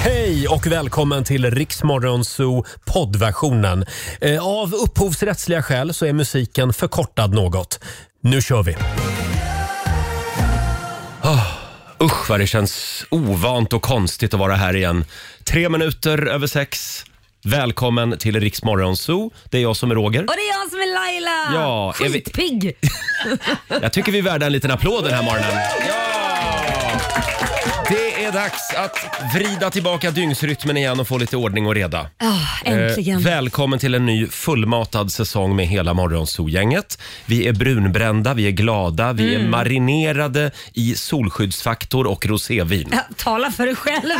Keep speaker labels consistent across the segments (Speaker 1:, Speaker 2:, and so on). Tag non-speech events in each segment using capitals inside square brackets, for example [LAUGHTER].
Speaker 1: Hej och välkommen till Riksmorgonzoo poddversionen. Eh, Av upphovsrättsliga skäl så är musiken förkortad något. Nu kör vi! Ah, usch vad det känns ovant och konstigt att vara här igen. Tre minuter över sex. Välkommen till Riksmorgonzoo. Det är jag som är Roger.
Speaker 2: Och det är jag som är Laila!
Speaker 1: Ja, är vi- [LAUGHS]
Speaker 2: Skitpigg!
Speaker 1: Jag tycker vi är värda en liten applåd den här morgonen. Det är dags att vrida tillbaka dygnsrytmen igen och få lite ordning och reda.
Speaker 2: Ah, äntligen.
Speaker 1: Eh, välkommen till en ny fullmatad säsong med hela Morgonzoo-gänget. Vi är brunbrända, vi är glada, vi
Speaker 2: Mm.
Speaker 1: är marinerade i solskyddsfaktor och rosévin.
Speaker 2: Ja, Tala för dig
Speaker 1: [LAUGHS]
Speaker 2: själv.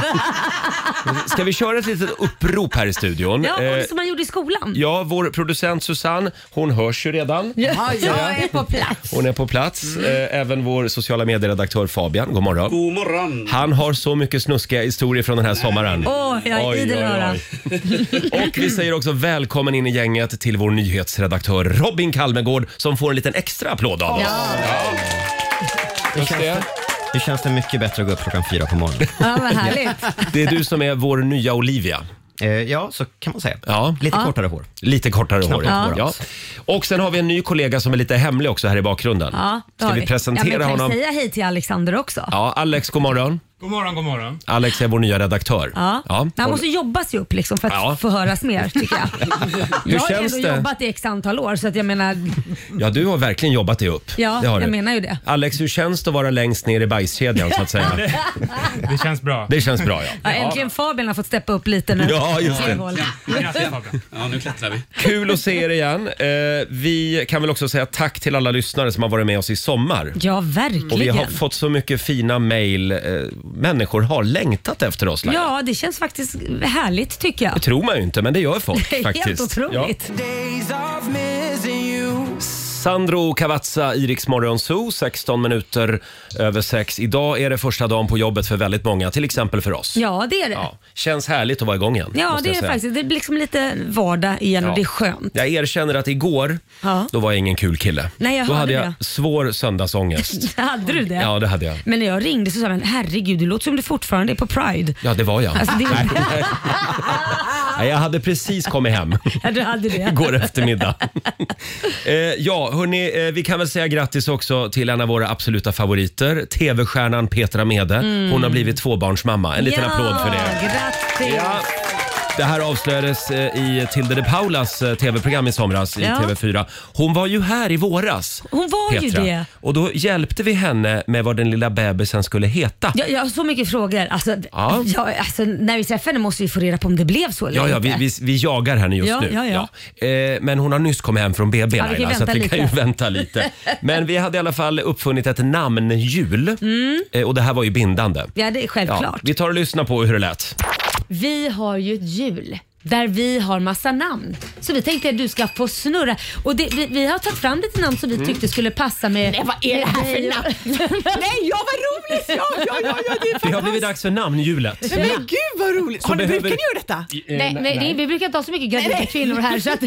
Speaker 1: Ska vi köra ett litet upprop här i studion?
Speaker 2: Ja, och det
Speaker 1: Eh,
Speaker 2: som man gjorde i skolan.
Speaker 1: ja vår producent Susanne, hon hörs ju redan.
Speaker 2: Ja, Mm.
Speaker 3: jag är på plats.
Speaker 1: Hon är på plats. Eh, Även vår sociala medieredaktör Fabian, god morgon.
Speaker 4: God morgon!
Speaker 1: Han har så mycket snuskiga historier från den här sommaren.
Speaker 2: Åh, jag är idel öra.
Speaker 1: Och vi säger också välkommen in i gänget till vår nyhetsredaktör Robin Kalmegård som får en liten extra applåd av oss.
Speaker 5: Nu känns, det, nu känns det mycket bättre att gå upp klockan fyra på morgonen.
Speaker 2: Ja, vad härligt.
Speaker 1: Det är du som är vår nya Olivia.
Speaker 5: Eh, ja, så kan man säga.
Speaker 1: Ja.
Speaker 5: Lite kortare hår.
Speaker 1: Lite kortare hår.
Speaker 5: Ja.
Speaker 1: Ja. Och sen har vi en ny kollega som är lite hemlig också här i bakgrunden.
Speaker 2: Ja, det
Speaker 1: Ska
Speaker 2: har
Speaker 1: vi
Speaker 2: ja, men
Speaker 1: presentera
Speaker 2: kan
Speaker 1: honom?
Speaker 2: Kan säga hej till Alexander också?
Speaker 1: Ja, Alex, god morgon.
Speaker 6: God morgon, god morgon.
Speaker 1: Alex är vår nya redaktör.
Speaker 2: Ja. Men han måste jobba sig upp liksom för att
Speaker 1: Ja.
Speaker 2: få höras mer tycker jag.
Speaker 1: [LAUGHS]
Speaker 2: jag har
Speaker 1: känns
Speaker 2: ändå
Speaker 1: det?
Speaker 2: jobbat i x antal år så att jag menar,
Speaker 1: ja, du har verkligen jobbat dig upp.
Speaker 2: ja,
Speaker 1: det har
Speaker 2: jag
Speaker 1: du.
Speaker 2: menar ju det.
Speaker 1: Alex, hur känns det att vara längst ner i bajskedjan så att säga?
Speaker 6: [LAUGHS] Det känns bra.
Speaker 1: Det känns bra ja.
Speaker 2: Ja, äntligen Fabian har fått steppa upp lite nu.
Speaker 1: Ja, just det.
Speaker 2: Håll.
Speaker 6: Grattis Fabian.
Speaker 4: Ja, nu klättrar vi.
Speaker 1: Kul att se er igen. Eh, vi kan väl också säga tack till alla lyssnare som har varit med oss i sommar.
Speaker 2: Ja, verkligen.
Speaker 1: Och vi har fått så mycket fina mejl. Eh, människor har längtat efter oss. Laila.
Speaker 2: Ja, det känns faktiskt härligt tycker jag.
Speaker 1: Det tror man ju inte, men det gör
Speaker 2: [LAUGHS]
Speaker 1: folk
Speaker 2: Det är
Speaker 1: faktiskt.
Speaker 2: helt otroligt.
Speaker 1: Sandro Cavazza, Iriks Morgonzoo, 16 minuter över 6. Idag är det första dagen på jobbet för väldigt många, till exempel för oss.
Speaker 2: Ja, det är det. Ja,
Speaker 1: Ja, känns härligt att vara igång igen. måste
Speaker 2: det är
Speaker 1: jag
Speaker 2: det
Speaker 1: säga.
Speaker 2: faktiskt. Det blir liksom lite vardag igen
Speaker 1: Ja.
Speaker 2: och det är skönt.
Speaker 1: Jag erkänner att igår,
Speaker 2: Ja.
Speaker 1: då var jag ingen kul kille.
Speaker 2: Nej, jag
Speaker 1: då
Speaker 2: hörde
Speaker 1: hade jag
Speaker 2: det.
Speaker 1: svår söndagsångest.
Speaker 2: [LAUGHS] Hade du det?
Speaker 1: Ja, det hade jag.
Speaker 2: Men när jag ringde så sa man herregud, det låter som du fortfarande är på Pride.
Speaker 1: Ja, det var jag.
Speaker 2: Alltså, det är... Nej.
Speaker 1: Nej, jag hade precis kommit hem
Speaker 2: ja, du hade det.
Speaker 1: [LAUGHS] igår eftermiddag. eh, ja, hörni, eh, vi kan väl säga grattis också till en av våra absoluta favoriter, TV-stjärnan Petra Mede. Hon har blivit tvåbarnsmamma. En liten
Speaker 2: Mm. ja,
Speaker 1: applåd för det.
Speaker 2: Grattis!
Speaker 1: Ja. Det här avslöjades eh, i Tilde de Paulas eh, tv-program i somras i
Speaker 2: Ja.
Speaker 1: TV4. Hon var ju här i våras.
Speaker 2: Hon var ju
Speaker 1: Petra.
Speaker 2: det.
Speaker 1: Och då hjälpte vi henne med vad den lilla bebisen skulle heta.
Speaker 2: Jag, jag har så mycket frågor. Alltså,
Speaker 1: Ja.
Speaker 2: ja. alltså, när vi träffar henne måste vi få reda på om det blev så eller
Speaker 1: Ja, ja, vi,
Speaker 2: inte.
Speaker 1: vi, vi jagar henne just
Speaker 2: Ja,
Speaker 1: nu.
Speaker 2: ja, ja.
Speaker 1: Eh, men hon har nyss kommit hem från BB,
Speaker 2: Ja, vi kan
Speaker 1: Laila, så att
Speaker 2: vänta
Speaker 1: vi kan ju
Speaker 2: lite.
Speaker 1: vänta lite. Men vi hade i alla fall uppfunnit ett namnhjul eh, och det här var ju bindande.
Speaker 2: Mm. Ja, det är
Speaker 1: Ja,
Speaker 2: självklart.
Speaker 1: vi tar och lyssnar på hur det lät.
Speaker 2: Vi har ju ett hjul där vi har massa namn. Så vi tänkte att du ska få snurra. Och det, vi, vi har tagit fram lite namn som vi
Speaker 3: Mm.
Speaker 2: tyckte skulle passa med... Nej, vad är det här för namn?
Speaker 3: [LAUGHS] Nej, ja, vad roligt! Ja, ja, ja, ja det är
Speaker 1: Det
Speaker 3: fan...
Speaker 1: har blivit dags för namnhjulet. Eh,
Speaker 3: Men gud vad roligt! Har ni,
Speaker 1: behöver-
Speaker 3: brukar ni göra detta?
Speaker 2: Nej, men det, vi brukar inte ha så mycket gravida kvinnor
Speaker 3: [LAUGHS]
Speaker 2: här. Så att,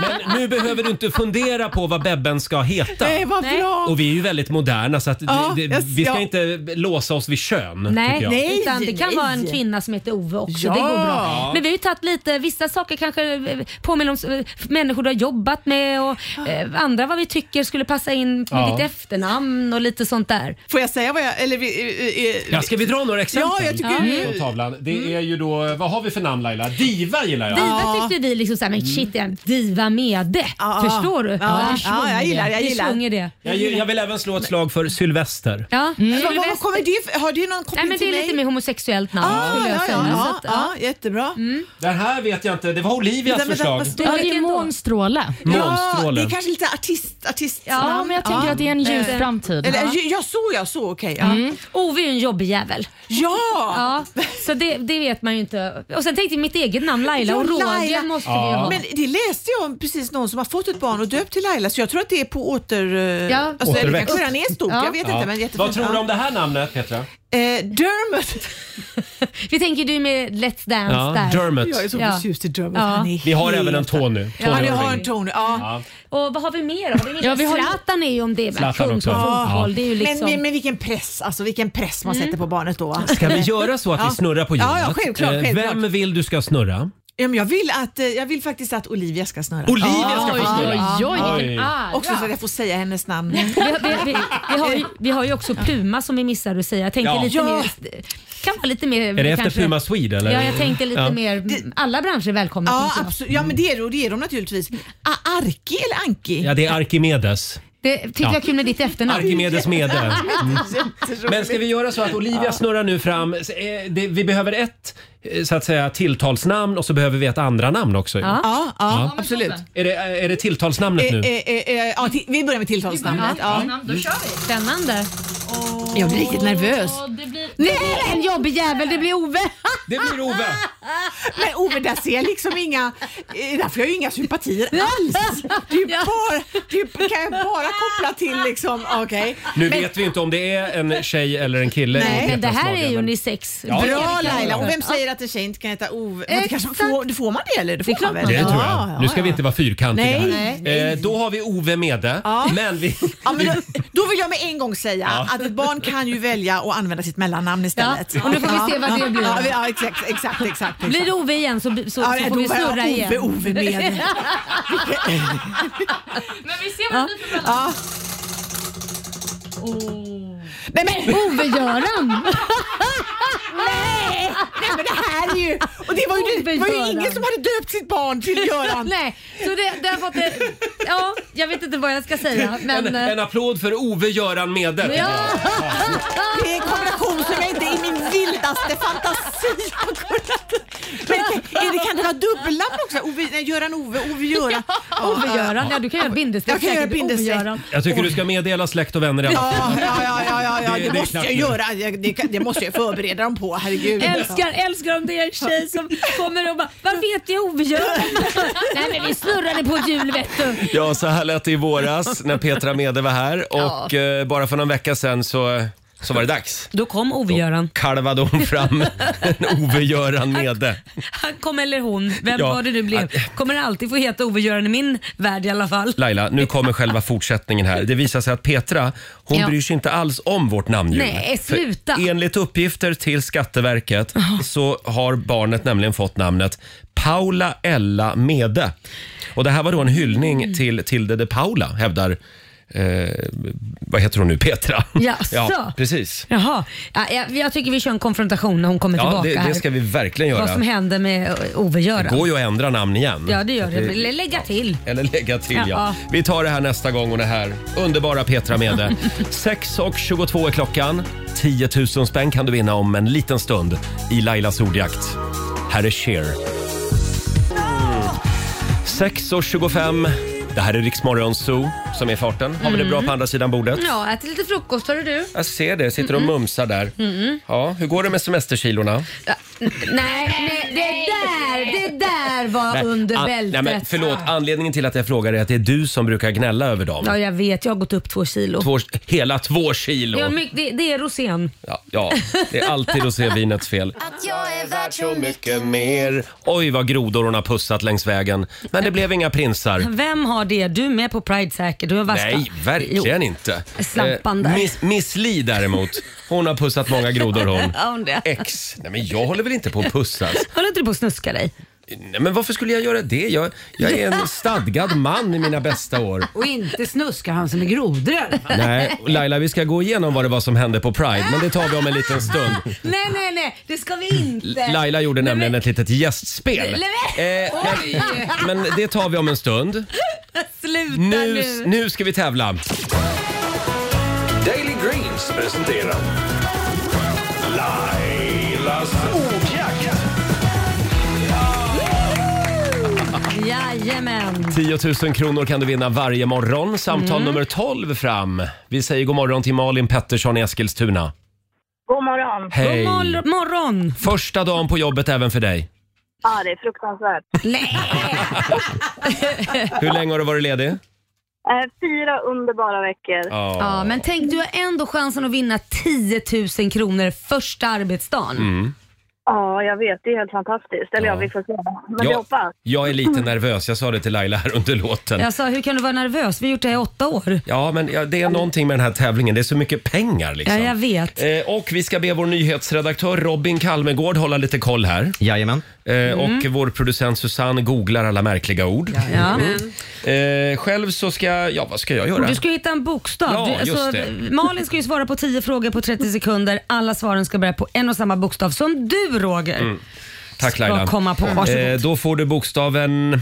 Speaker 1: Men nu behöver du inte fundera på vad bebben ska heta.
Speaker 3: Nej, vad
Speaker 2: Nej.
Speaker 3: bra!
Speaker 1: Och vi är ju väldigt moderna så att
Speaker 3: Ja,
Speaker 1: det, det,
Speaker 3: jag-
Speaker 1: vi ska
Speaker 3: ja.
Speaker 1: inte låsa oss vid kön. tycker
Speaker 2: nej,
Speaker 1: jag.
Speaker 3: Nej,
Speaker 2: utan det kan
Speaker 3: nej.
Speaker 2: vara en kvinna som heter Ove också.
Speaker 3: Ja.
Speaker 2: Det går bra. Men vi har ju tagit lite, vissa saker kanske eh, påminner om eh, människor du har jobbat med och eh, andra vad vi tycker skulle passa in med
Speaker 1: Ja.
Speaker 2: ditt efternamn och lite sånt där.
Speaker 3: Får jag säga vad jag... Eller, vi- eh, eh,
Speaker 1: Ja, ska vi dra några exempel? Mm.
Speaker 3: Ja, jag tycker-
Speaker 1: På tavlan. Det är ju då, vad har vi för namn Laila? Diva gillar jag.
Speaker 2: Diva tyckte vi liksom såhär, men shit det är en diva med det.
Speaker 3: Ja,
Speaker 2: Förstår du?
Speaker 3: ja.
Speaker 2: vi
Speaker 3: Ja,
Speaker 2: sjunger
Speaker 3: jag gillar,
Speaker 2: det.
Speaker 3: jag gillar.
Speaker 2: Vi sjunger det.
Speaker 1: Jag, jag vill även slå ett slag för Sylvester.
Speaker 2: Ja.
Speaker 3: Mm. vad,
Speaker 2: Sylvester-
Speaker 3: vad kommer det, för- har det någon koppling
Speaker 2: Nej men det
Speaker 3: till
Speaker 2: är
Speaker 3: mig?
Speaker 2: lite mer homosexuellt namn
Speaker 3: ah,
Speaker 2: skulle jag
Speaker 3: ja,
Speaker 2: säga.
Speaker 3: ja,
Speaker 2: Så
Speaker 3: ja,
Speaker 2: att, Mm.
Speaker 3: ja, jättebra.
Speaker 1: Det här vet jag inte, det var Olivias
Speaker 3: Nej, men
Speaker 1: förslag.
Speaker 3: vad-
Speaker 7: Du hade
Speaker 2: Vilken
Speaker 7: ju
Speaker 2: då?
Speaker 7: månstråle.
Speaker 3: Ja,
Speaker 1: Månstråle.
Speaker 3: det är kanske lite artist, artistnamn.
Speaker 7: Ja, men jag tänker att det är en ljus
Speaker 2: Eh,
Speaker 7: framtid.
Speaker 3: Eller, ja. Jag såg, jag såg, okej. ja.
Speaker 2: Mm. Ove är ju en jobbig jävel.
Speaker 3: Ja!
Speaker 2: Ja, så det, det vet man ju inte. Och sen tänkte jag mitt eget namn Laila och
Speaker 3: Ja,
Speaker 2: Roger
Speaker 3: Laila.
Speaker 2: måste vi ju ha.
Speaker 3: Men det läste jag om precis någon som har fått ett barn och döpt till Laila så jag tror att det är på åter...
Speaker 2: Ja.
Speaker 3: Ja. Alltså, det
Speaker 1: Återväxt.
Speaker 3: kanske redan är stort,
Speaker 2: Ja.
Speaker 3: jag vet
Speaker 1: Ja.
Speaker 3: inte. Men jättefint.
Speaker 1: Vad tror du
Speaker 3: Ja.
Speaker 1: om det här namnet Petra?
Speaker 3: Eh, Dermot.
Speaker 2: [LAUGHS] Vi tänker du är med Let's Dance
Speaker 1: Ja,
Speaker 2: där.
Speaker 1: Dermot. Jag är så
Speaker 3: förtjust i Dermot.
Speaker 2: Ja.
Speaker 1: Vi har även en Tony. Tony
Speaker 3: Ja, ni har
Speaker 1: Irving.
Speaker 3: en Tony. Ja.
Speaker 2: Och vad har vi mer då? Har vi mer?
Speaker 7: Ja, vi har-
Speaker 2: Zlatan är ju om det va?
Speaker 1: Zlatan
Speaker 2: Kung på
Speaker 1: också. Ja.
Speaker 2: fotboll. Det är ju liksom... Mm.
Speaker 3: men, men, men vilken press alltså, vilken press man sätter på barnet då. va?
Speaker 1: [LAUGHS] Ska vi göra så att
Speaker 3: Ja.
Speaker 1: vi snurrar på hjulet?
Speaker 3: Ja, ja, självklart,
Speaker 1: Eh,
Speaker 3: självklart.
Speaker 1: Vem vill du ska snurra?
Speaker 3: Ja, men jag, vill att, eh, jag vill faktiskt att Olivia ska snurra.
Speaker 1: Olivia ska
Speaker 7: Oj,
Speaker 1: få snurra.
Speaker 7: oj, oj,
Speaker 1: Oj.
Speaker 7: vilken ära.
Speaker 3: Också för att jag får säga hennes namn.
Speaker 2: Vi, har- vi, vi, vi, har ju, vi har ju också Puma som vi missar att säga. Jag tänker
Speaker 1: Ja.
Speaker 2: lite
Speaker 3: Ja.
Speaker 2: mer... Kan vara lite mer...
Speaker 1: Är det efter Puma Swede eller?
Speaker 2: Ja, jag tänkte lite
Speaker 1: Ja.
Speaker 2: mer... Alla branscher är välkomna.
Speaker 3: Ja,
Speaker 2: tänker jag.
Speaker 3: absolut. Ja, men det är, de- det är de naturligtvis. A- Arki eller Anki?
Speaker 1: Ja, det är Arkimedes.
Speaker 2: Det tyckte jag var kul med ditt efternamn.
Speaker 3: [LAUGHS]
Speaker 1: Arkimedes mede. Mm.
Speaker 3: Jätteroligt.
Speaker 1: Men ska vi göra så att Olivia snurrar nu fram. eh, det- Vi behöver ett eh, så att säga tilltalsnamn och så behöver vi ett andra namn också.
Speaker 2: Ja.
Speaker 3: Ja, ja,
Speaker 1: Ja.
Speaker 3: absolut.
Speaker 1: Är, det, är det tilltalsnamnet
Speaker 3: Eh,
Speaker 1: nu?
Speaker 3: eh, eh, eh, ja, ti- vi börjar med tilltalsnamnet. Ja.
Speaker 7: Då kör vi.
Speaker 2: Spännande.
Speaker 3: Jag blir riktigt nervös.
Speaker 7: Ja, det blir...
Speaker 2: Nej, en jobbig jävel. Det blir Ove.
Speaker 1: Det blir Ove!
Speaker 3: [LAUGHS] Men Ove, där ser jag liksom inga... eh, Där får jag ju inga sympatier alls. Det, är [LAUGHS] ju bara, det är ju- kan jag bara koppla till [LAUGHS] liksom... Okej.
Speaker 1: Nu vet vi inte om det är en tjej eller en kille.
Speaker 3: Nej,
Speaker 1: i
Speaker 2: Men det här
Speaker 1: Petrasmagen,
Speaker 2: är ju
Speaker 1: men-
Speaker 2: unisex.
Speaker 1: Ja,
Speaker 3: Bra
Speaker 1: det kan
Speaker 3: Laila!
Speaker 1: jag
Speaker 3: Och
Speaker 1: göra.
Speaker 3: vem säger att en tjej inte kan heta Ove? Men det kanske,
Speaker 2: Exakt.
Speaker 3: får, får man det eller? Det får
Speaker 2: Det är klart
Speaker 3: man
Speaker 2: man
Speaker 1: Det
Speaker 3: väl?
Speaker 1: tror
Speaker 3: Ja,
Speaker 1: jag.
Speaker 3: ja,
Speaker 1: Nu ska vi inte vara fyrkantiga
Speaker 3: Nej.
Speaker 1: här. Eh, då har vi Ove Mede.
Speaker 3: Ja. [LAUGHS]
Speaker 1: Men vi,
Speaker 3: Ja, men då, då vill jag med en gång säga att ett barn kan ju välja att använda sitt mellannamn istället.
Speaker 2: Ja, och nu får vi se vad det blir.
Speaker 3: Ja, vi- ja exakt, exakt, exakt. exakt.
Speaker 2: Blir det Ove igen så, så,
Speaker 3: Ja,
Speaker 2: så
Speaker 3: då
Speaker 2: får vi
Speaker 3: var jag
Speaker 2: snurra igen.
Speaker 3: Ove, Ove
Speaker 2: [LAUGHS]
Speaker 3: med.
Speaker 7: [LAUGHS] Men vi ser vad det blir för bröllop.
Speaker 3: Ja. Nej men, nej
Speaker 2: Ove-Göran.
Speaker 7: [LAUGHS]
Speaker 3: men det här är ju... Och det var ju, det var ju
Speaker 2: Ove-Göran.
Speaker 3: ingen som hade döpt sitt barn till Göran.
Speaker 2: [LAUGHS] Nej, så det, det har fått en, Ja, jag vet inte vad jag ska säga. Men,
Speaker 3: eh,
Speaker 1: en, en applåd för Ove Göran Mede.
Speaker 2: ja,
Speaker 3: Det är en kombination som jag inte i min vildaste fantasi har kunnat... Men är det, kan det vara dubbelnamn också? Ove, nej, Göran Ove, Ove Göran.
Speaker 2: Ove-Göran. Ja, du kan göra bindestreck
Speaker 3: Jag kan göra
Speaker 2: säkert.
Speaker 3: bindestreck.
Speaker 2: Ove-Göran.
Speaker 1: Jag tycker du ska meddela släkt och vänner i alla fall.
Speaker 3: Ja, ja, ja, ja, ja, ja.
Speaker 1: Det-
Speaker 3: Det,
Speaker 1: det är
Speaker 3: måste jag
Speaker 1: knappt nu.
Speaker 3: göra. Jag- Det, kan- det måste jag förbereda dem på. Herregud.
Speaker 2: Älskar, älskar om det är en tjej som kommer och bara “Varför heter jag Ove-Göran?” Nej men vi snurrade på ett hjul vet du.
Speaker 1: Ja, så här lät det i våras när Petra Mede var här och eh, bara för någon vecka sedan så, så var det dags.
Speaker 2: Då kom Ove-Göran.
Speaker 1: Karvade hon fram en Ove-Göran Mede.
Speaker 2: Han kom eller hon, vem
Speaker 1: Ja,
Speaker 2: var det nu blev, kommer alltid få heta Ove-Göran i min värld i alla fall.
Speaker 1: Laila, nu kommer själva fortsättningen här. Det visar sig att Petra, hon
Speaker 2: Ja.
Speaker 1: bryr sig inte alls om vårt namnljud.
Speaker 2: Nej, eh, sluta.
Speaker 1: För enligt uppgifter till Skatteverket så har barnet nämligen fått namnet Paula Ella Mede. Och det här var då en
Speaker 2: Mm.
Speaker 1: hyllning till Tilde de Paula, hävdar Eh, vad heter hon nu? Petra?
Speaker 2: Jaså?
Speaker 1: Ja, precis.
Speaker 2: Jaha, ja, jag, jag tycker vi kör en konfrontation när hon kommer
Speaker 1: Ja,
Speaker 2: tillbaka
Speaker 1: det,
Speaker 2: här.
Speaker 1: det ska vi verkligen
Speaker 2: Vad som
Speaker 1: göra.
Speaker 2: händer med
Speaker 1: Det
Speaker 2: Ove-Göran.
Speaker 1: går ju att ändra namn igen.
Speaker 2: Ja det gör det, eller lägga till.
Speaker 1: Eller lägga till ja.
Speaker 2: Ja.
Speaker 1: Vi tar det här nästa gång och det här underbara
Speaker 2: [LAUGHS]
Speaker 1: Petra Mede. 6.22 är klockan. 10 000 spänn kan du vinna om en liten stund i Lailas ordjakt. Här är Cher. Mm. 6.25. Det här är Riksmorgon Zoo som är i farten. Har vi det bra på andra sidan bordet?
Speaker 2: Mm. Ja, Mm. ät lite frukost hörru du.
Speaker 1: Jag ser det, sitter och mumsar där. Ja, hur går det med semesterkilorna?
Speaker 2: Ja, n- Nej, nej, det där, det där var under
Speaker 1: an-
Speaker 2: bältet.
Speaker 1: nej, men förlåt, anledningen till att jag frågar är att det är du som brukar gnälla över dem.
Speaker 2: Ja jag vet, jag har gått upp två kilo.
Speaker 1: Två, hela två kilo.
Speaker 2: Ja, my- det, det är rosén.
Speaker 1: Ja, ja, det är alltid att se vinets fel.
Speaker 4: Att jag är värd så
Speaker 1: mycket mer. Oj, vad grodor hon har pussat längs vägen. Men det blev inga prinsar.
Speaker 2: Vem har det? Du är med på Pride säkert. Du har värsta.
Speaker 1: Nej, verkligen inte.
Speaker 2: Slampan där.
Speaker 1: Eh, Miss, Miss Li däremot, hon har pussat många grodor hon.
Speaker 2: [LAUGHS] Ja, hon det.
Speaker 1: Ex. Nej, men jag håller väl inte på att pussas?
Speaker 2: Håller inte du på att snuska dig?
Speaker 1: Nej, men varför skulle jag göra det? Jag, jag är en stadgad man i mina bästa år.
Speaker 8: Och inte snuskar han som är grodor i alla fall.
Speaker 1: Nej, och Laila, vi ska gå igenom vad det var som hände på Pride, men det tar vi om en liten stund.
Speaker 2: Nej, nej, nej, det ska vi inte.
Speaker 1: Laila gjorde
Speaker 2: Nej,
Speaker 1: nämligen
Speaker 2: men-
Speaker 1: ett litet gästspel.
Speaker 2: Nej,
Speaker 1: Eh, men, men det tar vi om en stund.
Speaker 2: Sluta
Speaker 1: Nu,
Speaker 2: nu.
Speaker 1: nu ska vi tävla.
Speaker 9: Daily Greens presenterar Lailas ordjakt.
Speaker 2: Jajamän.
Speaker 1: 10 000 kronor kan du vinna varje morgon. Samtal
Speaker 2: Mm.
Speaker 1: nummer 12 fram. Vi säger god morgon till Malin Pettersson i Eskilstuna.
Speaker 10: God morgon.
Speaker 1: Hej!
Speaker 2: God mor- morgon.
Speaker 1: Första dagen på jobbet även för dig.
Speaker 10: Ja, det är fruktansvärt. [LAUGHS]
Speaker 2: Nej.
Speaker 1: Hur länge har du varit ledig?
Speaker 2: Mm.
Speaker 10: Eh, Fyra underbara veckor.
Speaker 1: Ja.
Speaker 2: Ja, men tänk, du har ändå chansen att vinna 10 000 kronor första arbetsdagen.
Speaker 10: Ja, jag vet. Det är helt fantastiskt. Eller ja,
Speaker 1: Mm. Ja.
Speaker 10: vi får se. Men vi
Speaker 1: Jag,
Speaker 10: hoppas.
Speaker 1: jag är lite nervös, jag sa det till Laila här under låten.
Speaker 2: Jag sa, hur kan du vara nervös? Vi har gjort det här i åtta år.
Speaker 1: Ja, men ja, det är någonting med den här tävlingen. Det är så mycket pengar liksom.
Speaker 2: Ja, jag vet.
Speaker 1: Eh, och vi ska be vår nyhetsredaktör Robin Kalmegård hålla lite koll här. Jajamän. Eh, Och vår producent Susanne googlar alla märkliga ord.
Speaker 2: Mm.
Speaker 1: Mm.
Speaker 2: Ja.
Speaker 1: Eh, själv så ska jag, ja vad ska jag göra?
Speaker 2: Du ska ju hitta en bokstav.
Speaker 1: Ja,
Speaker 2: du, alltså,
Speaker 1: just det.
Speaker 2: Malin ska ju svara på 10 frågor på 30 sekunder. Alla svaren ska börja på en och samma bokstav som du Roger.
Speaker 1: Mm. Tack
Speaker 2: Ska
Speaker 1: Laila.
Speaker 2: komma på. Varsågod.
Speaker 1: Eh, då får du bokstaven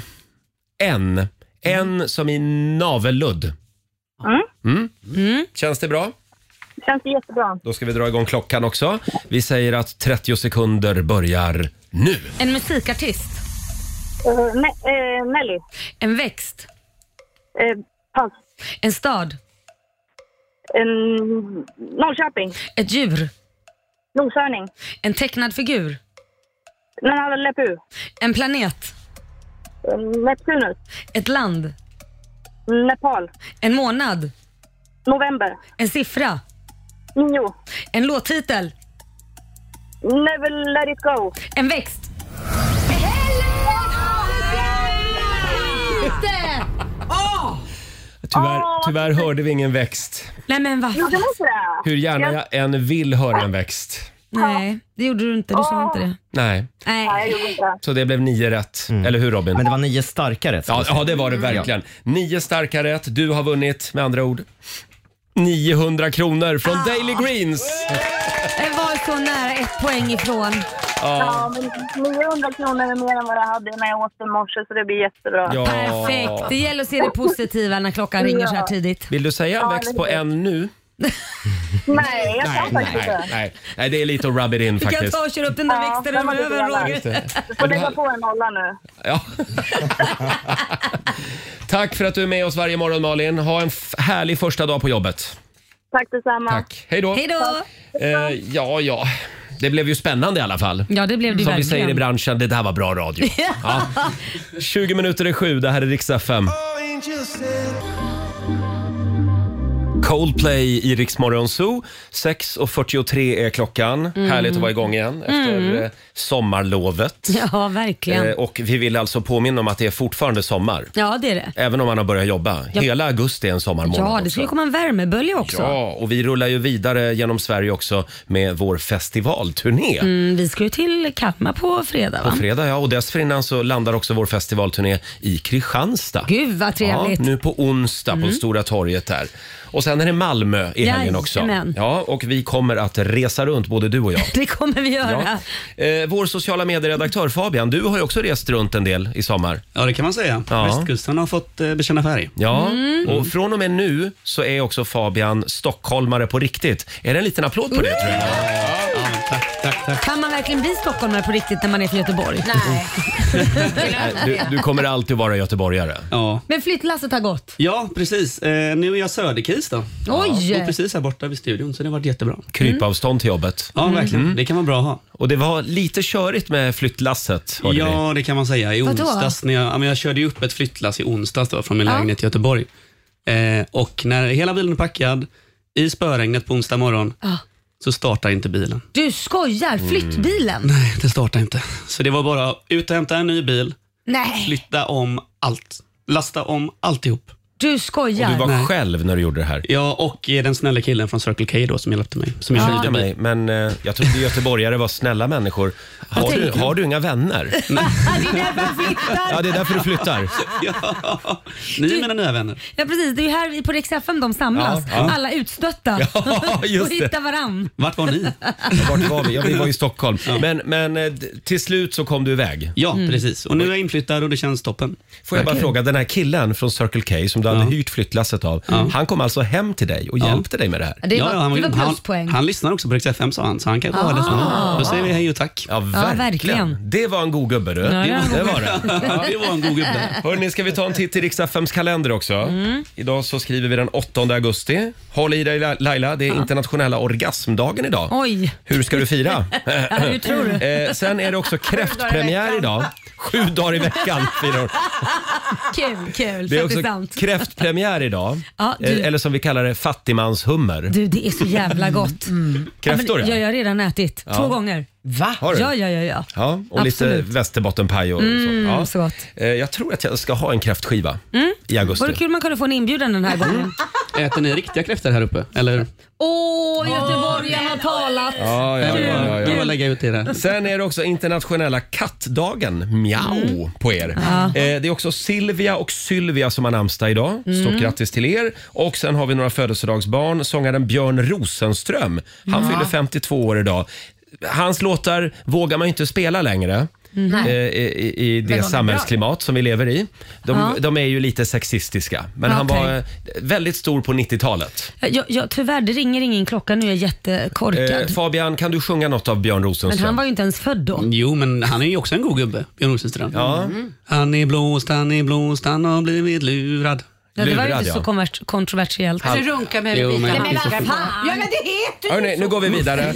Speaker 1: N. N som i navelludd. Mm. Känns det bra?
Speaker 10: Känns det jättebra.
Speaker 1: Då ska vi dra igång klockan också. Vi säger att 30 sekunder börjar nu.
Speaker 2: En musikartist.
Speaker 10: Eh, ne- eh, Nelly. Eh,
Speaker 2: En växt.
Speaker 10: pass.
Speaker 2: En stad.
Speaker 10: En- Norrköping.
Speaker 2: Ett djur.
Speaker 10: Noshörning.
Speaker 2: En tecknad figur.
Speaker 10: Nanna Lepu.
Speaker 2: En planet.
Speaker 10: Eh, Neptunus.
Speaker 2: Ett land.
Speaker 10: Nepal.
Speaker 2: En månad.
Speaker 10: November.
Speaker 2: En siffra.
Speaker 10: Nio.
Speaker 2: En låttitel.
Speaker 10: Never let it go.
Speaker 2: En växt.
Speaker 10: Ah!
Speaker 1: Tyvärr, tyvärr hörde vi ingen växt.
Speaker 2: Nej men vad
Speaker 10: Gjorde ni inte det?
Speaker 1: Hur gärna jag än vill höra en växt.
Speaker 2: Nej, det gjorde du inte. Du sa inte det.
Speaker 1: Nej,
Speaker 10: Ah. Nej, jag gjorde inte det.
Speaker 1: så det blev nio rätt. Eller hur Robin? Mm. Men det var nio starka rätt. Ja, ja det var det verkligen. Nio starka rätt. Du har vunnit med andra ord 900 kronor från
Speaker 2: Ah.
Speaker 1: Daily Greens.
Speaker 2: Jag var så nära ett poäng ifrån.
Speaker 1: Ja.
Speaker 10: Ja, men 900 kronor är mer än vad jag hade när jag åt i morse, så det blir jättebra.
Speaker 1: Ja.
Speaker 2: Perfekt. Det gäller att se det positiva när klockan ringer så här tidigt.
Speaker 1: Vill du säga en
Speaker 10: Ja,
Speaker 1: växt
Speaker 10: det
Speaker 1: på
Speaker 10: är-
Speaker 1: en nu?
Speaker 10: Nej, jag kan faktiskt
Speaker 1: nej,
Speaker 10: inte.
Speaker 1: nej, nej. Det är lite att rub it in
Speaker 2: Du kan
Speaker 1: faktiskt.
Speaker 2: ta och köra upp den där
Speaker 10: Ja,
Speaker 2: växten
Speaker 10: den var
Speaker 2: över
Speaker 10: lite
Speaker 2: över
Speaker 10: jävla.
Speaker 2: Roger.
Speaker 10: Du får lägga på en nolla nu.
Speaker 1: Ja. Tack för att du är med oss varje morgon Malin. Ha en f- härlig första dag på jobbet.
Speaker 10: Tack detsamma.
Speaker 1: Tack. Hej då.
Speaker 2: Hej då!
Speaker 1: Eh, ja, ja. Det blev ju spännande i alla fall.
Speaker 2: Ja, det blev det
Speaker 1: Som vi
Speaker 2: verkligen.
Speaker 1: säger i branschen, det där var
Speaker 2: [LAUGHS]
Speaker 1: bra radio. Ja. 20 minuter i sju, det här är riksdag 5. Coldplay i Rix Morgon Zoo. 6.43 är klockan.
Speaker 2: Mm.
Speaker 1: Härligt att vara igång igen efter
Speaker 2: Mm.
Speaker 1: eh, sommarlovet.
Speaker 2: Ja, verkligen.
Speaker 1: Eh, Och vi vill alltså påminna om att det är fortfarande sommar.
Speaker 2: Ja, det är det.
Speaker 1: Även om man har börjat jobba.
Speaker 2: Ja.
Speaker 1: Hela augusti är en sommarmånad
Speaker 2: Ja, det
Speaker 1: också.
Speaker 2: ska ju komma en värmebölja också.
Speaker 1: Ja, och vi rullar ju vidare genom Sverige också med vår festivalturné.
Speaker 2: Mm, vi ska ju till Kalmar på fredag,
Speaker 1: På
Speaker 2: va?
Speaker 1: fredag ja, och dessförinnan så landar också vår festivalturné i Kristianstad.
Speaker 2: Gud, vad trevligt.
Speaker 1: Ja, nu på onsdag på
Speaker 2: Mm.
Speaker 1: Stora torget där. Och sen är det Malmö i helgen också.
Speaker 2: Jajamän.
Speaker 1: Ja, och vi kommer att resa runt både
Speaker 2: [LAUGHS]
Speaker 1: du och jag.
Speaker 2: Det kommer vi göra.
Speaker 1: Ja. Eh, vår sociala medieredaktör Fabian, du har ju också rest runt en del i sommar.
Speaker 4: Ja, det kan man säga. Västkusten har fått eh, bekänna färg.
Speaker 2: Äh,
Speaker 1: Ja,
Speaker 4: Mm.
Speaker 1: och från och med nu så är också Fabian stockholmare på riktigt. Är det en liten applåd på det tror jag?
Speaker 2: Kan man verkligen bli stockholmare på riktigt när man är från Göteborg? Nej.
Speaker 1: Nej, Du, du kommer alltid vara göteborgare.
Speaker 4: Ja.
Speaker 2: Men flyttlasset har gått.
Speaker 4: Ja, precis. Eh, nu är jag söderkis då.
Speaker 2: Oj!
Speaker 4: Och precis här borta vid studion, så det har varit jättebra.
Speaker 1: Mm. Krypavstånd till jobbet.
Speaker 4: Ja, verkligen.
Speaker 1: Mm.
Speaker 4: Det kan vara bra att ha.
Speaker 1: Och det var lite körigt med flyttlasset. hörde vi.
Speaker 4: Ja, det kan man säga. I
Speaker 2: Vadå?
Speaker 4: onsdags, när jag, ja, men jag körde ju upp ett flyttlass i onsdags då, från min
Speaker 2: Ja.
Speaker 4: lägenhet i Göteborg. Eh, och när hela bilen är packad, i spöregnet på onsdag morgon,
Speaker 2: Ah.
Speaker 4: så startar inte bilen.
Speaker 2: Du skojar!
Speaker 1: Mm.
Speaker 2: Flyttbilen?
Speaker 4: Nej, det startar inte. Så det var bara ut och hämta en ny bil,
Speaker 2: Nej.
Speaker 4: flytta om allt. Lasta om alltihop.
Speaker 2: Du skojar.
Speaker 1: Och du var
Speaker 4: Nej.
Speaker 1: själv när du gjorde det här.
Speaker 4: Ja, och eh, den snälla killen från Circle K då som hjälpte mig. Som jag
Speaker 1: Ursäkta
Speaker 4: hyrde
Speaker 1: mig, men eh, jag trodde göteborgare var snälla människor. Har
Speaker 4: Vad
Speaker 1: du,
Speaker 4: tänker du?
Speaker 1: har du inga vänner?
Speaker 2: Det är därför jag flyttar.
Speaker 1: Ja, det är därför du flyttar.
Speaker 4: [LAUGHS] ja, ni är mina nya vänner.
Speaker 2: Ja precis, det är ju här vi på Rix FM de samlas.
Speaker 1: Ja, ja.
Speaker 2: Alla utstötta.
Speaker 1: [LAUGHS] Ja, just
Speaker 2: och
Speaker 1: det.
Speaker 2: hittar varann. [LAUGHS]
Speaker 4: Vart var ni?
Speaker 1: Vart var vi? Ja, vi var i Stockholm. Men, men eh, d- till slut så kom du iväg.
Speaker 4: Ja,
Speaker 2: Mm.
Speaker 4: precis. Och nu är jag inflyttad och det känns toppen.
Speaker 1: Får jag bara
Speaker 4: Verkligen.
Speaker 1: fråga, den här killen från Circle K som du hade hyrt flyttlasset av, han kom alltså hem till dig och hjälpte dig med det här?
Speaker 2: Det var- det var pluspoäng. Ah.
Speaker 4: han, han lyssnar också på Rix FM sa han, så han kan gå och lyssna. Då säger vi hej och tack.
Speaker 1: Ja, verkligen.
Speaker 2: verkligen.
Speaker 1: Det var en god gubbe du. det
Speaker 4: [LAUGHS]
Speaker 1: var det.
Speaker 4: det var en god gubbe.
Speaker 1: Hörni, ska vi ta en titt i Riks-FMs kalender också?
Speaker 2: Mm.
Speaker 1: Idag så skriver vi den 8 augusti. Håll i dig La- Laila, det är internationella orgasmdagen idag.
Speaker 2: Oj.
Speaker 1: Hur ska du fira?
Speaker 2: [LAUGHS] hur tror du?
Speaker 1: Eh, sen är
Speaker 2: [LAUGHS]
Speaker 1: det också kräftpremiär idag. Sju dagar i veckan
Speaker 2: [LAUGHS]
Speaker 1: firar hon.
Speaker 2: Kul, kul.
Speaker 1: Det är
Speaker 2: också...
Speaker 1: också
Speaker 2: sant.
Speaker 1: kräftpremiär idag.
Speaker 2: Ja, du-
Speaker 1: Eh, Eller som vi kallar det, fattigmanshummer.
Speaker 2: Du, det är så jävla gott.
Speaker 1: Mm. Kräftor,
Speaker 2: ja.
Speaker 1: ja.
Speaker 2: men Jag har redan ätit.
Speaker 1: Ja.
Speaker 2: Två gånger.
Speaker 1: Va? Ah, Har du?
Speaker 2: Ja, ja, ja. ja.
Speaker 1: Ja, och
Speaker 2: Absolut.
Speaker 1: lite västerbottenpaj och
Speaker 2: Mm,
Speaker 1: så. Ja.
Speaker 2: så gott.
Speaker 1: Eh, Jag tror att jag ska ha en kräftskiva
Speaker 2: Mm.
Speaker 1: i
Speaker 2: Vore
Speaker 1: augusti. Mm.
Speaker 2: kul om man kunde få en inbjudan den här gången.
Speaker 4: Äter ni riktiga kräftor här uppe? Eller?
Speaker 2: Åh, göteborgarna har talat.
Speaker 1: Ja, ja,
Speaker 4: Kul.
Speaker 1: ja, ja,
Speaker 4: Kul
Speaker 1: ja.
Speaker 4: att lägga ut det.
Speaker 1: Sen är det också internationella kattdagen. Mjau
Speaker 2: Mm.
Speaker 1: på er.
Speaker 4: Ja.
Speaker 1: Eh, det är också Silvia och Sylvia som har namnsdag idag. Stort
Speaker 4: Mm.
Speaker 1: grattis till er. Och sen har vi några födelsedagsbarn. Sångaren Björn Rosenström. Han
Speaker 2: Ja.
Speaker 1: fyller 52 år idag. Hans låtar vågar man ju inte spela längre.
Speaker 2: Nej.
Speaker 1: eh, I, i
Speaker 2: de är
Speaker 1: det
Speaker 2: bra.
Speaker 1: samhällsklimat som vi lever i. De,
Speaker 2: Ja.
Speaker 1: de är ju lite sexistiska. Men han
Speaker 2: Okej.
Speaker 1: var eh, väldigt stor på 90-talet.
Speaker 2: Jag, jag, tyvärr, det ringer ingen klocka nu. Jag är jättekorkad.
Speaker 1: Eh, Fabian, kan du sjunga något av Björn
Speaker 2: men
Speaker 1: Rosenström?
Speaker 2: han var ju inte ens född då. Mm.
Speaker 4: Jo, men han är ju också en god gubbe, Björn Rosenström.
Speaker 1: Ja.
Speaker 4: Han är blåst, han är blåst, han har blivit lurad.
Speaker 2: Ja, det var ju inte så konver- kontroversiellt.
Speaker 4: Han- Alltså, runka med Jo, men- bitarna.
Speaker 2: Nej, men vad fan.
Speaker 8: Ja, men det heter ju
Speaker 1: Hörrni,
Speaker 8: så.
Speaker 1: nu går vi vidare.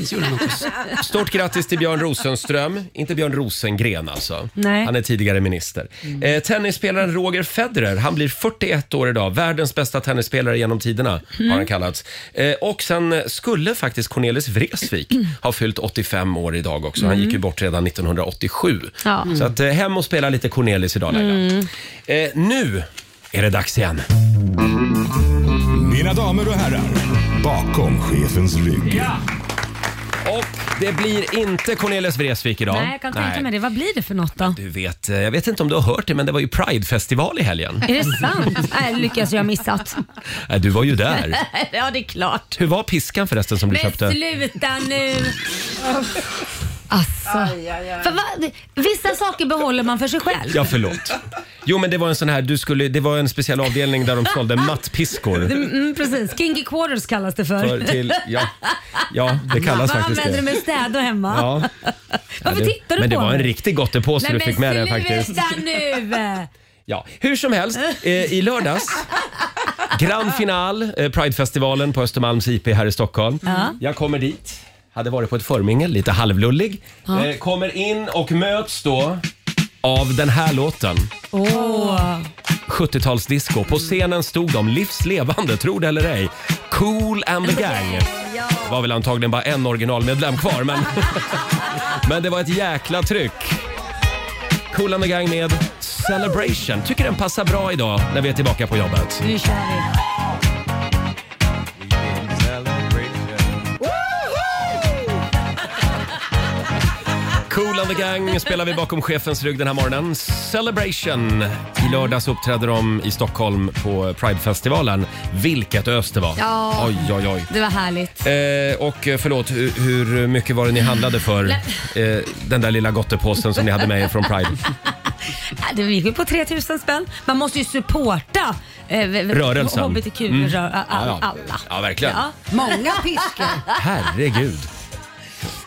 Speaker 1: Stort grattis till Björn Rosenström. Inte Björn Rosengren alltså.
Speaker 2: Nej. Mm.
Speaker 1: Han är tidigare minister. Eh, tennisspelaren Roger Federer, han blir 41 år idag. Världens bästa tennisspelare genom tiderna
Speaker 9: Mm.
Speaker 1: har han kallats. Eh, och sen skulle faktiskt Cornelis Vreeswijk ha fyllt 85 år idag också. Han
Speaker 2: Mm.
Speaker 1: gick ju bort redan 1987.
Speaker 2: Ja.
Speaker 1: Så att, eh, hem och spela lite Cornelis idag Laila.
Speaker 2: Mm.
Speaker 1: Eh, nu är det dags igen.
Speaker 9: Mina damer och herrar, bakom chefens rygg.
Speaker 1: Och det blir inte Cornelis Vreeswijk idag.
Speaker 2: Nej, jag kan tänka
Speaker 1: Nej.
Speaker 2: mig det. Vad blir det för något då?
Speaker 1: Du vet, eh, jag vet inte om du har hört det, men det var ju Pride-festival i helgen.
Speaker 2: Är det sant? Nej, det lyckas jag ha missat.
Speaker 1: Nej, Du var ju där.
Speaker 2: [LAUGHS] ja, det är klart.
Speaker 1: Hur var piskan förresten som du
Speaker 2: Men
Speaker 1: köpte?
Speaker 2: sluta nu! Alltså. För vad- vissa saker behåller man för sig själv.
Speaker 1: Ja, förlåt. Jo, men det var en sån här, du skulle, det var en speciell avdelning där de
Speaker 2: [LAUGHS]
Speaker 1: sålde mattpiskor.
Speaker 2: Mm, precis. Kinky quarters kallas det för.
Speaker 1: För till, ja, ja, det
Speaker 2: [LAUGHS]
Speaker 1: kallas
Speaker 2: Vad
Speaker 1: faktiskt
Speaker 2: använder du
Speaker 1: det.
Speaker 2: med städ och hemma?
Speaker 1: Ja.
Speaker 2: Varför
Speaker 1: Ja, det-
Speaker 2: tittar du
Speaker 1: Men
Speaker 2: på
Speaker 1: det var en
Speaker 2: mig?
Speaker 1: riktig gottepåse du fick med dig faktiskt.
Speaker 2: nu!
Speaker 1: Ja, hur som helst, eh, i lördags Grand final, eh, Pridefestivalen på Östermalms IP här i Stockholm.
Speaker 9: Ja.
Speaker 1: Jag kommer dit, hade varit på ett förmingel, lite halvlullig.
Speaker 9: Ja.
Speaker 1: Eh, kommer in och möts då av den här låten.
Speaker 2: [LAUGHS] Åh.
Speaker 1: 70-talsdisco. På scenen stod de livslevande, tro det eller ej. Cool and the Gang. Det var väl antagligen bara en originalmedlem kvar, [LAUGHS] men, men det var ett jäkla tryck. Cool and the Gang med Celebration. Tycker den passar bra idag när vi är tillbaka på jobbet.
Speaker 2: Nu kör vi.
Speaker 1: Cool and the Gang spelar vi bakom chefens rygg den här morgonen. Celebration! I lördags uppträdde de i Stockholm på Pridefestivalen. Vilket ös det var!
Speaker 2: Ja.
Speaker 1: Oj, oj, oj.
Speaker 2: Det var härligt.
Speaker 1: Eh, och eh, förlåt, hur, hur mycket var det ni handlade för eh, den där lilla gottepåsen som ni hade med er från Pride?
Speaker 2: [LAUGHS] Ja, Det gick ju på 3000 spänn. Man måste ju supporta eh, v- v-
Speaker 1: Rörelsen.
Speaker 2: HBTQ,
Speaker 1: Mm.
Speaker 2: rör, all,
Speaker 1: Ja, ja.
Speaker 2: alla.
Speaker 1: Ja, verkligen.
Speaker 2: Ja. Många piskor.
Speaker 1: Herregud.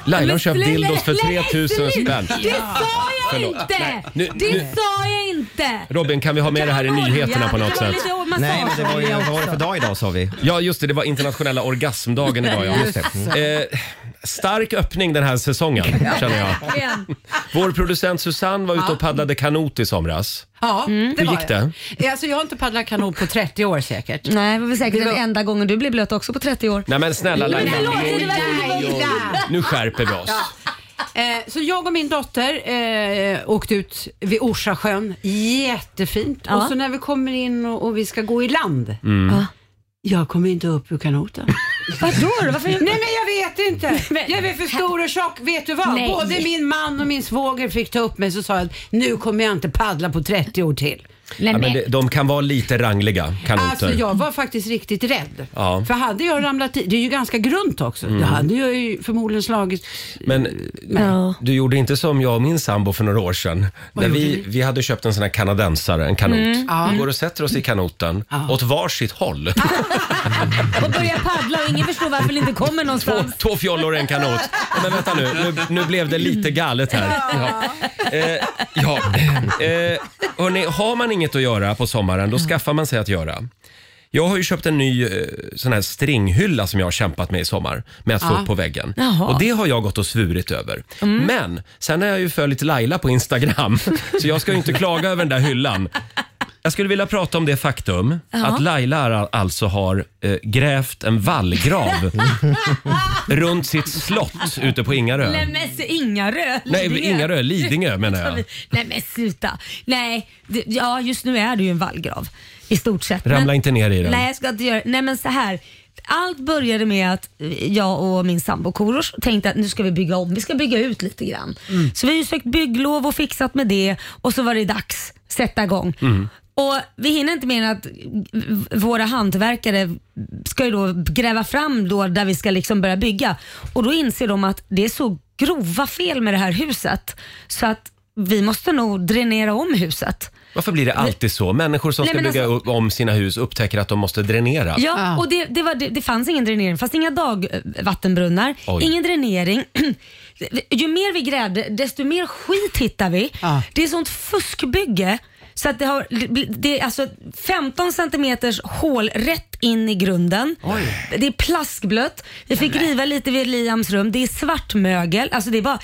Speaker 1: Laila har köpt
Speaker 2: Sluta-
Speaker 1: dildos för
Speaker 2: Lägg
Speaker 1: 3000
Speaker 2: ut!
Speaker 1: spänn.
Speaker 2: Det sa jag
Speaker 1: Förlåt.
Speaker 2: inte!
Speaker 1: Nej, nu-
Speaker 2: det
Speaker 1: nu-
Speaker 2: sa jag inte!
Speaker 1: Robin, kan vi ha med det här i nyheterna på något
Speaker 2: Det var
Speaker 1: sätt?
Speaker 2: lite massage
Speaker 5: Nej, men det var ju,
Speaker 2: också.
Speaker 5: vad var det för dag idag sa vi?
Speaker 1: Ja, just det. Det var internationella orgasmdagen idag. Ja.
Speaker 5: Just det. Mm.
Speaker 1: Eh, stark öppning den här säsongen, känner jag. Vår producent Susanne var ute och paddlade kanot i somras.
Speaker 8: Ja, det
Speaker 1: Hur
Speaker 8: var
Speaker 1: gick
Speaker 8: jag.
Speaker 1: det?
Speaker 8: Eh, Alltså, jag har inte paddlat kanot på 30 år säkert.
Speaker 2: Nej, det var väl säkert den enda gången du blev blöt också på 30 år.
Speaker 1: Nej men snälla Laila.
Speaker 8: Men förlåt, det var
Speaker 1: Jo,
Speaker 8: inte-
Speaker 1: Nu skärper vi oss.
Speaker 8: Eh, så jag och min dotter eh, åkte ut vid Orsasjön, jättefint.
Speaker 2: Ja.
Speaker 8: Och så när vi kommer in och, och vi ska gå i land,
Speaker 9: Mm. Ja.
Speaker 8: jag kommer inte upp ur kanoten.
Speaker 2: Vadå då? Varför?
Speaker 8: Nej men jag vet inte.
Speaker 2: [LAUGHS]
Speaker 8: Jag är för stor och tjock. Vet du vad?
Speaker 2: Nej.
Speaker 8: Både min man och min svåger fick ta upp mig så sa jag att nu kommer jag inte paddla på 30 år till.
Speaker 1: Ja, men det, de kan vara lite rangliga, kanoter.
Speaker 8: Alltså jag var faktiskt riktigt rädd.
Speaker 1: Ja.
Speaker 8: För hade jag ramlat i, det är ju ganska grunt också,
Speaker 1: Mm.
Speaker 8: då hade jag ju förmodligen slagit.
Speaker 1: Men du gjorde inte som jag och min sambo för några år sedan.
Speaker 8: Vad
Speaker 1: När
Speaker 8: gjorde
Speaker 1: vi, vi hade köpt en sån här kanadensare, en kanot.
Speaker 2: Mm. Ja.
Speaker 1: Vi går och sätter oss i kanoten, åt varsitt håll.
Speaker 2: Och börja paddla och ingen förstår varför det inte kommer
Speaker 1: Två,
Speaker 2: någonstans.
Speaker 1: [LAUGHS] två fjollor och en kanot. Men vänta nu, nu, nu blev det lite galet här. Ja. Eh, ja. Eh, hörni, har man inget att göra på sommaren, då skaffar man sig att göra. Jag har ju köpt en ny eh, sån här stringhylla som jag har kämpat med i sommar med att få
Speaker 9: Ja.
Speaker 1: upp på väggen.
Speaker 9: Jaha.
Speaker 1: Och det har jag gått och svurit över. Men sen har jag ju följt Laila på Instagram så jag ska ju inte klaga över den där hyllan. Jag skulle vilja prata om det faktum
Speaker 2: Ja.
Speaker 1: att Laila är- alltså har eh, grävt en vallgrav runt sitt slott ute på
Speaker 2: [LAUGHS]
Speaker 1: Ingarö.
Speaker 2: Nej men så Ingarö.
Speaker 1: Nej,
Speaker 2: Lidingö.
Speaker 1: Ingarö, Lidingö
Speaker 2: [LAUGHS]
Speaker 1: menar jag.
Speaker 2: Nej men sluta. Nej, det, ja just nu är det ju en vallgrav i stort sett.
Speaker 1: Ramla
Speaker 2: men,
Speaker 1: inte ner i den.
Speaker 2: Nej jag ska inte göra Nej men så här. Allt började med att jag och min sambo Korosh tänkte att nu ska vi bygga om, vi ska bygga ut lite grann.
Speaker 11: Mm.
Speaker 2: Så vi har ju sökt bygglov och fixat med det och så var det dags, sätta igång.
Speaker 1: Mm.
Speaker 2: Och vi hinner inte mer än att v- våra hantverkare ska ju då gräva fram då där vi ska liksom börja bygga. Och då inser de att det är så grova fel med det här huset så att vi måste nog dränera om huset.
Speaker 1: Varför blir det alltid så? Människor som
Speaker 2: Nej,
Speaker 1: ska
Speaker 2: men alltså-
Speaker 1: bygga upp om sina hus upptäcker att de måste dränera.
Speaker 2: Ja, och det, det, var, det, det fanns ingen dränering. Det fanns inga dagvattenbrunnar,
Speaker 1: Oj.
Speaker 2: ingen dränering. [CLEARS THROAT] Ju mer vi grävde, desto mer skit hittar vi. Det är sånt fuskbygge. Så att det, har, det är alltså 15 centimeters hål rätt in i grunden. Det är plaskblött. Vi fick riva lite vid Liams rum. Det är svartmögel. Alltså det är bara,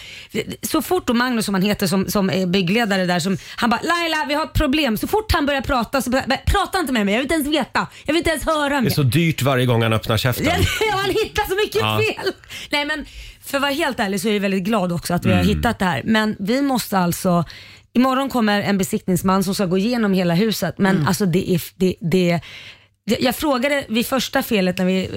Speaker 2: så fort då Magnus som han heter som, som är byggledare där, som, han bara “Laila, vi har ett problem”. Så fort han börjar prata så bara, “Prata inte med mig, jag vill inte ens veta. Jag vill inte ens höra
Speaker 1: Det är
Speaker 2: mer”.
Speaker 1: så dyrt varje gång han öppnar käften.
Speaker 2: Ja, han hittar så mycket
Speaker 1: Ja.
Speaker 2: fel. Nej men för att vara helt ärlig så är jag väldigt glad också att vi har
Speaker 1: Mm.
Speaker 2: hittat det här. Men vi måste alltså Imorgon kommer en besiktningsman som ska gå igenom hela huset men alltså det är, det, det, det- jag frågade vid första felet när vi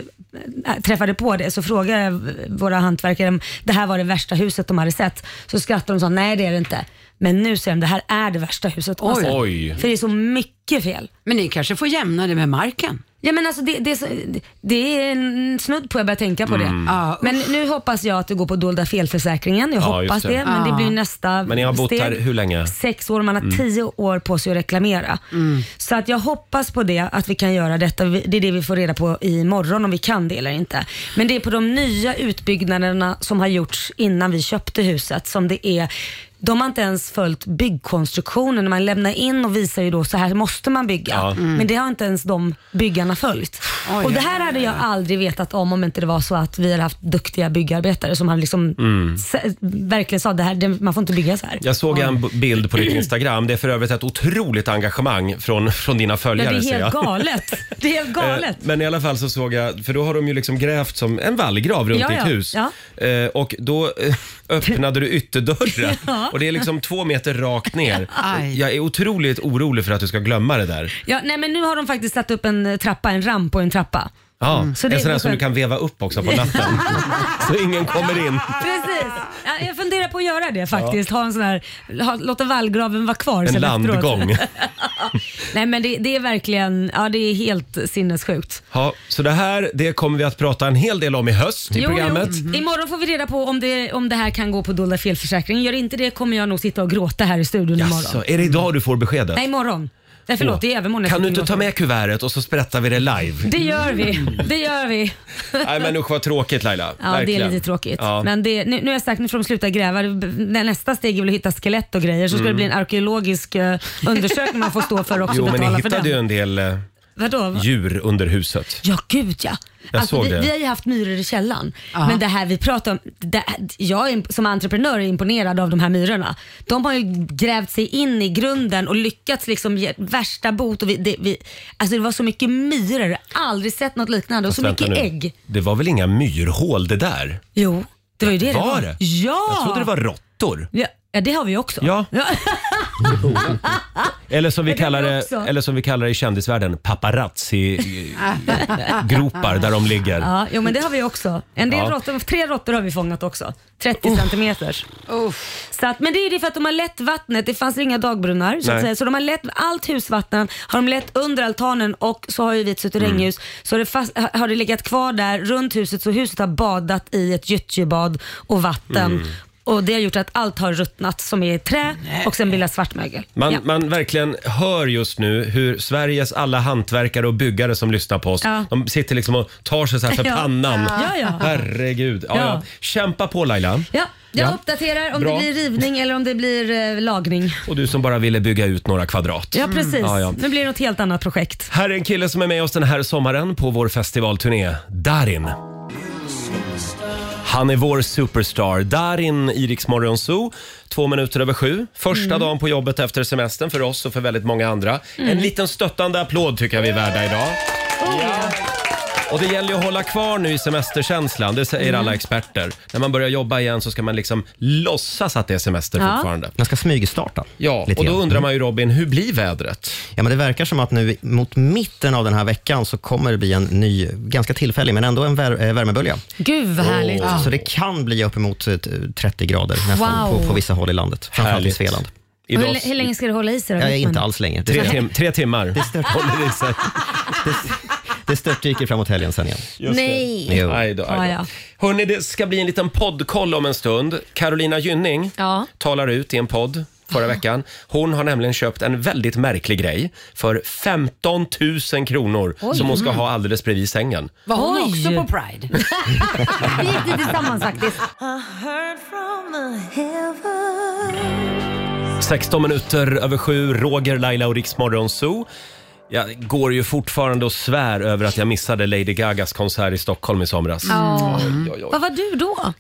Speaker 2: äh, träffade på det så frågade jag våra hantverkare om det här var det värsta huset de hade sett. Så skrattade de och sa nej det är det inte. Men nu säger de det här är det värsta huset de har
Speaker 8: Oj.
Speaker 2: sett.
Speaker 8: Oj.
Speaker 2: För det är så mycket fel.
Speaker 8: Men ni kanske får jämna det med marken?
Speaker 2: Ja men alltså det, det, är så- det är en snudd på jag börjar tänka på
Speaker 1: Mm.
Speaker 2: det.
Speaker 1: Ja,
Speaker 2: men nu hoppas jag att det går på dolda felförsäkringen. Jag
Speaker 1: Ja,
Speaker 2: hoppas
Speaker 1: just
Speaker 2: det.
Speaker 1: det.
Speaker 2: men det
Speaker 1: Ja.
Speaker 2: blir ju nästa
Speaker 1: Men ni har bott
Speaker 2: steg.
Speaker 1: här hur länge?
Speaker 2: Sex år, man har
Speaker 1: Mm.
Speaker 2: tio år på sig att reklamera. Så att jag hoppas på det, att vi kan göra detta. Vi- Det är det vi får reda på imorgon om vi kan det eller inte. Men det är på de nya utbyggnaderna som har gjorts innan vi köpte huset som det är de har inte ens följt byggkonstruktionen. Man lämnar in och visar ju då så här måste man bygga.
Speaker 11: Ja. Mm.
Speaker 2: Men det har inte ens de byggarna följt. och det här hade jag aldrig vetat om om inte det var så att vi hade haft duktiga byggarbetare som hade liksom
Speaker 1: Mm.
Speaker 2: se- verkligen sa det här, det- man får inte bygga så här.
Speaker 1: Jag såg en b- bild på ditt Instagram. Det är för övrigt ett otroligt engagemang från, från dina
Speaker 2: Ja, det
Speaker 1: följare.
Speaker 2: är
Speaker 1: ser jag.
Speaker 2: helt galet. Det är helt
Speaker 1: [LAUGHS] Eh,
Speaker 2: galet.
Speaker 1: Men i alla fall så såg jag, för då har de ju liksom grävt som en vallgrav runt
Speaker 2: Ja,
Speaker 1: ditt
Speaker 2: ja.
Speaker 1: hus.
Speaker 2: Ja.
Speaker 1: Eh, Och då eh, öppnade du ytterdörren
Speaker 2: [LAUGHS] Ja.
Speaker 1: och det är liksom två meter rakt ner.
Speaker 2: Aj.
Speaker 1: Jag är otroligt orolig för att du ska glömma det där.
Speaker 2: Ja, nej men nu har de faktiskt satt upp en eh, trappa, en ramp och en trappa.
Speaker 1: Ja,
Speaker 2: Mm. Så det
Speaker 1: en
Speaker 2: är liksom-
Speaker 1: sån här som du
Speaker 2: skönt.
Speaker 1: kan veva upp också på natten. så ingen kommer in.
Speaker 2: [LAUGHS] Precis. Ja, jag funderar på att göra det faktiskt. Ha en sån här, ha, låta vallgraven vara kvar.
Speaker 1: En
Speaker 2: sen efteråt.
Speaker 1: landgång.
Speaker 2: [LAUGHS] nej men det, det är verkligen, ja det är helt sinnessjukt.
Speaker 1: Ja, så det här det kommer vi att prata en hel del om i höst i programmet.
Speaker 2: Jo. Mm, Mm-hmm. Imorgon får vi reda på om det, om det här kan gå på dolda felförsäkring. Gör inte det kommer jag nog sitta och gråta här i studion
Speaker 1: Jaså,
Speaker 2: imorgon.
Speaker 1: är det idag du får beskedet?
Speaker 2: Nej, imorgon. Nej, förlåt,
Speaker 1: Åh.
Speaker 2: det är övermorgon. jag
Speaker 1: Kan du
Speaker 2: sitter
Speaker 1: inte
Speaker 2: och
Speaker 1: ta
Speaker 2: gråter.
Speaker 1: med kuvertet och så sprättar vi
Speaker 2: [LAUGHS]
Speaker 1: det live?
Speaker 2: Det gör vi. Det gör vi.
Speaker 1: Nej men usch vad tråkigt Laila.
Speaker 2: Ja, det är
Speaker 1: Verkligen.
Speaker 2: lite tråkigt.
Speaker 1: Ja.
Speaker 2: Men det, nu, nu har jag sagt, nu får de sluta gräva. Det- det- Nästa steg är väl att hitta skelett och grejer. Så ska
Speaker 1: Mm.
Speaker 2: det bli en arkeologisk eh, undersökning man får stå för också
Speaker 1: jo
Speaker 2: och
Speaker 1: men ni
Speaker 2: betala för
Speaker 1: hittade ju
Speaker 2: den.
Speaker 1: en del eh,
Speaker 2: Vadå?
Speaker 1: djur under huset.
Speaker 2: Ja, gud ja. Alltså,
Speaker 1: Jag såg
Speaker 2: vi,
Speaker 1: det.
Speaker 2: vi har ju haft myror i källaren.
Speaker 1: Ja.
Speaker 2: Men det här vi pratar om, det, jag är, imp- som entreprenör är imponerad av de här myrorna. De har ju grävt sig in i grunden och lyckats liksom ge värsta bot. Och vi, det, vi, alltså det var så mycket myror, jag har aldrig sett något liknande. Och så
Speaker 1: Vänta
Speaker 2: mycket
Speaker 1: nu.
Speaker 2: ägg.
Speaker 1: Det var väl inga myrhål det där?
Speaker 2: Jo, det var ju det
Speaker 1: Var
Speaker 2: det
Speaker 1: det?
Speaker 2: Ja!
Speaker 1: Jag trodde det var råttor.
Speaker 2: Ja, ja, det har vi också.
Speaker 1: Ja. [LAUGHS] Eller som vi
Speaker 2: Ja, det
Speaker 1: kallar
Speaker 2: var
Speaker 1: det,
Speaker 2: också.
Speaker 1: eller som vi kallar det i kändisvärlden, paparazzi-gropar där de ligger.
Speaker 2: [LAUGHS] Ja, jo, men det har vi också. En del
Speaker 1: Ja.
Speaker 2: råttor, tre råttor har vi fångat också. 30 centimeters. Så att, men det är det för att de har lätt vattnet. Det fanns inga dagbrunnar. Så, att
Speaker 11: Nej.
Speaker 2: säga. så de har lätt allt husvatten har de lätt under altanen och så har ju vi ett
Speaker 1: Mm.
Speaker 2: suterränghus. Så har det, fast, har det legat kvar där runt huset så huset har badat i ett gyttjebad och vatten.
Speaker 1: Mm.
Speaker 2: Och Det har gjort att allt har ruttnat som är i trä och sen bildat svartmögel.
Speaker 1: Man,
Speaker 2: Ja.
Speaker 1: man verkligen hör just nu hur Sveriges alla hantverkare och byggare som lyssnar på oss,
Speaker 2: Ja.
Speaker 1: de sitter liksom och tar sig så här för
Speaker 2: [LAUGHS] Ja.
Speaker 1: pannan.
Speaker 2: Ja, ja.
Speaker 1: Herregud. Ja, ja.
Speaker 2: Ja.
Speaker 1: Kämpa på Laila.
Speaker 2: Ja, jag
Speaker 1: Ja.
Speaker 2: uppdaterar om
Speaker 1: Bra.
Speaker 2: det blir rivning eller om det blir eh, lagning.
Speaker 1: Och du som bara ville bygga ut några kvadrat.
Speaker 2: Ja, precis.
Speaker 1: Mm. Ja, ja.
Speaker 2: Nu blir det något helt annat projekt.
Speaker 1: Här är en kille som är med oss den här sommaren på vår festivalturné, Darin. Han är vår superstar. Darin i Rix Morgon Zoo. Två minuter över sju. Första
Speaker 11: Mm.
Speaker 1: dagen på jobbet efter semestern för oss och för väldigt många andra.
Speaker 11: Mm.
Speaker 1: En liten stöttande applåd tycker jag vi är värda idag. Och det gäller ju att hålla kvar nu i semesterkänslan, det säger alla experter. När man börjar jobba igen så ska man liksom låtsas att det är semester
Speaker 5: Ja.
Speaker 1: fortfarande.
Speaker 5: Man ska smygstarta. Mm.
Speaker 1: Ja, och då undrar man ju Robin, hur blir vädret?
Speaker 5: Ja, men det verkar som att nu mot mitten av den här veckan så kommer det bli en ny, ganska tillfällig, men ändå en vär- eh, värmebölja.
Speaker 2: Gud vad härligt.
Speaker 5: Ja. Så det kan bli uppemot eh, 30 grader nästan
Speaker 2: Wow.
Speaker 5: på, på vissa håll i landet. Framförallt i Svealand.
Speaker 2: Och hur, hur länge ska det hålla i sig då?
Speaker 5: Ja,
Speaker 2: vet man?
Speaker 5: inte alls länge.
Speaker 1: Tre tim- tre timmar
Speaker 5: det stört- håller i sig. Det, det störtdyker framåt helgen sen igen.
Speaker 1: Just det.
Speaker 2: Nej.
Speaker 1: Jo. Aj då, aj då.
Speaker 2: Ja, ja.
Speaker 1: Hörni, det ska bli en liten poddkoll om en stund. Carolina Gynning
Speaker 2: Ja.
Speaker 1: talar ut i en podd förra veckan. Hon har nämligen köpt en väldigt märklig grej för 15 000 kronor
Speaker 2: Oj.
Speaker 1: som hon ska
Speaker 2: Mm.
Speaker 1: ha alldeles bredvid sängen.
Speaker 8: Var hon
Speaker 2: Oj.
Speaker 8: också på Pride?
Speaker 2: [LAUGHS] Vi gick dit tillsammans faktiskt.
Speaker 1: 16 minuter över sju, Roger, Laila och Riks Morgonzoo. Jag går ju fortfarande och svär över att jag missade Lady Gagas konsert i Stockholm i somras.
Speaker 2: Ja.
Speaker 1: Mm. Oj, oj, oj.
Speaker 2: Vad var du då?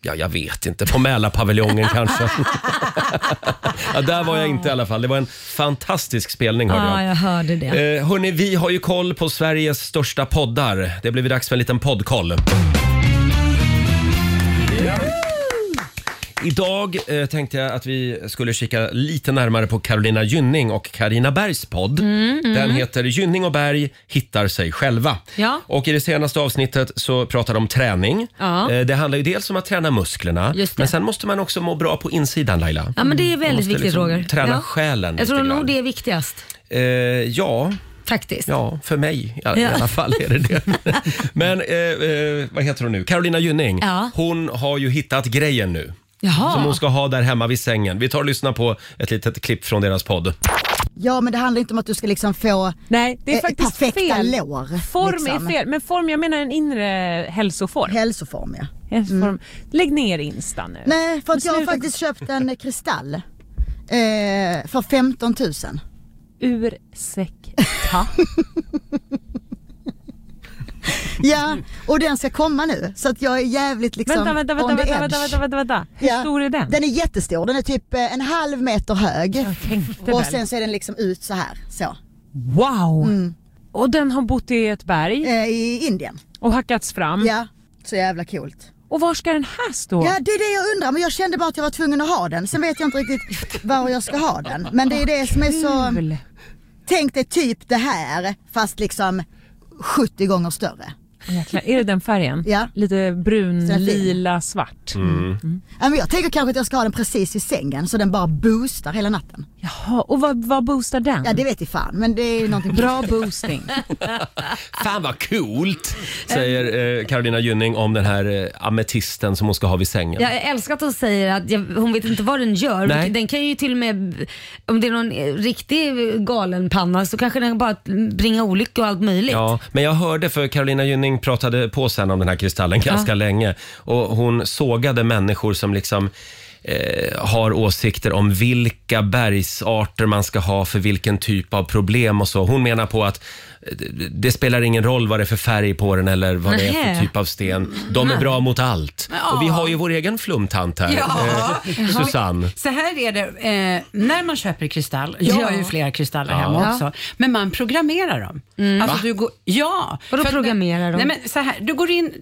Speaker 1: Ja, jag vet inte.
Speaker 2: [LAUGHS]
Speaker 1: På Mälarpaviljongen kanske. ja, där var jag inte i alla fall. Det var en fantastisk spelning hörde
Speaker 2: Ja, jag hörde det.
Speaker 1: jag. Eh, hörni, vi har ju koll på Sveriges största poddar. Det blir dags för en liten poddkoll. Idag eh, tänkte jag att vi skulle kika lite närmare på Carolina Gynning och Karina Bergs podd.
Speaker 11: Mm, mm.
Speaker 1: Den heter Gynning och Berg hittar sig själva.
Speaker 11: Ja.
Speaker 1: Och i det senaste avsnittet så pratar de om träning.
Speaker 2: Ja.
Speaker 1: Eh, Det handlar ju dels om att träna musklerna,
Speaker 2: Just det.
Speaker 1: men sen måste man också må bra på insidan Laila.
Speaker 2: Ja, men det är
Speaker 1: Man
Speaker 2: väldigt
Speaker 1: måste
Speaker 2: viktigt
Speaker 1: liksom
Speaker 2: Roger.
Speaker 1: Träna
Speaker 2: ja.
Speaker 1: själen
Speaker 2: Jag
Speaker 1: lite
Speaker 2: tror
Speaker 1: grann.
Speaker 2: nog det är viktigast
Speaker 1: Eh, ja.
Speaker 2: faktiskt.
Speaker 1: Ja, för mig i,
Speaker 2: Ja.
Speaker 1: i alla fall är det
Speaker 2: [LAUGHS]
Speaker 1: det. Men eh, eh, vad heter hon nu? Carolina Gynning.
Speaker 2: Ja.
Speaker 1: Hon har ju hittat grejen nu.
Speaker 12: Jaha.
Speaker 1: Som hon ska ha där hemma vid sängen. Vi tar och lyssnar på ett litet klipp från deras podd.
Speaker 12: Ja men det handlar inte om att du ska liksom få Nej,
Speaker 13: det är faktiskt
Speaker 12: perfekta
Speaker 13: fel.
Speaker 12: lår.
Speaker 13: Form
Speaker 12: liksom.
Speaker 13: är fel, men form, jag menar en inre hälsoform.
Speaker 12: Hälsoform ja. Mm.
Speaker 13: Hälsoform. Lägg ner Insta nu.
Speaker 12: Nej för att
Speaker 13: Men
Speaker 12: jag har
Speaker 13: sluta-
Speaker 12: faktiskt köpt en [LAUGHS] kristall. Eh, för 15 000.
Speaker 13: Ur säck.
Speaker 12: Ja och den ska komma nu så att jag är jävligt liksom
Speaker 13: vänta, vänta,
Speaker 12: on
Speaker 13: vänta,
Speaker 12: the
Speaker 13: vänta,
Speaker 12: edge.
Speaker 13: vänta, vänta, vänta, vänta. Hur
Speaker 12: Ja.
Speaker 13: stor är den?
Speaker 12: Den är jättestor, den är typ eh, en halv meter hög. Och
Speaker 13: väl.
Speaker 12: sen så är den liksom ut så här. Så. Mm.
Speaker 13: Wow! Och den har bott i ett berg?
Speaker 12: Eh, I Indien.
Speaker 13: Och hackats fram?
Speaker 12: Ja, så jävla coolt.
Speaker 13: Och var ska den här stå?
Speaker 12: Ja det är det jag undrar men jag kände bara att jag var tvungen att ha den. Sen vet jag inte riktigt var jag ska ha den. Men det är det som är så... Tänk dig typ det här fast liksom 70 gånger större.
Speaker 13: Jäklar, Är det den färgen?
Speaker 12: Ja.
Speaker 13: Lite brun,
Speaker 12: Så den är fin.
Speaker 13: lila, svart?
Speaker 1: Mm.
Speaker 8: Mm.
Speaker 12: Ja, men Jag tänker kanske att jag ska ha den precis i sängen så den bara boostar hela natten.
Speaker 13: Jaha, och vad, vad boostar den?
Speaker 12: Ja det vet jag fan men det är ju någonting
Speaker 13: Bra boosting.
Speaker 1: Fan vad coolt, säger eh, Carolina Gynning om den här eh, ametisten som hon ska ha vid sängen.
Speaker 2: Ja, jag älskar att hon säger att jag, hon vet inte vad den gör.
Speaker 1: Nej.
Speaker 2: Den kan ju till och med, om det är någon eh, riktig galenpanna så kanske den bara bringar olycka och allt möjligt.
Speaker 1: Ja, men jag hörde för Carolina Gynning pratade på sen om den här kristallen
Speaker 2: Ja.
Speaker 1: ganska länge och hon sågade människor som liksom eh, har åsikter om vilka bergsarter man ska ha för vilken typ av problem och så. Hon menar på att eh, det- det spelar ingen roll vad det är för färg på den eller vad det är
Speaker 11: Nähä.
Speaker 1: för typ av sten. De är
Speaker 8: Nej.
Speaker 1: bra mot allt.
Speaker 8: Ja.
Speaker 1: Och vi har ju vår egen flumtant här,
Speaker 8: Ja.
Speaker 1: eh, Susanne.
Speaker 8: Så här är det, eh, när man köper kristall, jag
Speaker 2: Ja.
Speaker 8: har ju flera kristaller
Speaker 1: Ja.
Speaker 8: hemma
Speaker 2: Ja.
Speaker 8: också, men man programmerar dem. Alltså,
Speaker 2: Va?
Speaker 8: du går, ja.
Speaker 2: Vadå
Speaker 8: För att-
Speaker 2: programmerar dem?
Speaker 8: Nej, men så här, du går in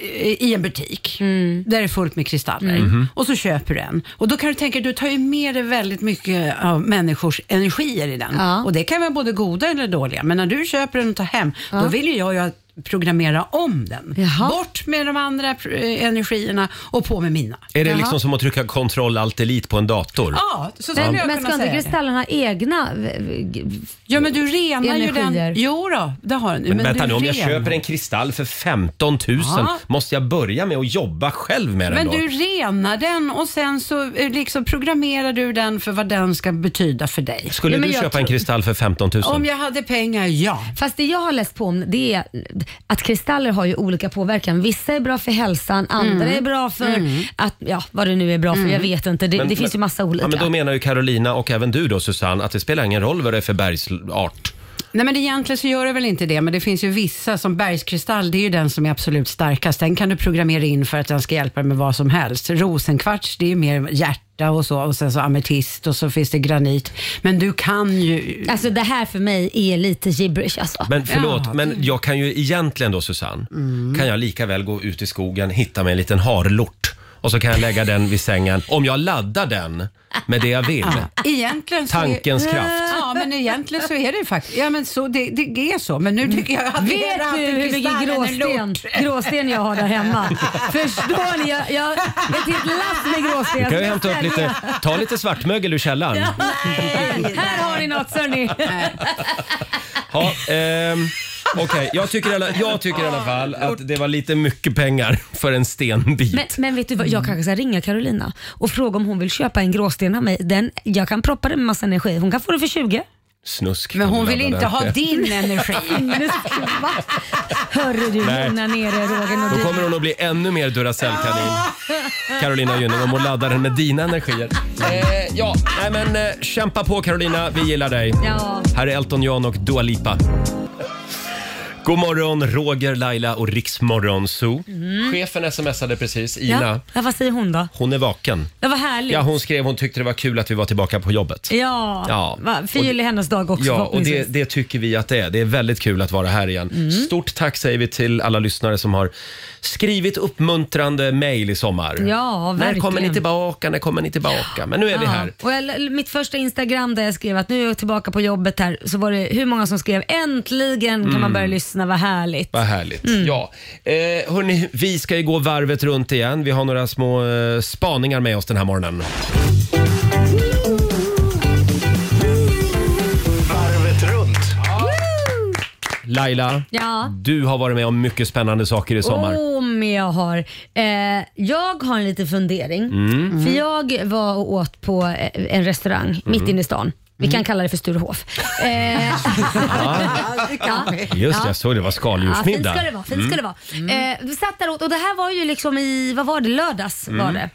Speaker 8: eh, i en butik
Speaker 2: Mm.
Speaker 8: där det är fullt med kristaller
Speaker 1: Mm. Mm-hmm.
Speaker 11: Mhm.
Speaker 8: och så köper du en. Och då kan du tänka, du tar ju med dig väldigt mycket av människors energier i den. Och det kan vara både goda eller dåliga, men när du köper den och tar hem, då vill ju jag ju att programmera om den. Bort med de andra eh, energierna och på med mina.
Speaker 1: Är det liksom som att trycka kontroll alt delete på en dator?
Speaker 8: Ja, så skulle
Speaker 2: men,
Speaker 8: jag
Speaker 2: men
Speaker 8: kunna
Speaker 2: ska inte
Speaker 8: säga det.
Speaker 2: kristallerna ha egna eh,
Speaker 8: Ja men du renar ju
Speaker 2: Energier.
Speaker 8: den. Jo då, det har den.
Speaker 1: Men, vänta
Speaker 8: du
Speaker 1: nu, om jag
Speaker 8: renar.
Speaker 1: köper en kristall för 15 000
Speaker 8: Ja.
Speaker 1: måste jag börja med att jobba själv med
Speaker 8: Men
Speaker 1: den då?
Speaker 8: du renar den och sen så eh, liksom programmerar du den för vad den ska betyda för dig.
Speaker 1: Skulle du köpa en kristall för 15 000?
Speaker 8: Om jag hade pengar, ja.
Speaker 2: Fast det jag har läst på om det är att kristaller har ju olika påverkan. Vissa är bra för hälsan, andra
Speaker 1: Mm.
Speaker 2: är bra för att, ja, vad det nu är bra för,
Speaker 8: Mm.
Speaker 2: jag vet inte. Det,
Speaker 1: Men-
Speaker 2: det finns
Speaker 1: men-
Speaker 2: ju massa olika.
Speaker 1: Ja, men då menar ju Carolina och även du då Susanne att det spelar ingen roll vad det är för bergsart.
Speaker 8: Nej men egentligen så gör det väl inte det, men det finns ju vissa som bergskristall, det är ju den som är absolut starkast. Den kan du programmera in för att den ska hjälpa dig med vad som helst. Rosenkvarts, det är ju mer hjärta och så och sen så ametist och så finns det granit. Men du kan ju...
Speaker 2: Alltså det här för mig är lite gibberish alltså.
Speaker 1: Men förlåt, men jag kan ju egentligen då Susanne,
Speaker 2: Mm.
Speaker 1: kan jag lika väl gå ut i skogen, hitta mig en liten harlort och så kan jag lägga den vid sängen. Om jag laddar den med det jag vill.
Speaker 8: Ja, Ah, egentligen så
Speaker 1: Tankens
Speaker 8: är,
Speaker 1: kraft.
Speaker 8: Ja, men egentligen så är det ju faktiskt. Ja, men så, det, det är så. Men nu tycker jag att det är
Speaker 2: Vet du
Speaker 8: alltid
Speaker 2: hur mycket
Speaker 8: kristallen är
Speaker 2: gråsten,
Speaker 8: lort.
Speaker 2: gråsten jag har där
Speaker 8: [LAUGHS]
Speaker 2: hemma? Förstår ni? Jag, jag, ett helt lass med gråsten.
Speaker 1: Du kan ju
Speaker 2: som jag
Speaker 1: hämta upp
Speaker 2: säljer.
Speaker 1: lite, ta lite svartmögel ur källaren.
Speaker 2: Ja, nej, här har ni något Äh. hörni.
Speaker 1: Ja, ehm, Okej, jag, tycker i alla- jag tycker i alla fall att det var lite mycket pengar för en stenbit.
Speaker 2: Men, men vet du vad, jag kanske ska ringa Carolina och fråga om hon vill köpa en gråsten av mig. Den, jag kan proppa den med massa energi. Hon kan få det för 20.
Speaker 1: Snusk.
Speaker 2: Men
Speaker 1: kan
Speaker 2: hon
Speaker 1: du
Speaker 2: vill
Speaker 1: ladda
Speaker 2: inte
Speaker 1: den
Speaker 2: ha
Speaker 1: med.
Speaker 2: din energi. [LAUGHS] Va? Hörru du,
Speaker 8: Mm.
Speaker 1: Nej.
Speaker 2: lugna ner dig Roger
Speaker 1: Då
Speaker 2: Nordin.
Speaker 1: kommer hon att bli ännu mer Duracell-kanin. Carolina Gynning om hon laddar den med dina energier. Eh, ja, nej men eh, kämpa på Carolina, vi gillar dig.
Speaker 2: Ja.
Speaker 1: Här är Elton John och Dua Lipa. God morgon Roger, Laila och Riksmorgon Zoo. Chefen smsade precis, Ina.
Speaker 2: Mm. Ja. ja, vad säger hon då?
Speaker 1: Hon är vaken.
Speaker 2: Det var härligt.
Speaker 1: Ja, hon skrev hon tyckte det var kul att vi var tillbaka på jobbet.
Speaker 2: Ja,
Speaker 1: Ja.
Speaker 2: Va, fyrhjulig hennes dag också
Speaker 1: Ja, och det,
Speaker 2: förhoppningsvis. Mm.
Speaker 1: det tycker vi att det är. Det är väldigt kul att vara här igen. Stort tack säger vi till alla lyssnare som har skrivit uppmuntrande mejl i sommar.
Speaker 2: Ja,
Speaker 1: när
Speaker 2: verkligen.
Speaker 1: kommer ni tillbaka? När kommer ni tillbaka? Men nu är vi
Speaker 2: Ja,
Speaker 1: här.
Speaker 2: Och jag, mitt första Instagram där jag skrev att nu är jag tillbaka på jobbet här, så var det hur många som skrev äntligen kan
Speaker 1: Mm.
Speaker 2: man börja lyssna, vad härligt.
Speaker 1: Vad härligt.
Speaker 2: Mm.
Speaker 1: Ja. Eh, hörni, vi ska ju gå varvet runt igen. Vi har några små eh, spaningar med oss den här morgonen.
Speaker 8: [LAUGHS]
Speaker 11: Varvet runt.
Speaker 1: Laila,
Speaker 2: Ja.
Speaker 1: du har varit med om mycket spännande saker i sommar.
Speaker 2: Åh, men jag har. Eh, jag har en liten fundering.
Speaker 1: Mm.
Speaker 2: För jag var och åt på eh, en restaurang
Speaker 1: Mm.
Speaker 2: mitt inne i stan. Vi kan kalla det för
Speaker 1: [LAUGHS]
Speaker 2: Sturehof. Eh, ja.
Speaker 1: Just det, jag såg det var
Speaker 2: Ja,
Speaker 1: skaldjursmiddag.
Speaker 2: fint ska det vara. Fint ska
Speaker 1: Mm.
Speaker 2: det vara. Eh, vi satt där åt, och det här var ju liksom i, vad var det, lördags var
Speaker 1: Mm.
Speaker 2: det.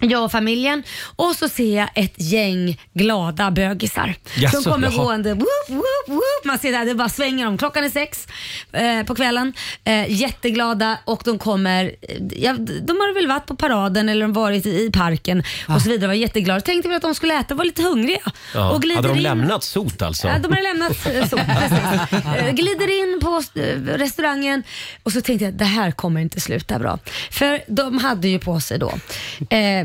Speaker 2: Jag och familjen och så ser jag ett gäng glada bögisar
Speaker 14: Jaså,
Speaker 2: som kommer
Speaker 14: jaha.
Speaker 2: gående. Woop, woop, woop. Man ser där, det bara svänger om. Klockan är sex eh, på kvällen. Eh, jätteglada och de kommer, eh, ja, de har väl varit på paraden eller de varit i, i parken och så vidare. Var jätteglada. Tänkte väl att de skulle äta, var lite hungriga.
Speaker 1: Ah. Ja.
Speaker 2: Och
Speaker 1: Hade
Speaker 2: glider
Speaker 1: de
Speaker 2: in.
Speaker 1: lämnat sot alltså?
Speaker 2: Ja, de har lämnat
Speaker 1: [LAUGHS]
Speaker 2: eh, så, precis. Eh, Glider in på eh, restaurangen och så tänkte jag det här kommer inte sluta bra. För de hade ju på sig då eh,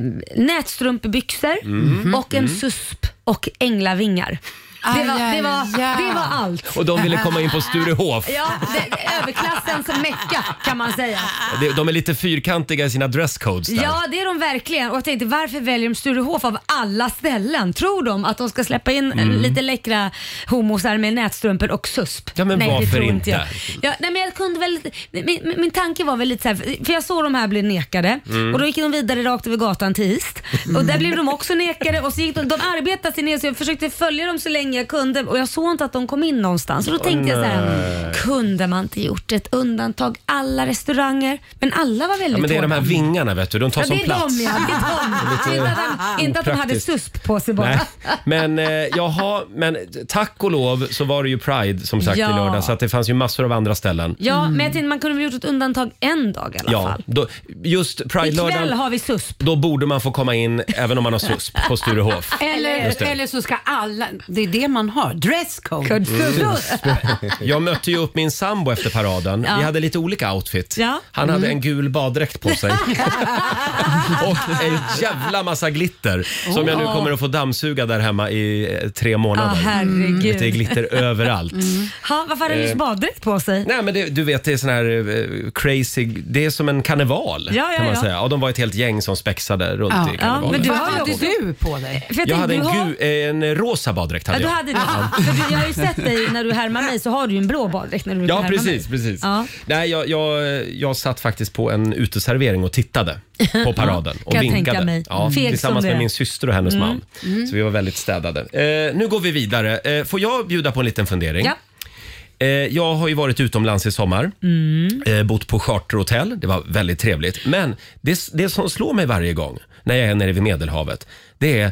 Speaker 2: nätstrumpebyxor
Speaker 1: Mhm.
Speaker 2: och en
Speaker 1: Mm.
Speaker 2: susp och änglavingar. Det var, det, var, det var allt.
Speaker 1: [LAUGHS] Och de ville komma in på Sturehof.
Speaker 2: Ja, det, överklassens mecka kan man säga.
Speaker 1: De- De är lite fyrkantiga i sina dresscodes där.
Speaker 2: Ja, det är de verkligen. Och jag tänkte varför väljer de Sturehof av alla ställen? Tror de att de ska släppa in eh,
Speaker 1: Mm.
Speaker 2: lite läckra homosar med nätstrumpor och susp?
Speaker 1: Ja, men varför
Speaker 2: jag.
Speaker 1: inte?
Speaker 2: Ja, nej, men jag kunde väl, min, min, min tanke var väl lite så här, för jag såg de här bli nekade
Speaker 14: Mm.
Speaker 2: och då gick de vidare rakt över gatan till Hist och där blev de också nekade och så gick de, de arbetade sig ner så jag försökte följa dem så länge jag kunde och jag såg inte att de kom in någonstans. Och då
Speaker 14: Åh,
Speaker 2: tänkte jag så här,
Speaker 1: nej.
Speaker 2: kunde man inte gjort ett undantag? Alla restauranger, men alla var väldigt
Speaker 1: Ja, men det är de här
Speaker 2: hårda.
Speaker 1: vingarna vet du, de tar
Speaker 2: Ja,
Speaker 1: som
Speaker 2: det är
Speaker 1: plats.
Speaker 2: De, ja. det är de.
Speaker 1: [LAUGHS] Lite
Speaker 2: Inte att de, inte att de hade
Speaker 1: opraktiskt.
Speaker 2: susp på sig bara.
Speaker 1: Nej. [LAUGHS] Men eh, jaha, men tack och lov så var det ju Pride som sagt
Speaker 2: Ja.
Speaker 1: i lördag så att det fanns ju massor av andra ställen.
Speaker 2: Ja, men jag tänkte man kunde väl gjort ett undantag en dag i alla
Speaker 1: Mm. Ja,
Speaker 2: fall.
Speaker 1: då, just
Speaker 2: Ikväll
Speaker 1: Pride-lördagen,
Speaker 2: har vi susp.
Speaker 1: då borde man få komma in även om man har susp
Speaker 2: [LAUGHS]
Speaker 1: på Sturehof. Just
Speaker 8: Eller,
Speaker 1: det.
Speaker 8: eller så ska alla, det är det man har, dresscode.
Speaker 1: Mm. [LAUGHS] Jag mötte ju upp min sambo efter paraden.
Speaker 8: Ja.
Speaker 1: Vi hade lite olika outfit.
Speaker 8: Ja.
Speaker 1: Han hade
Speaker 8: Mm.
Speaker 1: en gul baddräkt
Speaker 2: [LAUGHS]
Speaker 1: på sig. Och en jävla massa glitter som jag nu
Speaker 2: Åh.
Speaker 1: kommer att få dammsuga där hemma i eh, tre
Speaker 2: Ja,
Speaker 1: månader.
Speaker 2: Ah, herregud.
Speaker 1: Mm. Lite glitter överallt.
Speaker 2: Mm. Ha, varför hade du
Speaker 1: Eh.
Speaker 2: baddräkt på sig?
Speaker 1: Nej men det, du vet det är sån här eh, crazy, det är som en karneval
Speaker 2: Ja, ja,
Speaker 1: kan man
Speaker 2: ja.
Speaker 1: säga. Och de var ett helt gäng som spexade runt i karnevalen.
Speaker 8: Vad hade du på dig?
Speaker 2: För jag
Speaker 1: jag
Speaker 2: tänkte,
Speaker 1: hade en,
Speaker 2: du har-
Speaker 1: gu, eh, en rosa baddräkt.
Speaker 2: Ja,
Speaker 1: Hade
Speaker 2: du
Speaker 1: jag.
Speaker 2: hade det. För du, jag har ju sett dig när du härmar mig så har du ju en blå baddräkt när du brukar
Speaker 1: Ja,
Speaker 2: härma
Speaker 1: precis.
Speaker 2: mig.
Speaker 1: precis.
Speaker 2: Ja.
Speaker 1: Nej, jag, jag, jag satt faktiskt på en uteservering och tittade
Speaker 2: [LAUGHS]
Speaker 1: på paraden och
Speaker 2: Kan jag
Speaker 1: vinkade.
Speaker 2: tänka mig.
Speaker 1: Ja,
Speaker 2: Feg som
Speaker 1: tillsammans
Speaker 2: du
Speaker 1: med
Speaker 2: är.
Speaker 1: min syster och hennes
Speaker 2: Mm.
Speaker 1: man.
Speaker 2: Mm.
Speaker 1: Så vi var väldigt städade. Eh, nu går vi vidare. Eh, får jag bjuda på en liten fundering?
Speaker 2: Ja.
Speaker 1: Eh, jag har ju varit utomlands i sommar.
Speaker 14: Mm.
Speaker 1: Eh, bott på charterhotell. Det var väldigt trevligt. Men det, det som slår mig varje gång när jag är nere vid Medelhavet, det är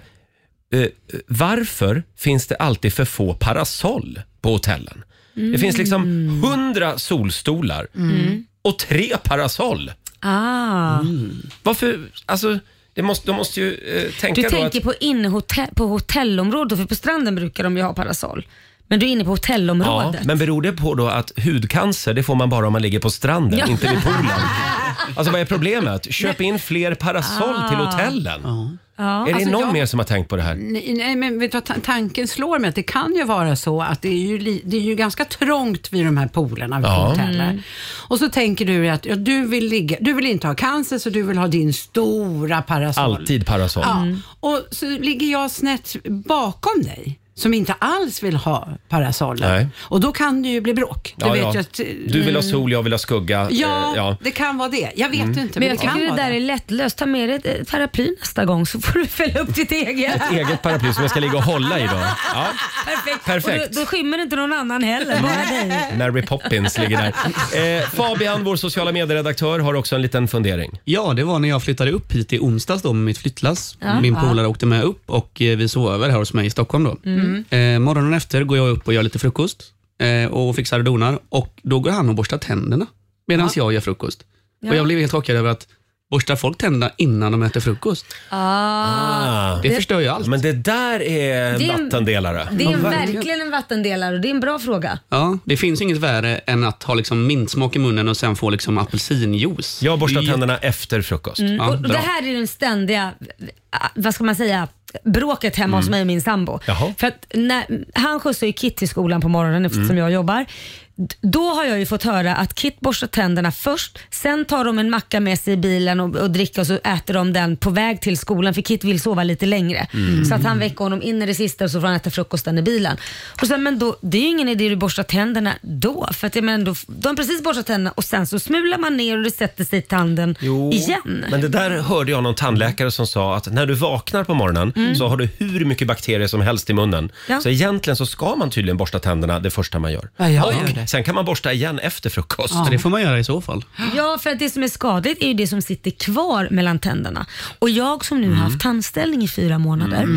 Speaker 1: eh, varför finns det alltid för få parasoll på hotellen. Det finns liksom hundra solstolar
Speaker 2: Mm.
Speaker 1: och tre parasoll.
Speaker 2: Ah.
Speaker 1: Mm. Varför, alltså, det måste, de måste ju eh, tänka
Speaker 2: Du
Speaker 1: då
Speaker 2: tänker
Speaker 1: att...
Speaker 2: på, inhote- på hotellområdet, för på stranden brukar de ju ha parasoll. Men du är inne på hotellområdet.
Speaker 1: men beror det på då att hudcancer, det får man bara om man ligger på stranden,
Speaker 2: Ja.
Speaker 1: inte
Speaker 2: [LAUGHS]
Speaker 1: vid poolen? Alltså vad är problemet? Köp in fler parasoll
Speaker 8: Ah.
Speaker 1: till hotellen.
Speaker 8: Ja,
Speaker 1: är det
Speaker 8: alltså
Speaker 1: någon
Speaker 8: jag-
Speaker 1: mer som har tänkt på det här?
Speaker 8: Nej, nej, men vet du, vad, ta- tanken slår mig att det kan ju vara så att det är ju, li- det är ju ganska trångt vid de här poolerna vid
Speaker 1: Ja.
Speaker 8: hoteller.
Speaker 1: Mm.
Speaker 8: Och så tänker du att ja, du, vill ligga, du vill inte ha cancer så du vill ha din stora parasoll.
Speaker 1: Alltid Mm. parasoll.
Speaker 8: Ja. Och så ligger jag snett bakom dig som inte alls vill ha parasollen.
Speaker 1: Nej.
Speaker 8: Och då kan det ju bli bråk. Det
Speaker 1: Ja,
Speaker 8: vet
Speaker 1: ja.
Speaker 8: jag att- eh,
Speaker 1: Du vill ha sol, jag vill ha skugga.
Speaker 8: Ja,
Speaker 1: Eh,
Speaker 8: [LAUGHS]
Speaker 1: ja.
Speaker 8: det kan vara det. Jag vet
Speaker 1: Mm.
Speaker 8: inte.
Speaker 2: Men jag
Speaker 8: det kan
Speaker 2: tycker det
Speaker 8: vara
Speaker 2: där är lättlöst. Ta med dig ett- ett paraply nästa gång så får du [LAUGHS] fälla upp ditt eget.
Speaker 1: Ett e- eget paraply som jag ska ligga och hålla i då. Ja.
Speaker 2: Perfekt.
Speaker 1: Perfekt.
Speaker 2: Och då, då skymmer inte någon annan heller, bara dig.
Speaker 1: Mary Poppins ligger där. Eh, Fabian, vår sociala medieredaktör, har också en liten fundering.
Speaker 4: Ja, det var när jag flyttade upp hit i onsdags då med mitt flyttlass.
Speaker 1: Ja.
Speaker 4: Min
Speaker 1: Ja.
Speaker 4: polare åkte med upp och eh, vi sov över här hos mig i Stockholm. Då.
Speaker 11: Mm.
Speaker 4: Eh, morgonen efter går jag upp och gör lite frukost eh, och fixar och donar och då går han och borstar tänderna medan jag gör frukost.
Speaker 2: Ja.
Speaker 4: Och Jag blev helt chockad över att borstar folk tänderna innan de äter frukost?
Speaker 2: Ah.
Speaker 4: Det, förstör ju allt.
Speaker 1: Men det där är
Speaker 2: Det är en-
Speaker 1: vattendelare.
Speaker 2: Det är en, verkligen en vattendelare och det är en bra fråga.
Speaker 4: Ja, det finns inget värre än att ha liksom mintsmak i munnen och sen få liksom apelsinjuice.
Speaker 1: Jag borstar tänderna efter frukost.
Speaker 2: Mm. och det här är den ständiga, ah, vad ska man säga, bråket hemma hos
Speaker 1: Mm.
Speaker 2: mig och min sambo.
Speaker 1: Jaha.
Speaker 2: För att när, han skjutsar ju Kit till skolan på morgonen eftersom
Speaker 1: Mm.
Speaker 2: jag jobbar. D- Då har jag ju fått höra att Kit borstar tänderna först, sen tar de en macka med sig i bilen och, och dricker och så äter de den på väg till skolan för Kit vill sova lite längre.
Speaker 14: Mm.
Speaker 2: Så att han väcker honom in i det sista och så får han äta frukosten i bilen. Och sen, men då, det är ju ingen idé att du borstar tänderna då. För att, jag menar, då, de har precis borstat tänderna och sen så smular man ner och det sätter sig i tanden igen.
Speaker 1: Men det där hörde jag någon tandläkare som sa att när du vaknar på morgonen
Speaker 2: Mm.
Speaker 1: så har du hur mycket bakterier som helst i munnen.
Speaker 2: Ja.
Speaker 1: Så egentligen så ska man tydligen borsta tänderna det första man gör.
Speaker 8: Ja, jag
Speaker 1: Och
Speaker 8: gör
Speaker 1: Sen kan man borsta igen efter frukost.
Speaker 2: Ja. Ja, det får
Speaker 4: man göra i så fall.
Speaker 2: Ja, för att det som är skadligt är ju det som sitter kvar mellan tänderna. Och jag som nu har haft tandställning i fyra månader,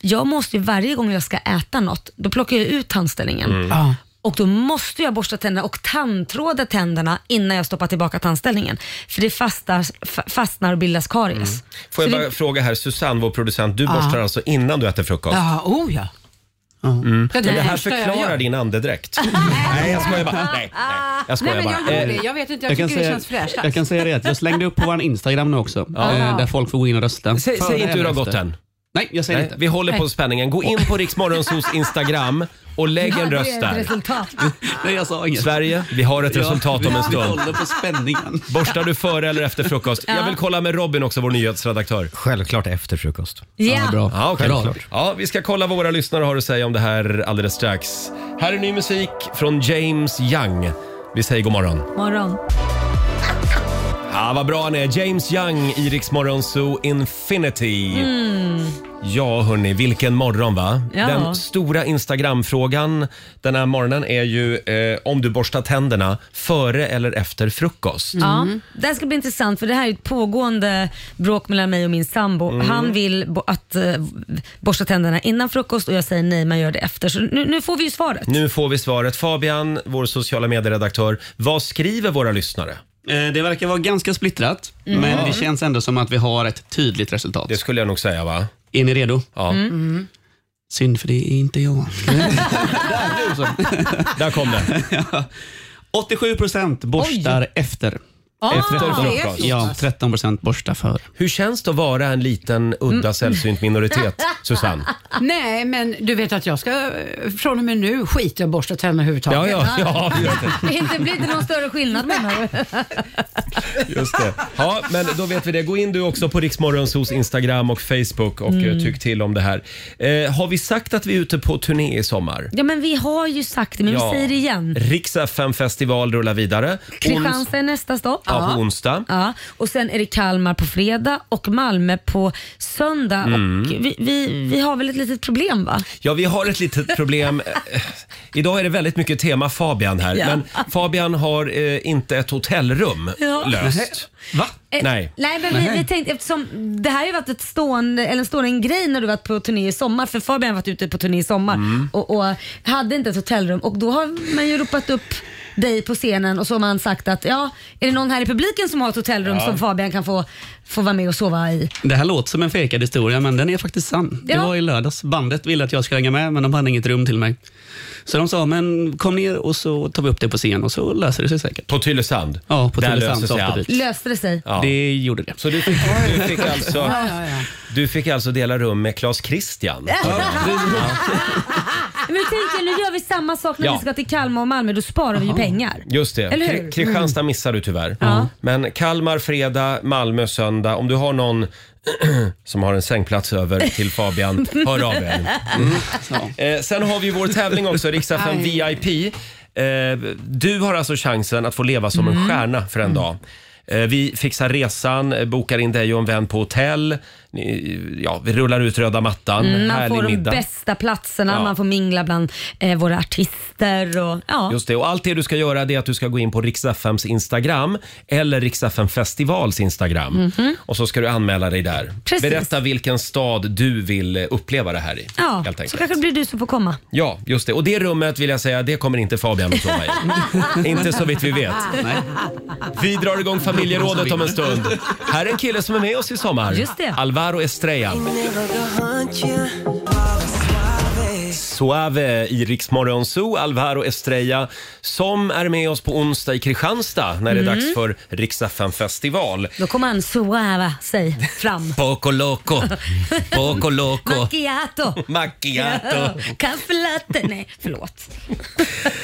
Speaker 2: jag måste ju varje gång jag ska äta något, då plockar jag ut tandställningen.
Speaker 8: Mm. Ja.
Speaker 2: Och då måste jag borsta tänderna och tandtråda tänderna innan jag stoppar tillbaka tandställningen. För det fastar, fa- fastnar och bildas karies.
Speaker 1: Mm.
Speaker 8: Mm.
Speaker 1: Får jag
Speaker 2: Så
Speaker 1: bara
Speaker 2: det-
Speaker 1: fråga här, Susanne, vår producent, du
Speaker 2: Ja.
Speaker 1: borstar alltså innan du äter frukost?
Speaker 8: Ja, oh ja.
Speaker 1: Mm.
Speaker 8: Ja,
Speaker 1: Men
Speaker 8: det
Speaker 1: det här
Speaker 8: första jag
Speaker 1: förklarar
Speaker 8: gör.
Speaker 1: din andedräkt. nej, jag skojar bara. Nej, nej, jag skojar
Speaker 8: Ah. Nej, men
Speaker 1: bara.
Speaker 8: jag gör
Speaker 4: Eh,
Speaker 8: det. Jag vet inte, jag,
Speaker 4: jag kan
Speaker 8: tycker det
Speaker 4: säga-
Speaker 8: känns fräschast.
Speaker 4: Jag kan säga det att jag slängde upp på vår Instagram nu också,
Speaker 1: Ja.
Speaker 4: eh, där folk får gå in och rösta.
Speaker 1: Säg,
Speaker 4: Före
Speaker 1: säg inte hur det har
Speaker 4: eller
Speaker 1: gått
Speaker 4: efter.
Speaker 1: än.
Speaker 4: Nej, jag säger
Speaker 1: Nej,
Speaker 4: inte.
Speaker 1: Vi håller på spänningen. Gå in på Riksmorgonsos Instagram och lägg en röst där.
Speaker 2: resultat.
Speaker 4: Nej, jag sa inget.
Speaker 1: Sverige, vi har ett
Speaker 4: Ja,
Speaker 1: resultat om en
Speaker 4: Vi
Speaker 1: stund.
Speaker 4: håller på spänningen.
Speaker 1: Borstar du före eller efter frukost?
Speaker 2: Ja.
Speaker 1: Jag vill kolla med Robin också, vår nyhetsredaktör.
Speaker 5: Självklart efter frukost.
Speaker 2: Ja. Ja, bra.
Speaker 1: Ja, okej.
Speaker 5: Självklart.
Speaker 1: ja, vi ska kolla vad våra lyssnare har att säga om det här alldeles strax. Här är ny musik från James Young. Vi säger god morgon.
Speaker 2: Morgon.
Speaker 1: Ja, vad bra han är. James Young i Rix Morgon Zoo Infinity.
Speaker 2: Mm.
Speaker 1: Ja, hörni, vilken morgon va?
Speaker 2: Ja.
Speaker 1: Den stora Instagram-frågan den här morgonen är ju eh, om du borstar tänderna före eller efter frukost.
Speaker 4: Mm.
Speaker 2: Ja, det här ska bli intressant för det här är ett pågående bråk mellan mig och min sambo.
Speaker 1: Mm.
Speaker 2: Han vill bo- att eh, borsta tänderna innan frukost och jag säger nej, man gör det efter. Så nu, nu får vi ju svaret.
Speaker 1: Nu får vi svaret. Fabian, vår sociala medieredaktör, vad skriver våra lyssnare?
Speaker 4: Eh, Det verkar vara ganska splittrat,
Speaker 1: Mm.
Speaker 4: men
Speaker 1: Ja.
Speaker 4: det känns ändå som att vi har ett tydligt resultat. Det
Speaker 1: skulle jag nog säga, va?
Speaker 4: Är ni redo?
Speaker 1: Ja.
Speaker 2: Mm.
Speaker 4: Synd, för det är inte jag.
Speaker 1: [LAUGHS] Där kom det.
Speaker 4: 87 procent borstar efter.
Speaker 1: Ah, Efter frukost. det är så
Speaker 4: Ja,
Speaker 1: pass.
Speaker 4: 13 procent borstar före.
Speaker 1: Hur känns det att vara en liten,
Speaker 2: Mm.
Speaker 1: udda,
Speaker 2: [LAUGHS]
Speaker 1: sällsynt minoritet, Susanne?
Speaker 8: Nej, men du vet att jag ska eh, från och med nu skita i att borsta tänderna överhuvudtaget.
Speaker 1: Ja, ja, ja,
Speaker 8: [LAUGHS]
Speaker 2: Det är inte- blir inte någon större skillnad menar du?
Speaker 1: Just det. Ja, men då vet vi det. Gå in du också på Riksmorgonsos Instagram och Facebook och
Speaker 2: Mm.
Speaker 1: eh, tyck till om det här. Eh, har vi sagt att vi är ute på turné i sommar?
Speaker 2: Ja men vi har ju sagt det, men
Speaker 1: Ja.
Speaker 2: vi säger det igen.
Speaker 1: Riks FM festival rullar vidare. Ons-
Speaker 2: Mm. Kristianstad är nästa stopp.
Speaker 1: Ja, på onsdag.
Speaker 2: Ja, och sen är det Kalmar på fredag och Malmö på söndag.
Speaker 1: Mm.
Speaker 2: Och vi, vi, vi har väl ett litet problem va?
Speaker 1: Ja, vi har ett litet problem. Eh, Idag är det väldigt mycket tema Fabian här.
Speaker 2: Ja.
Speaker 1: Men Fabian har eh, inte ett hotellrum
Speaker 2: Ja.
Speaker 1: löst. Va?
Speaker 2: Eh,
Speaker 1: Nej.
Speaker 2: Nej men vi, vi tänkte eftersom det här har ju varit ett stående, eller en stående grej när du varit på turné i sommar. För Fabian har varit ute på turné i sommar
Speaker 1: Mm.
Speaker 2: och, och hade inte ett hotellrum. Och då har man ju ropat upp dig på scenen och så har man sagt att ja, är det någon här i publiken som har ett hotellrum
Speaker 4: Ja.
Speaker 2: som Fabian kan få, få vara med och sova i?
Speaker 4: Det här låter som en fejkad historia, men den är faktiskt sann. Det
Speaker 2: Ja.
Speaker 4: var i lördags. Bandet ville att jag skulle hänga med, men de hade inget rum till mig. Så de sa, men kom ner och så tar vi upp det på scen och så löser det sig säkert.
Speaker 1: På Tylösand?
Speaker 4: Ja, på
Speaker 1: Där
Speaker 4: Tylösand.
Speaker 1: löser sig
Speaker 4: så åkte
Speaker 1: allt.
Speaker 4: dit.
Speaker 2: Löste det sig?
Speaker 4: Det gjorde det.
Speaker 1: Så du fick, du fick alltså...
Speaker 2: Ja, ja, ja.
Speaker 1: Du fick alltså dela rum med Claes Christian.
Speaker 2: [LAUGHS] Men tänk er, nu gör vi samma sak när
Speaker 1: Ja.
Speaker 2: vi ska till Kalmar och Malmö. Då sparar vi ju pengar.
Speaker 1: Just det.
Speaker 2: Eller hur? Mm.
Speaker 1: Kri- Kristianstad missar du tyvärr. Mm.
Speaker 2: Ja.
Speaker 1: Men Kalmar fredag, Malmö söndag. Om du har någon [CLEARS THROAT] som har en sängplats över
Speaker 2: [LAUGHS]
Speaker 1: till Fabian, hör av er.
Speaker 8: Mm.
Speaker 1: Eh, sen har vi vår tävling också, Riksdag
Speaker 11: Aj.
Speaker 1: VIP. Eh, du har alltså chansen att få leva som en
Speaker 11: Mm.
Speaker 1: stjärna för en dag. Eh, vi fixar resan, eh, bokar in dig och en vän på hotell. Ni, ja, vi rullar ut röda mattan.
Speaker 2: Mm, man
Speaker 1: Härlig
Speaker 2: får de
Speaker 1: middag.
Speaker 2: bästa platserna,
Speaker 1: Ja.
Speaker 2: man får mingla bland eh, våra artister och ja.
Speaker 1: Just det, och allt det du ska göra det är att du ska gå in på Riks-FMs Instagram eller Riks-FM Festivals Instagram.
Speaker 2: Mhm.
Speaker 1: Och så ska du anmäla dig där.
Speaker 2: Precis.
Speaker 1: Berätta vilken stad du vill eh, uppleva det här i.
Speaker 2: Ja,
Speaker 1: helt enkelt.
Speaker 2: så kanske det blir du som får komma.
Speaker 1: Ja, just det. Och det rummet vill jag säga, det kommer inte Fabian
Speaker 2: [LAUGHS]
Speaker 1: att sova i. inte så vitt vi vet. Vi drar igång familjerådet om
Speaker 2: [LAUGHS]
Speaker 1: en stund. Här är en kille som är med oss i sommar.
Speaker 11: Just det.
Speaker 1: Alvaro Estrella. Mm. Suave i Rix Morgon Zoo, Alvaro Estrella som är med oss på onsdag i Kristianstad när det är
Speaker 2: Mm.
Speaker 1: dags för Rix FM festival.
Speaker 2: Då kommer han suava sig
Speaker 1: [LAUGHS]
Speaker 2: fram.
Speaker 1: Poco loco, poco loco,
Speaker 2: [LAUGHS] Macchiato. [LAUGHS]
Speaker 1: macchiato.
Speaker 2: Kaffe latte. Nej, förlåt.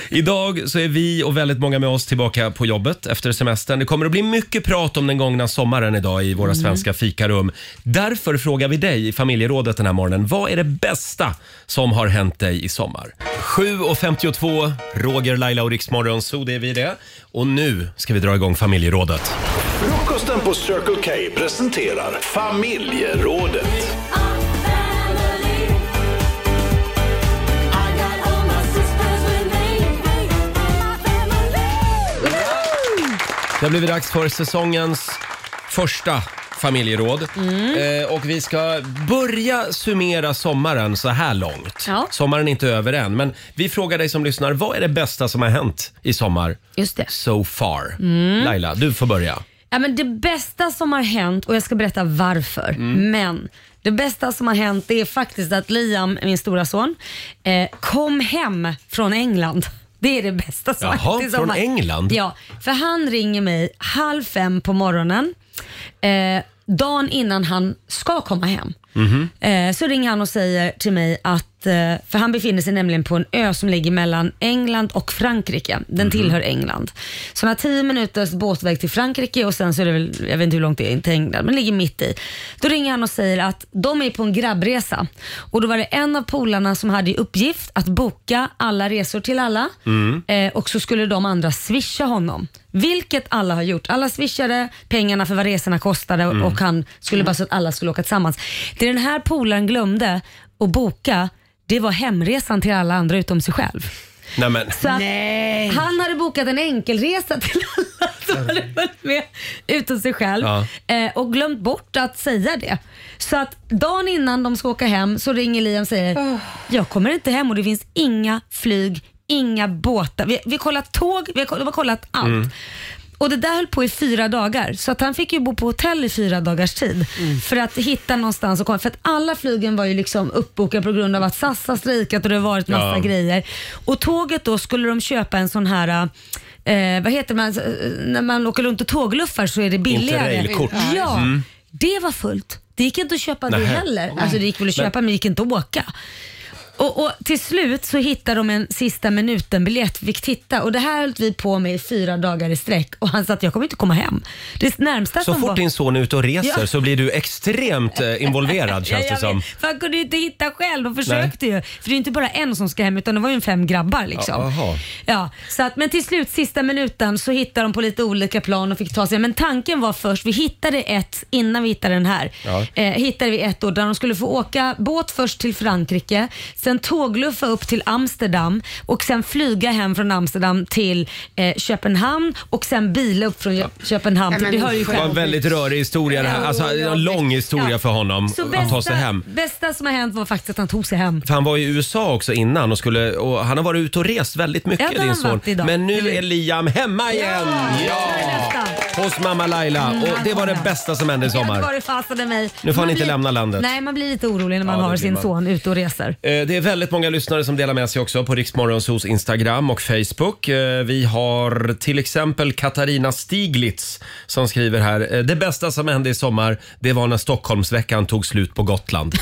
Speaker 1: Idag så är vi och väldigt många med oss tillbaka på jobbet efter semestern. Det kommer att bli mycket prat om den gångna sommaren idag i våra
Speaker 11: Mm.
Speaker 1: svenska fikarum. Därför frågar vi dig i familjerådet den här morgonen. Vad är det bästa som har hänt dig i sommar? 7.52, Roger, Laila och Riksmorgon, så det är vi det. Och nu ska vi dra igång familjerådet.
Speaker 9: Frukosten på Circle K presenterar familjerådet.
Speaker 1: Det har blivit dags för säsongens första familjeråd.
Speaker 2: Mm.
Speaker 1: Eh, och vi ska börja summera sommaren så här långt. Sommaren är inte över än, men vi frågar dig som lyssnar, vad är det bästa som har hänt i sommar?
Speaker 2: Just det.
Speaker 1: So far.
Speaker 2: Mm.
Speaker 1: Laila, du får börja.
Speaker 2: Ja, men det bästa som har hänt, och jag ska berätta varför,
Speaker 1: Mm.
Speaker 2: men det bästa som har hänt det är faktiskt att Liam, min stora son, eh, kom hem från England. [LAUGHS] Det är det bästa som har
Speaker 1: Jaha,
Speaker 2: hänt i
Speaker 1: från
Speaker 2: sommar.
Speaker 1: England?
Speaker 2: Ja, för han ringer mig halv fem på morgonen, eh, dagen innan han ska komma hem.
Speaker 1: Mm-hmm.
Speaker 11: Mhm.
Speaker 2: Eh, Så ringer han och säger till mig att, eh, för han befinner sig nämligen på en ö som ligger mellan England och Frankrike. Den tillhör England. Så han har 10 minuters båtväg till Frankrike och sen så är det väl, jag vet inte hur långt det är till England, men det ligger mitt i. Då ringer han och säger att de är på en grabbresa och då var det en av polarna som hade i uppgift att boka alla resor till alla.
Speaker 1: Mm-hmm.
Speaker 11: Mm.
Speaker 2: Eh, och så skulle de andra swisha honom. Vilket alla har gjort. Alla swishade pengarna för vad resorna kostade och-
Speaker 11: Mm.
Speaker 2: och han skulle bara så att alla skulle åka tillsammans. Det den här polaren glömde att boka, det var hemresan till alla andra utom sig själv.
Speaker 1: Nej, men.
Speaker 2: Så att han hade bokat en enkelresa till alla som hade varit med utom sig själv
Speaker 11: Ja.
Speaker 2: eh, och glömt bort att säga det. Så att dagen innan de ska åka hem så ringer Liam och
Speaker 11: Ah.
Speaker 2: säger jag kommer inte hem och det finns inga flyg, inga båtar. Vi, vi har kollat tåg, vi har, koll- de har kollat allt.
Speaker 1: Mm-hmm.
Speaker 11: Mm.
Speaker 2: Och Det där höll på i fyra dagar, så att han fick ju bo på hotell i fyra dagars tid för att hitta någonstans att komma. För att alla flygen var ju liksom uppbokade på grund av att SAS har strejkat och det har varit massa
Speaker 11: Ja.
Speaker 2: grejer. Och tåget då skulle de köpa en sån här Eh, vad heter man, när man åker runt och tågluffar så är det billigare.
Speaker 1: Interrailkort.
Speaker 2: Ja,
Speaker 1: Mm.
Speaker 2: det var fullt. Det gick inte att köpa det
Speaker 1: Nähä.
Speaker 2: heller. Alltså det gick väl att
Speaker 1: Men-
Speaker 2: köpa men det gick inte att åka. Och, och till slut så hittar de en sista minuten-biljett vi fick titta och det här höll vi på med i fyra dagar i sträck och han sa att jag kommer inte komma hem. Det närmsta
Speaker 1: Så
Speaker 2: som var...
Speaker 1: fort din son är ute och reser
Speaker 2: Ja.
Speaker 1: så blir du extremt eh, involverad känns
Speaker 2: Ja,
Speaker 1: det
Speaker 2: jag
Speaker 1: som.
Speaker 2: vet. För han kunde ju inte hitta själv och försökte ju. För det är ju inte bara en som ska hem utan det var ju en fem grabbar liksom.
Speaker 1: Ja, aha.
Speaker 2: Ja, så att, men till slut, sista minuten, så hittade de på lite olika plan och fick ta sig. Men tanken var först, vi hittade ett innan vi hittade den här.
Speaker 11: Ja.
Speaker 2: Eh, hittade vi ett då där de skulle få åka båt först till Frankrike, sen tågluffa upp till Amsterdam och sen flyga hem från Amsterdam till eh, Köpenhamn och sen bila upp från Jö- Köpenhamn. Till, vi hör ju
Speaker 1: det var en
Speaker 2: själv.
Speaker 1: väldigt rörig historia det här. Alltså en lång historia för honom
Speaker 2: Så
Speaker 1: att ta sig hem.
Speaker 2: bästa som har hänt var faktiskt att han tog sig hem.
Speaker 1: För han var i USA också innan och, skulle, och han har varit ute och rest väldigt mycket
Speaker 2: Ja, det har
Speaker 1: din
Speaker 2: han
Speaker 1: son.
Speaker 2: varit idag.
Speaker 1: Men nu är Liam hemma igen! Ja! Hos mamma Laila
Speaker 2: Mm,
Speaker 1: och
Speaker 2: han
Speaker 1: det var det
Speaker 2: kommer.
Speaker 1: bästa som hände i
Speaker 2: Ja, det
Speaker 1: sommar.
Speaker 2: var det fasen i mig.
Speaker 1: Nu får han inte
Speaker 2: blir-
Speaker 1: lämna landet.
Speaker 2: Nej, man blir lite orolig när man
Speaker 1: Ja, det
Speaker 2: har
Speaker 1: blir
Speaker 2: sin
Speaker 1: man.
Speaker 2: son ute och reser.
Speaker 1: Eh, Det är väldigt många lyssnare som delar med sig också på Riksmorgonsos Instagram och Facebook. Eh, Vi har till exempel Katarina Stiglitz som skriver här. eh, Det bästa som hände i sommar, det var när Stockholmsveckan tog slut
Speaker 2: [LAUGHS]
Speaker 1: på Gotland.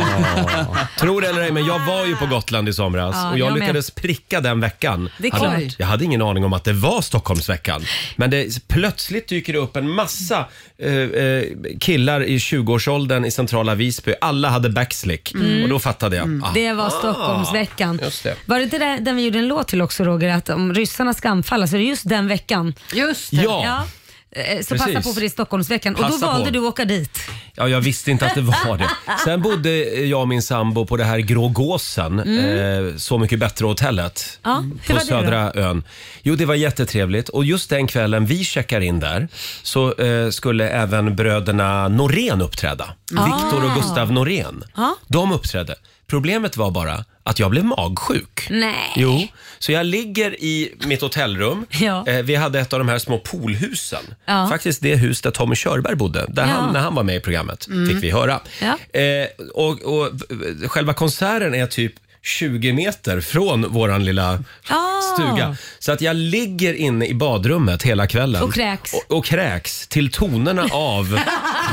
Speaker 1: ja. Tror det eller ej, men jag var ju på Gotland i somras
Speaker 2: Ja,
Speaker 1: och jag,
Speaker 2: jag med.
Speaker 1: lyckades pricka den veckan.
Speaker 2: Det är
Speaker 1: hade,
Speaker 2: klart.
Speaker 1: jag hade ingen aning om att det var Stockholmsveckan. Men det, plötsligt dyker det upp en massa eh, eh, killar i 20-årsåldern i centrala Visby. Alla hade backslick
Speaker 2: Mm.
Speaker 1: och då fattade jag. Ah.
Speaker 2: Det var
Speaker 1: Ah,
Speaker 2: Stockholmsveckan.
Speaker 1: Just det.
Speaker 2: Var det inte där, den vi gjorde en låt till också Roger, att om ryssarna ska anfalla så är det just den veckan? Just
Speaker 1: det. Ja.
Speaker 2: Eh, Så
Speaker 1: Precis.
Speaker 2: passa på för det är Stockholmsveckan. och
Speaker 1: Passa
Speaker 2: då valde
Speaker 1: på.
Speaker 2: du att åka dit.
Speaker 1: Ja, jag visste inte att det
Speaker 2: [LAUGHS]
Speaker 1: var det. Sen bodde jag och min sambo på det här Grå Gåsen,
Speaker 2: Mm.
Speaker 1: eh, Så mycket bättre-hotellet.
Speaker 2: Ja, hur
Speaker 1: på
Speaker 2: var det då?
Speaker 1: södra ön. Jo, det var jättetrevligt. Och just den kvällen vi checkar in där så eh, skulle även bröderna Norén uppträda.
Speaker 2: Mm.
Speaker 1: Viktor och
Speaker 2: Ah.
Speaker 1: Gustav Norén.
Speaker 2: Ja.
Speaker 1: De uppträdde. Problemet var bara att jag blev magsjuk.
Speaker 2: Nej.
Speaker 1: Jo, så jag ligger i mitt hotellrum.
Speaker 2: [LAUGHS] Ja.
Speaker 1: Eh, vi hade ett av de här små poolhusen.
Speaker 2: Ja.
Speaker 1: Faktiskt det hus där Tommy Körberg bodde. Där
Speaker 2: Ja.
Speaker 1: han, när han var med i programmet
Speaker 2: Mm.
Speaker 1: fick vi höra.
Speaker 2: Ja.
Speaker 1: Eh, och, och eh, själva konserten är typ 20 meter från våran lilla
Speaker 2: Ah.
Speaker 1: stuga. Så att jag ligger inne i badrummet hela kvällen.
Speaker 2: Och kräks.
Speaker 1: Och, och kräks till tonerna
Speaker 2: [LAUGHS]
Speaker 1: av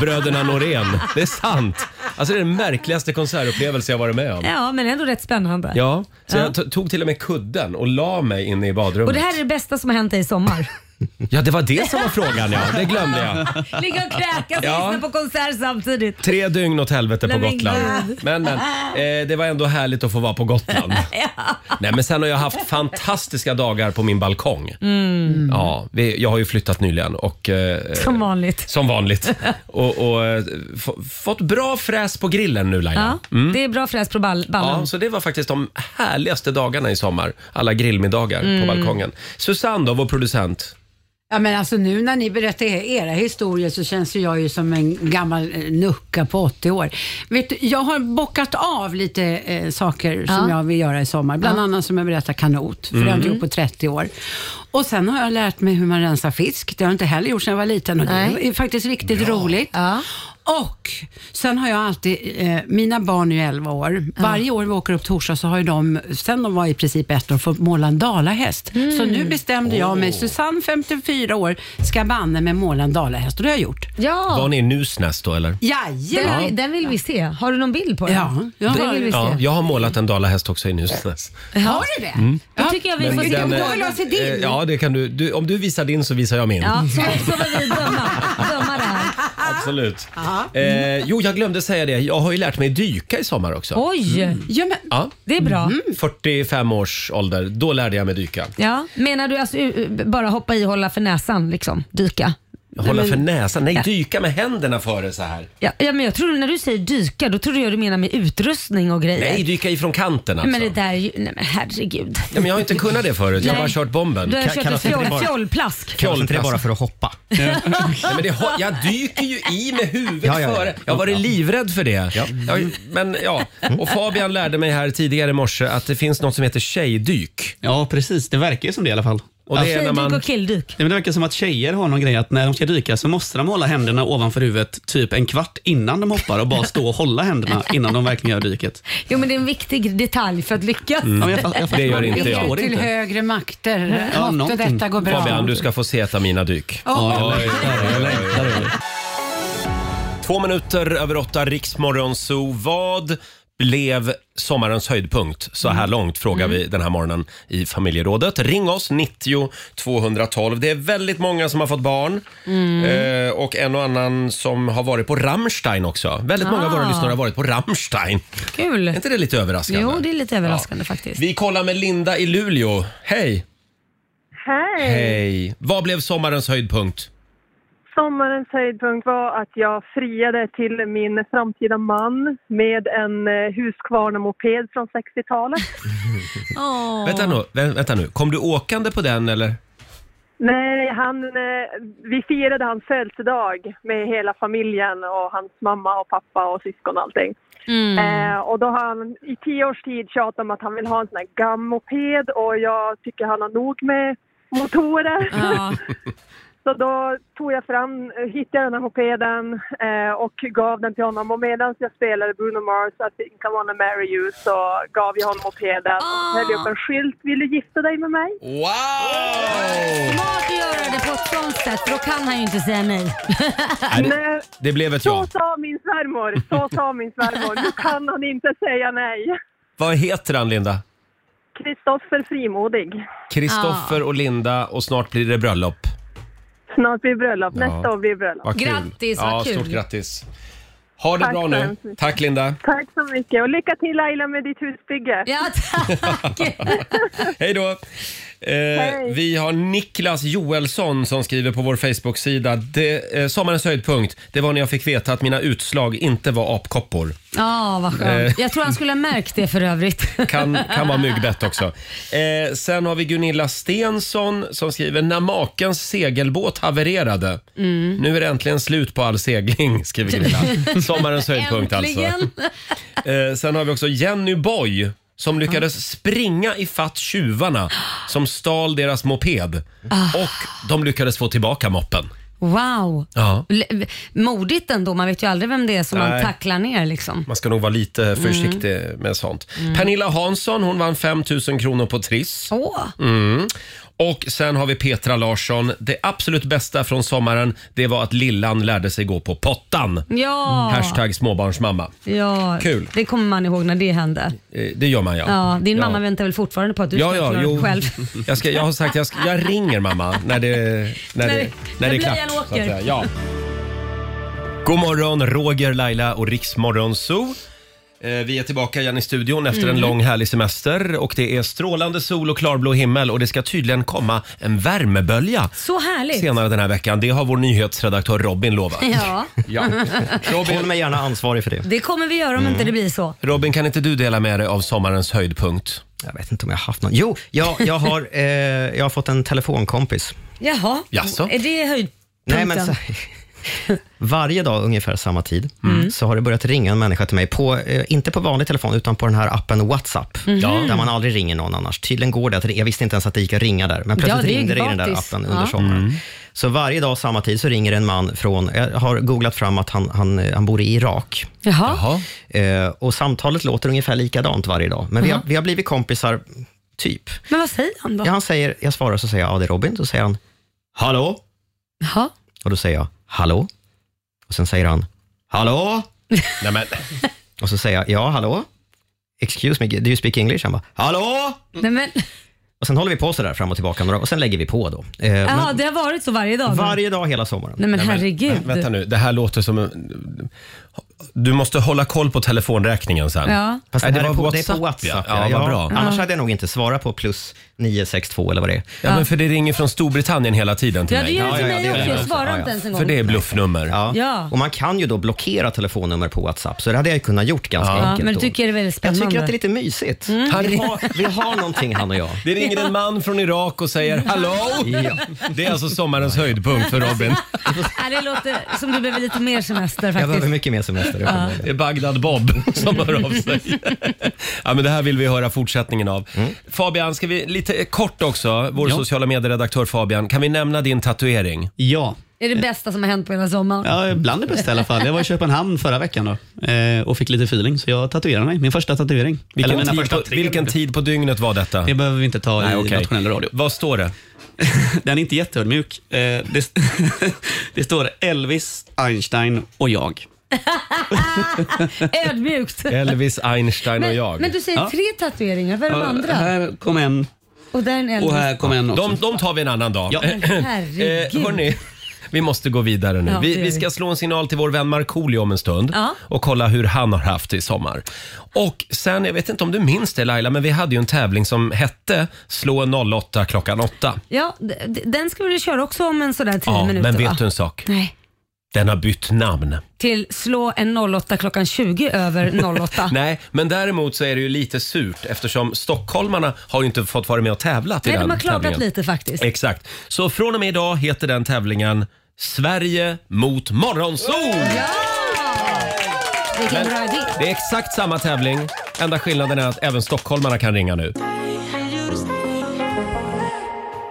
Speaker 1: bröderna Norén. Det är sant. Alltså det är den märkligaste konsertupplevelse jag varit med om.
Speaker 2: Ja, men ändå rätt spännande.
Speaker 1: Ja, så
Speaker 2: Ja.
Speaker 1: jag to- tog till och med kudden och la mig inne i
Speaker 2: Och
Speaker 1: badrummet.
Speaker 2: det här är det bästa som har hänt dig i sommar. [LAUGHS]
Speaker 1: Ja, det var det som var frågan ja. Det glömde jag.
Speaker 2: [LAUGHS] Ligga och kräkas och
Speaker 1: Ja.
Speaker 2: lyssna på konsert samtidigt.
Speaker 1: Tre dygn åt helvete på
Speaker 2: Nej, men
Speaker 1: Gotland.
Speaker 2: gud.
Speaker 1: Men, men eh, det var ändå härligt att få vara
Speaker 2: [LAUGHS]
Speaker 1: på Gotland. Nej, men sen har jag haft fantastiska dagar på min balkong.
Speaker 2: Mm.
Speaker 1: Ja, vi, jag har ju flyttat nyligen och... eh,
Speaker 2: Som vanligt.
Speaker 1: Som vanligt. Och, och eh, f- fått bra fräs på grillen nu Laila.
Speaker 2: Ja,
Speaker 1: Mm.
Speaker 2: Det är bra fräs på ball- ballen.
Speaker 1: Ja, så det var faktiskt de härligaste dagarna i sommar. Alla grillmiddagar
Speaker 8: Mm.
Speaker 1: på balkongen. Susanne då, vår producent.
Speaker 8: Ja, men alltså nu när ni berättar er- era historier så känns ju jag ju som en gammal eh, nucka på 80 år. Vet du, jag har bockat av lite eh, saker som
Speaker 11: Ja.
Speaker 8: jag vill göra i sommar. Bland
Speaker 11: Ja.
Speaker 8: annat som jag berättar kanot, för det har jag inte
Speaker 11: Mm.
Speaker 8: gjort på 30 år. Och sen har jag lärt mig hur man rensar fisk. Det har jag inte heller gjort sedan jag var liten och det
Speaker 11: Nej.
Speaker 8: är faktiskt riktigt roligt. Och sen har jag alltid, eh, mina barn är ju 11 år. Varje år vi åker upp till Orsa så har ju de, sen de var i princip ett år, fått måla en dalahäst. Så
Speaker 11: Mm.
Speaker 8: nu bestämde jag mig, Susanne 54 år, ska banne med måla en dalahäst och det har jag gjort.
Speaker 2: Ja.
Speaker 1: Var ni i Nusnäs då eller?
Speaker 8: Jajamän!
Speaker 2: Den, den vill vi se. Har du någon bild på den?
Speaker 8: Ja, jag
Speaker 2: den
Speaker 8: har-
Speaker 2: vill vi se.
Speaker 1: Ja, jag har målat en dalahäst också i Nusnäs.
Speaker 2: Har
Speaker 8: du det?
Speaker 1: Mm.
Speaker 2: Då tycker jag vi får se.
Speaker 1: eh, eh, Ja, det kan du. du. Om du visar din så visar jag min.
Speaker 2: Ja, så, så får vi döma, döma det här.
Speaker 1: Absolut. Eh, jo, jag glömde säga det. Jag har ju lärt mig dyka i sommar också.
Speaker 2: Eh, Oj!
Speaker 8: Mm. Ja, men,
Speaker 1: Ja.
Speaker 2: Det är bra.
Speaker 1: 45 års ålder, då lärde jag mig dyka.
Speaker 2: Ja. Menar du alltså u- u- bara hoppa i, hålla för näsan, liksom, dyka?
Speaker 1: Hålla
Speaker 2: Men-
Speaker 1: för näsan. Nej,
Speaker 2: Ja.
Speaker 1: dyka med händerna före så här.
Speaker 2: Ja, ja, men jag tror när du säger dyka, då tror jag du menar med utrustning och grejer.
Speaker 1: Nej, dyka ifrån kanten alltså.
Speaker 2: Men det där är ju, nej men herregud.
Speaker 1: Ja, men jag har inte kunnat det förut. Jag har
Speaker 2: Nej.
Speaker 1: bara kört bomben.
Speaker 2: Du har kört ett fjoll, fjollplask.
Speaker 1: Kallas inte det bara för
Speaker 5: att hoppa?
Speaker 1: [LAUGHS] Nej, men det, har- jag dyker ju i med huvudet
Speaker 5: Ja, ja, ja.
Speaker 1: före. Jag har varit livrädd för det. Jag, men ja, och Fabian lärde mig här tidigare i morse att det finns något som heter tjejdyk.
Speaker 4: Ja, precis. Det verkar ju som det i alla fall.
Speaker 1: Och det är när man- Tjejdyk och
Speaker 2: killdyk.
Speaker 4: Nej, men det verkar som att tjejer har någon grej att när de ska dyka så måste de hålla händerna ovanför huvudet typ en kvart innan de hoppar och bara stå och
Speaker 2: [LAUGHS]
Speaker 4: hålla händerna innan de verkligen gör dyket.
Speaker 2: Jo men det är en viktig detalj för att lyckas.
Speaker 4: Mm. Ja, men jag fa- jag Det gör inte jag.
Speaker 8: Till
Speaker 1: Inte.
Speaker 8: högre makter.
Speaker 1: Ja,
Speaker 8: Eh, Måtte
Speaker 1: någonting.
Speaker 8: detta gå bra.
Speaker 1: Fabian, du ska få se ett av mina dyk.
Speaker 8: Ja,
Speaker 1: Oj, oj, oj, oj. Två minuter över åtta, Riksmorgon Zoo. Vad blev sommarens höjdpunkt så här långt? Frågar vi den här morgonen i familjerådet. Ring oss, 90 212. Det är väldigt många som har fått barn
Speaker 11: Mm.
Speaker 1: eh, och en och annan som har varit på Rammstein också. Väldigt många av våra
Speaker 2: Ah.
Speaker 1: lyssnare har varit på Rammstein.
Speaker 2: Kul.
Speaker 1: Är inte det lite överraskande?
Speaker 2: Jo, det är lite överraskande faktiskt.
Speaker 1: Vi kollar med Linda i Luleå. Hej!
Speaker 14: Hej!
Speaker 1: Hej! Vad blev
Speaker 14: [LAUGHS]
Speaker 1: sommarens höjdpunkt?
Speaker 14: Sommarens höjdpunkt var att jag friade till min framtida man med en eh, Husqvarna-moped från
Speaker 13: [LAUGHS]
Speaker 14: 60-talet.
Speaker 1: Vänta, nu, vä- vänta nu, kom du åkande på den eller?
Speaker 14: Nej, han, eh, vi firade hans födelsedag med hela familjen och hans mamma och pappa och syskon och allting.
Speaker 15: Mm.
Speaker 14: Eh, och då har han i tio års tid tjatat om att han vill ha en sån här gammoped och jag tycker han har nog med motorer. [LAUGHS] Så då tog jag fram, eh, hittade jag den här mopeden eh, och gav den till honom. Och medan jag spelade Bruno Mars I think I wanna marry you så gav jag honom mopeden
Speaker 2: Ah.
Speaker 14: och höll upp en skylt. Vill du gifta dig med mig?
Speaker 1: Wow!
Speaker 2: Smart att göra det på ett sånt sätt, för då kan han ju inte säga nej.
Speaker 1: [LAUGHS] Nej, det, det blev ett ja.
Speaker 14: Så sa min svärmor, så sa min svärmor. Nu kan han inte säga nej.
Speaker 1: Vad heter han Linda?
Speaker 14: Kristoffer Frimodig.
Speaker 1: Kristoffer och Linda och snart blir det bröllop.
Speaker 14: Snart blir bröllop,
Speaker 1: Ja.
Speaker 14: nästa år blir bröllop.
Speaker 1: Vad kul. ja, Stort grattis. Ha det
Speaker 14: Tack
Speaker 1: bra
Speaker 14: så
Speaker 1: nu.
Speaker 14: hemskt mycket. [LAUGHS]
Speaker 1: Tack Linda.
Speaker 14: Tack så mycket och lycka till Laila med ditt husbygge.
Speaker 2: Ja,
Speaker 1: Hej då. Eh,
Speaker 14: Hej.
Speaker 1: vi har Niklas Joelsson som skriver på vår Facebook-sida. Det, eh, sommarens höjdpunkt, det var när jag fick veta att mina utslag inte var apkoppor.
Speaker 2: Ja, vad
Speaker 1: Eh.
Speaker 2: skönt. Jag tror han skulle ha märkt det för övrigt.
Speaker 1: Kan,
Speaker 2: [LAUGHS]
Speaker 1: kan vara myggbett också. Eh, sen har vi Gunilla Stensson som skriver när makens segelbåt havererade.
Speaker 2: Mm.
Speaker 1: Nu är det äntligen slut på all segling, skriver
Speaker 2: [LAUGHS]
Speaker 1: Gunilla. [LAUGHS] Sommarens höjdpunkt alltså.
Speaker 2: Äntligen.
Speaker 1: Eh, sen har vi också Jenny Boy som lyckades springa i fatt tjuvarna som stal deras moped.
Speaker 2: Ah.
Speaker 1: Och de lyckades få tillbaka moppen.
Speaker 2: Wow.
Speaker 1: Ja.
Speaker 2: L- Modigt ändå, man vet ju aldrig vem det är som man
Speaker 1: Nej.
Speaker 2: tacklar ner liksom.
Speaker 1: Man ska nog vara lite försiktig med sånt.
Speaker 2: Mm.
Speaker 1: Pernilla Hansson, hon vann 5 000 kronor på Triss. Mm. Och sen har vi Petra Larsson. Det absolut bästa från sommaren, det var att Lillan lärde sig gå på pottan.
Speaker 2: Ja.
Speaker 1: Hashtag småbarnsmamma.
Speaker 2: Ja,
Speaker 1: Kul.
Speaker 2: det kommer man ihåg när det hände.
Speaker 1: Eh, Det gör man ja.
Speaker 2: Ja. din mamma väntar väl fortfarande på att du
Speaker 1: ja,
Speaker 2: ska
Speaker 1: ja,
Speaker 2: klara
Speaker 1: jo.
Speaker 2: det själv.
Speaker 1: Jag, ska, jag har sagt jag, ska, jag ringer mamma när det, när det, när det är
Speaker 2: blöjan
Speaker 1: klart. så att
Speaker 2: åker.
Speaker 1: säga. Ja. God morgon, Roger, Laila och Riksmorgon Zoo. Eh, Vi är tillbaka igen i studion efter en
Speaker 16: Mm.
Speaker 1: lång härlig semester och det är strålande sol och klarblå himmel och det ska tydligen komma en värmebölja
Speaker 2: Så härligt.
Speaker 1: senare den här veckan. Det har vår nyhetsredaktör Robin
Speaker 5: [LAUGHS]
Speaker 1: lovat.
Speaker 2: Ja.
Speaker 1: [LAUGHS] Ja. Mm. Robin. Håll mig gärna ansvarig för det.
Speaker 2: Det kommer vi göra om inte det blir så.
Speaker 1: Robin, kan inte du dela med dig av sommarens höjdpunkt?
Speaker 5: Jag vet inte om jag har haft någon. Jo, jag, jag, har, eh, jag har fått en telefonkompis.
Speaker 2: Jaha,
Speaker 5: Jaså?
Speaker 2: är det höjdpunkten?
Speaker 5: Nej, men så, [LAUGHS] varje dag ungefär samma tid
Speaker 2: Mm.
Speaker 5: så har det börjat ringa en människa till mig, på, eh, inte på vanlig telefon utan på den här appen WhatsApp,
Speaker 2: Mhm. Ja.
Speaker 5: där man aldrig ringer någon annars. Tydligen går det att ringa, jag visste inte ens att det gick att ringa där, men
Speaker 2: Ja,
Speaker 5: plötsligt
Speaker 2: det är
Speaker 5: ringde det i den där
Speaker 2: gratis.
Speaker 5: appen under
Speaker 2: Ja. Mm.
Speaker 5: sommaren. Så varje dag samma tid så ringer en man från, jag har googlat fram att han, han, eh, han bor i Irak.
Speaker 2: Jaha.
Speaker 5: Eh, och samtalet låter ungefär likadant varje dag, men vi har,
Speaker 2: Jaha.
Speaker 5: vi har blivit kompisar, typ.
Speaker 2: Men vad säger han då?
Speaker 5: Ja, han säger, jag svarar så säger jag, ja det är Robin. Då säger han, hallå?
Speaker 2: Jaha.
Speaker 5: Och då säger jag, hallå? Och sen säger han,
Speaker 2: [LAUGHS]
Speaker 5: hallå?
Speaker 1: Nej, men.
Speaker 5: Och så säger jag, ja hallå? Excuse me, do you speak English? Han bara, hallå?
Speaker 2: Nej, men,
Speaker 5: Och sen håller vi på så där fram och tillbaka några och sen lägger vi på då. Eh,
Speaker 2: jaha,
Speaker 5: men
Speaker 2: det har varit så varje dag? då?
Speaker 5: varje dag hela sommaren.
Speaker 2: Nej men herregud.
Speaker 1: Vänta nu, det här låter som... en- Du måste hålla koll på telefonräkningen sen.
Speaker 2: Ja.
Speaker 5: Fast det,
Speaker 1: Nej,
Speaker 5: här är på, det är på
Speaker 1: ja.
Speaker 5: WhatsApp.
Speaker 1: Ja, vad bra.
Speaker 5: Annars hade jag nog inte svarat på plus 962 eller vad det är.
Speaker 1: Ja, men för det ringer från Storbritannien hela tiden till
Speaker 5: Ja, det
Speaker 1: mig.
Speaker 5: gör det till mig också. Jag svarar inte ens en gång.
Speaker 1: För det är bluffnummer.
Speaker 2: Ja.
Speaker 5: Och man kan ju då blockera telefonnummer på WhatsApp, så det hade jag ju kunnat gjort ganska
Speaker 2: Ja,
Speaker 5: enkelt.
Speaker 2: men du
Speaker 5: då.
Speaker 2: tycker det är väldigt
Speaker 5: jag
Speaker 2: spännande?
Speaker 5: tycker att det är lite mysigt.
Speaker 2: Mm.
Speaker 5: Han har, vi har någonting han och jag.
Speaker 1: [LAUGHS] Det ringer en man från Irak
Speaker 2: [LAUGHS]
Speaker 1: och säger hallå. Det är alltså sommarens höjdpunkt för
Speaker 2: [LAUGHS]
Speaker 1: Robin.
Speaker 2: Nej, det låter som du behöver lite mer semester
Speaker 5: Jag behöver
Speaker 2: faktiskt.
Speaker 5: mycket mer semester.
Speaker 2: Ja.
Speaker 1: Det är Bagdad Bob [LAUGHS] som hör av sig.
Speaker 2: [LAUGHS]
Speaker 1: Ja, men det här vill vi höra fortsättningen av.
Speaker 5: Mm.
Speaker 1: Fabian, ska vi lite kort också, vår
Speaker 4: Ja.
Speaker 1: sociala medieredaktör Fabian, kan vi nämna din tatuering?
Speaker 4: Ja.
Speaker 2: Det är det bästa som har hänt på hela sommaren.
Speaker 4: Ja, bland det bästa i alla fall. Jag var i Köpenhamn förra veckan då, eh, och fick lite feeling, så jag tatuerade mig. Min första tatuering.
Speaker 1: Vilken tid på- vilken
Speaker 4: tid
Speaker 1: på dygnet var detta?
Speaker 4: Det behöver vi inte ta
Speaker 1: Nej,
Speaker 4: i
Speaker 1: okej.
Speaker 4: nationell radio.
Speaker 1: Vad står det?
Speaker 4: [LAUGHS] Den är inte [LAUGHS] jätteödmjuk. Eh, det, det står Elvis, Einstein och jag.
Speaker 2: Ödmjukt.
Speaker 1: Elvis, Einstein och
Speaker 2: men,
Speaker 1: jag.
Speaker 2: men du säger
Speaker 1: Ja.
Speaker 2: tre tatueringar, vad är de
Speaker 1: Ja,
Speaker 2: andra?
Speaker 1: här
Speaker 4: kom en.
Speaker 2: Och där är en äldre.
Speaker 4: en också.
Speaker 1: De, de tar vi en annan dag. Eh,
Speaker 2: Ja. Men herregud.
Speaker 1: hörni, vi måste gå vidare nu.
Speaker 2: Ja, det
Speaker 1: vi,
Speaker 2: gör
Speaker 1: vi
Speaker 2: vi.
Speaker 1: ska slå en signal till vår vän Markoolio om en stund
Speaker 2: Ja.
Speaker 1: och kolla hur han har haft det i sommar. Och sen, jag vet inte om du minns det Laila, men vi hade ju en tävling som hette Slå en 08 klockan 8.
Speaker 2: Ja, d- d- den ska vi köra också om en sådär tio
Speaker 1: Ja,
Speaker 2: minuter
Speaker 1: men vet
Speaker 2: va?
Speaker 1: du en sak?
Speaker 2: Nej.
Speaker 1: Den har bytt namn.
Speaker 2: Till slå en 08 klockan 20
Speaker 1: [LAUGHS]
Speaker 2: över 08.
Speaker 1: Nej, men däremot så är det ju lite surt eftersom stockholmarna har ju inte fått vara med och tävlat i
Speaker 2: Nej,
Speaker 1: den
Speaker 2: de har klagat
Speaker 1: tävlingen.
Speaker 2: lite faktiskt.
Speaker 1: Exakt. Så från och med idag heter den tävlingen Sverige mot morgonsol!
Speaker 2: Vilken
Speaker 1: Men
Speaker 2: bra idé.
Speaker 1: Det är exakt samma tävling. Enda skillnaden är att även stockholmarna kan ringa nu.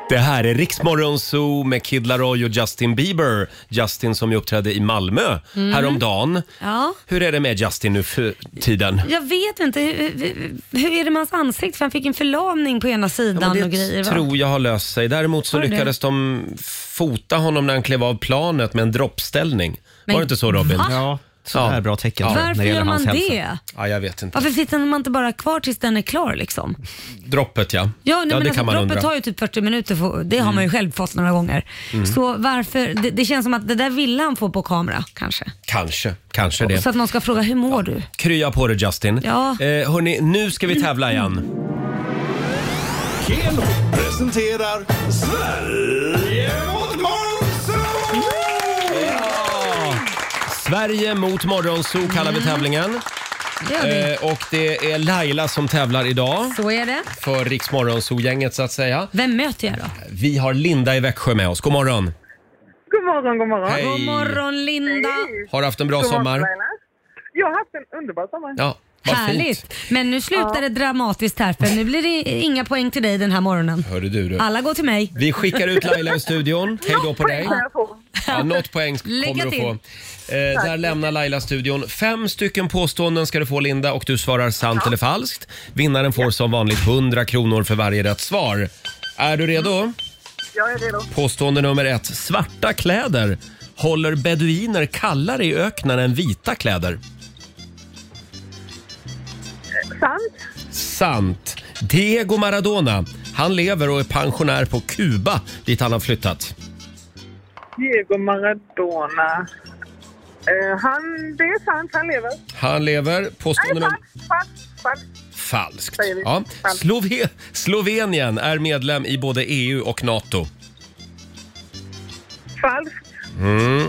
Speaker 1: Det här är Riksmorgon Zoo med Kid Laroi och Justin Bieber. Justin som ju uppträdde i Malmö
Speaker 2: Mm.
Speaker 1: häromdagen.
Speaker 2: Ja.
Speaker 1: Hur är det med Justin nu för tiden?
Speaker 2: Jag vet inte, hur, hur- hur är det med hans ansikte? För han fick en förlamning på ena sidan och grejer va?
Speaker 1: tror jag har löst sig. Däremot så
Speaker 2: Har det?
Speaker 1: lyckades de fota honom när han klev av planet med en droppställning.
Speaker 2: Men
Speaker 1: Var det inte så Robin?
Speaker 2: va? Ja,
Speaker 1: så här
Speaker 5: bra tecken
Speaker 2: Varför gör man det?
Speaker 1: Ja, jag vet inte.
Speaker 2: Varför sitter man inte bara kvar tills den är klar liksom?
Speaker 1: Droppet ja.
Speaker 2: Ja, nej,
Speaker 1: det
Speaker 2: men
Speaker 1: kan
Speaker 2: alltså,
Speaker 1: man
Speaker 2: droppet
Speaker 1: undra.
Speaker 2: tar ju typ 40 minuter, för, det har man ju själv fått några gånger.
Speaker 1: Mm.
Speaker 2: Så varför, det, det känns som att det där ville han få på kamera kanske.
Speaker 1: Kanske, kanske det.
Speaker 2: Så att någon ska fråga, hur mår du?
Speaker 1: Krya på dig Justin.
Speaker 2: Ja.
Speaker 1: Eh, hörni, nu ska vi
Speaker 2: [CLEARS THROAT]
Speaker 1: tävla igen.
Speaker 9: Keno presenterar Sverige mot morgonsol!
Speaker 1: Sverige mot Morgonzoo kallar vi tävlingen.
Speaker 2: Mm. Det gör vi.
Speaker 1: Eh, och det är Laila som tävlar idag.
Speaker 2: Så är det.
Speaker 1: För Riks Morgonzoo-gänget så att säga.
Speaker 2: Vem möter jag då?
Speaker 1: Vi har Linda i Växjö med oss. God morgon.
Speaker 14: God morgon, god morgon.
Speaker 1: Hej. God
Speaker 2: morgon Linda.
Speaker 1: Har du haft en bra
Speaker 14: God morgon,
Speaker 1: sommar?
Speaker 14: Laila. Jag har haft en underbar sommar.
Speaker 1: Ja, vad
Speaker 2: Härligt.
Speaker 1: fint.
Speaker 2: Men nu slutar det dramatiskt här för nu blir det inga poäng till dig den här morgonen.
Speaker 1: Hörde du, du.
Speaker 2: Alla går till mig.
Speaker 1: Vi skickar ut Laila ur studion. Hej då på dig. Ja, något poäng kommer
Speaker 2: Lycka
Speaker 1: du att
Speaker 2: till.
Speaker 1: få. Eh, där lämnar Laila studion. Fem stycken påståenden ska du få Linda och du svarar sant eller falskt. Vinnaren får som vanligt 100 kronor för varje rätt svar. Är du redo?
Speaker 14: Jag är redo.
Speaker 1: Påstående nummer ett. Svarta kläder håller beduiner kallare i öknen än vita kläder.
Speaker 14: Sant.
Speaker 1: Sant. Diego Maradona. Han lever och är pensionär på Kuba dit han har flyttat.
Speaker 14: Diego Maradona. Eh, han, det är sant, han lever.
Speaker 1: Han lever. Påstående
Speaker 14: Nej,
Speaker 1: nummer...
Speaker 14: falskt, falskt, falskt.
Speaker 1: Falskt.
Speaker 14: Säger vi.
Speaker 1: Ja.
Speaker 14: Falskt.
Speaker 1: Slove- Slovenien är medlem i både EU och NATO.
Speaker 14: Falskt.
Speaker 1: Mm.